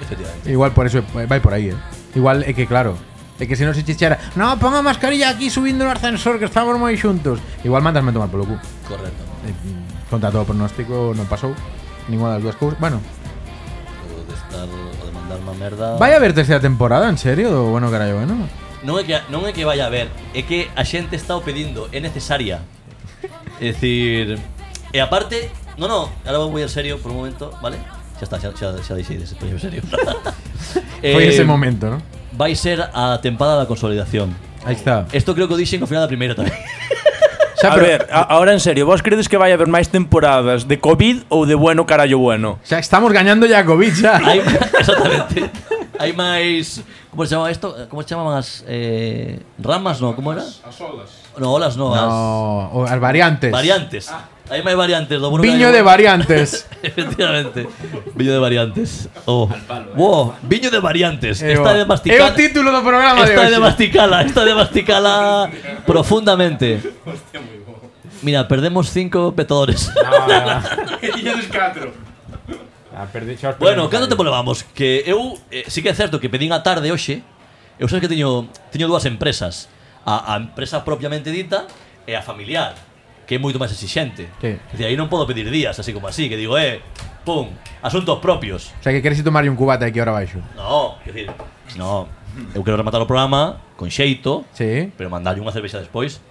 S2: Efectivamente.
S1: Igual por eso eh, vai por aí, eh? Igual é que claro, é que se non se chichara, "No, pon a mascarilla aquí subindo no ascensor que estamos moi xuntos." Igual mandasme tomar polo cu.
S2: Correcto.
S1: Eh, Contra todo pronóstico non pasou ninguna das dúas cousas. Bueno,
S2: Debo de estar o de mandar unha merda.
S1: vai a haber terceira temporada, en serio, do bueno que era yo, bueno.
S2: Non é que non é que vaya a ver, é que a xente está o pedindo, é necesaria. É dicir, e aparte, no, no, ahora vou en serio por un momento, vale? Xa está, xa xa, xa deixei de ser en serio.
S1: Foi
S2: Eh,
S1: ese momento, ¿no?
S2: Vai ser a tempada da consolidación.
S1: Aí está.
S2: Esto creo que o dixen ao final da primeira tamén.
S1: Xa,
S5: a
S1: pero-
S5: ver, a, ahora en serio, vos credes que vai haber máis temporadas de COVID ou de bueno carallo bueno?
S1: xa estamos gañando ya a Covid, xa.
S2: Hai, exactamente. Hai máis... Como se chamaba isto? Como se chamaban as... Eh, ramas, no? Como era?
S6: As olas.
S2: No, olas no, as
S1: No, o- as variantes.
S2: variantes.
S6: Ah.
S2: Hai máis variantes do Bruno
S1: Viño de variantes.
S2: Efectivamente. Viño de variantes. Oh.
S6: eh.
S2: Wow, viño de variantes.
S1: Eh,
S2: Está de
S1: bo. É o
S2: masticala.
S1: título do programa de
S2: Está de
S1: hoxe.
S2: masticala, está de masticala profundamente. Mira, perdemos cinco petadores.
S6: Ah, perdi, xa os perdemos
S2: Bueno, cando
S6: aí.
S2: tempo levamos? Que eu, eh, sí que é certo que pedín a tarde hoxe Eu sabes que teño, teño dúas empresas a, a empresa propiamente dita e a familiar Que é moito máis exixente
S1: Sí.
S2: É dicir, aí non podo pedir días, así como así Que digo, eh, pum, asuntos propios
S1: O sea, que queres ir tomar un cubata aquí ahora baixo.
S2: No, quer dicir, no Eu quero rematar o programa con xeito
S1: Sí.
S2: Pero mandarlle unha cervexa despois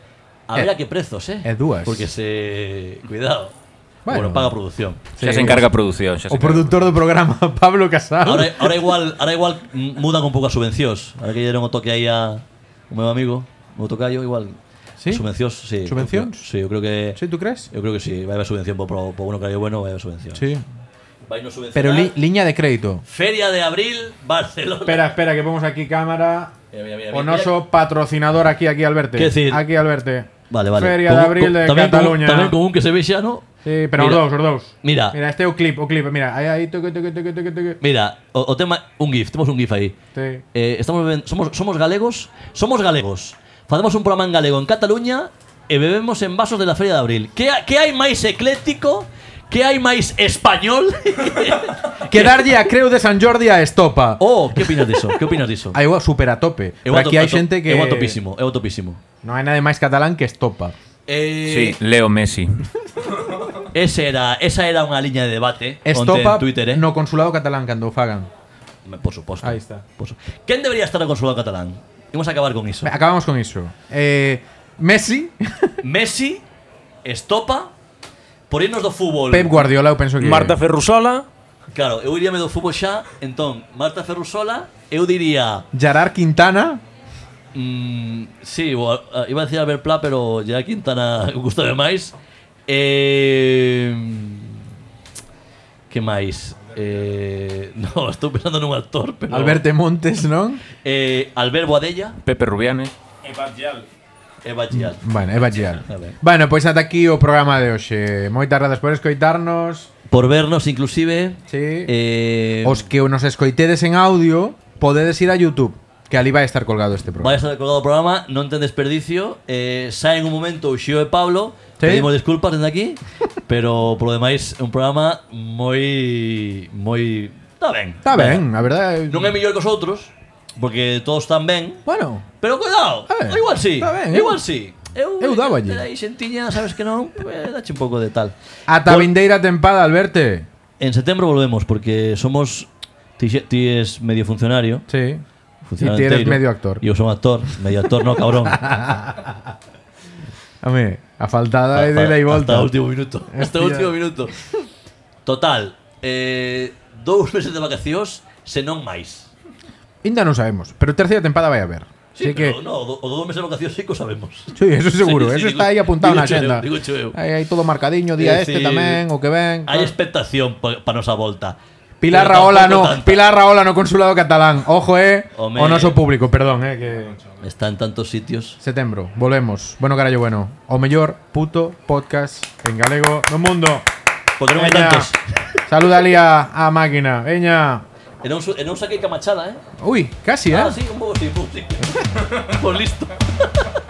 S1: Eh,
S2: A ver a que prezos, eh
S1: e dúas.
S2: Porque se... cuidado
S1: Bueno.
S2: Bueno, paga a produción
S3: Xa se encarga a produción, xa
S1: O
S3: se encarga.
S1: produtor do programa, Pablo Casal.
S2: Ahora, ahora igual, ahora igual mm, mudan un pouco as subvencións. Ahora que lle deron o toque aí a o meu amigo, o meu tocayo, igual.
S1: Sí?
S2: Subvencións, sí.
S1: Subvencións?
S2: Sí, eu creo que
S1: Sí, tú crees?
S2: Eu creo que sí, vai haber subvención po, pro- po bueno que hai bueno, vai haber subvención.
S1: Sí. Ah.
S2: Vai no subvencionar.
S1: Pero li- liña de crédito.
S2: Feria de abril, Barcelona.
S1: Espera, espera, que ponemos aquí cámara.
S2: Mira, mira, mira,
S1: O
S2: mira.
S1: noso patrocinador aquí, aquí Alberto.
S2: Que decir-
S1: Aquí Alberto.
S2: Vale, vale.
S1: Feria
S2: Con
S1: de
S2: un-
S1: Abril
S2: con-
S1: de
S2: tamén con un-
S1: Cataluña.
S2: tamén con un que se vexa, no?
S1: Sí, pero os
S2: Mira.
S1: dous, os dous.
S2: Mira.
S1: Mira, este é o clip, o clip, mira. Aí, aí, toque, toque, toque, toque, toque.
S2: Mira, o, o tema un GIF, temos un GIF aí.
S1: Sí.
S2: Eh, estamos ben- somos somos galegos, somos galegos. Facemos un programa en galego en Cataluña e bebemos en vasos de la Feria de Abril. Que ha- que hai máis ecléctico? Que hai máis español?
S1: Que darlle a creu de San Jordi a estopa.
S2: oh, que opinas diso? Que opinas diso?
S1: Aí o super a tope.
S2: Eu
S1: Pero aquí
S2: ato-
S1: hai
S2: ato-
S1: xente que
S2: eu atopísimo, eu atopísimo.
S1: Non hai nada máis catalán que estopa.
S3: Sí, Leo Messi.
S2: Ese era, esa era unha liña de debate onte
S1: Estopa
S2: en Twitter, eh?
S1: no consulado catalán cando o fagan.
S2: Por suposto.
S1: Ahí está.
S2: Por su- Quen debería estar no consulado catalán? Imos a acabar con iso.
S1: Acabamos con iso. Eh, Messi,
S2: Messi estopa por irnos do fútbol.
S1: Pep Guardiola, eu penso que
S5: Marta Ferrusola,
S2: Claro, eu iríame do fútbol xa, entón, Marta Ferrusola, eu diría...
S1: Gerard Quintana,
S2: eh, Mm, sí, o, a- a- iba a decir Albert Pla, pero ya Quintana gustame máis. Eh, que máis? Eh, no, estou pensando nun actor, pero
S1: Alberto Montes, non?
S2: eh, Albert Boadella
S3: Pepe Rubianes.
S2: e Bachial.
S1: Bueno, é vacial.
S2: A ver.
S1: Bueno, pois ata aquí o programa de hoxe. Moitas grazas por escoitarnos.
S2: Por vernos inclusive.
S1: Sí.
S2: Eh,
S1: Os que nos escoitedes en audio, podedes ir a YouTube, que ali vai estar colgado este
S2: Vai
S1: programa.
S2: a estar colgado o programa, non ten desperdicio eh, Saen un momento o Xio e Pablo
S1: Sí.
S2: Pedimos disculpas dende aquí Pero polo demais é un programa moi... moi... Está ben
S1: Está ben, a verdade.
S2: Non é mellor que os outros Porque todos están ben
S1: Bueno,
S2: Pero cuidado,
S1: A ver,
S2: igual sí,
S1: está ben,
S2: igual
S1: eu-
S2: sí. Eh, Eu,
S1: eu dáballe.
S2: de Aí xentiña, sabes que non, eh, dache un pouco de tal.
S1: ata vindeira tempada, Alberto.
S2: En setembro volvemos porque somos ti, xe- ti es medio funcionario,
S1: Sí.
S2: funcionario
S1: ti eres
S2: enteiro,
S1: medio actor.
S2: E eu son actor, medio actor, no cabrón.
S1: Home, a faltada é de
S2: Hasta-
S1: ida e volta.
S2: Hasta o último minuto. Hasta o
S1: Hostia.
S2: último minuto. Total, eh, dous meses de vacacións, se non máis.
S1: Ainda non sabemos, pero terceira tempada vai haber.
S2: Sí,
S1: Así que
S2: pero no, o do- o dos meses de vacacións sí que o sabemos.
S1: Sí, eso seguro,
S2: Sí, sí,
S1: eso
S2: digo-
S1: está aí apuntado
S2: digo
S1: na
S2: cheo,
S1: xenda.
S2: digo cheo.
S1: Aí hai todo marcadiño, día
S2: É
S1: este
S2: dicir,
S1: tamén, o que ven.
S2: Hai expectación para pa nosa volta.
S1: Pilar
S2: Pero
S1: Raola
S2: tampouco
S1: no,
S2: tanta.
S1: Pilar Raola no consulado catalán. Ojo, eh,
S2: Home.
S1: o noso público, perdón, eh, que
S2: Está en tantos sitios.
S1: setembro, volvemos. Bueno, carallo, bueno. O mellor puto podcast en galego no mundo.
S2: Porque non hai
S1: Veña.
S2: tantos.
S1: Saluda ali a, a máquina, veña.
S2: E non, su- e non saquei camachada, eh?
S1: Ui, casi, eh.
S2: Ah, sí, un pouco sí, un pouco sí. Por Pues listo.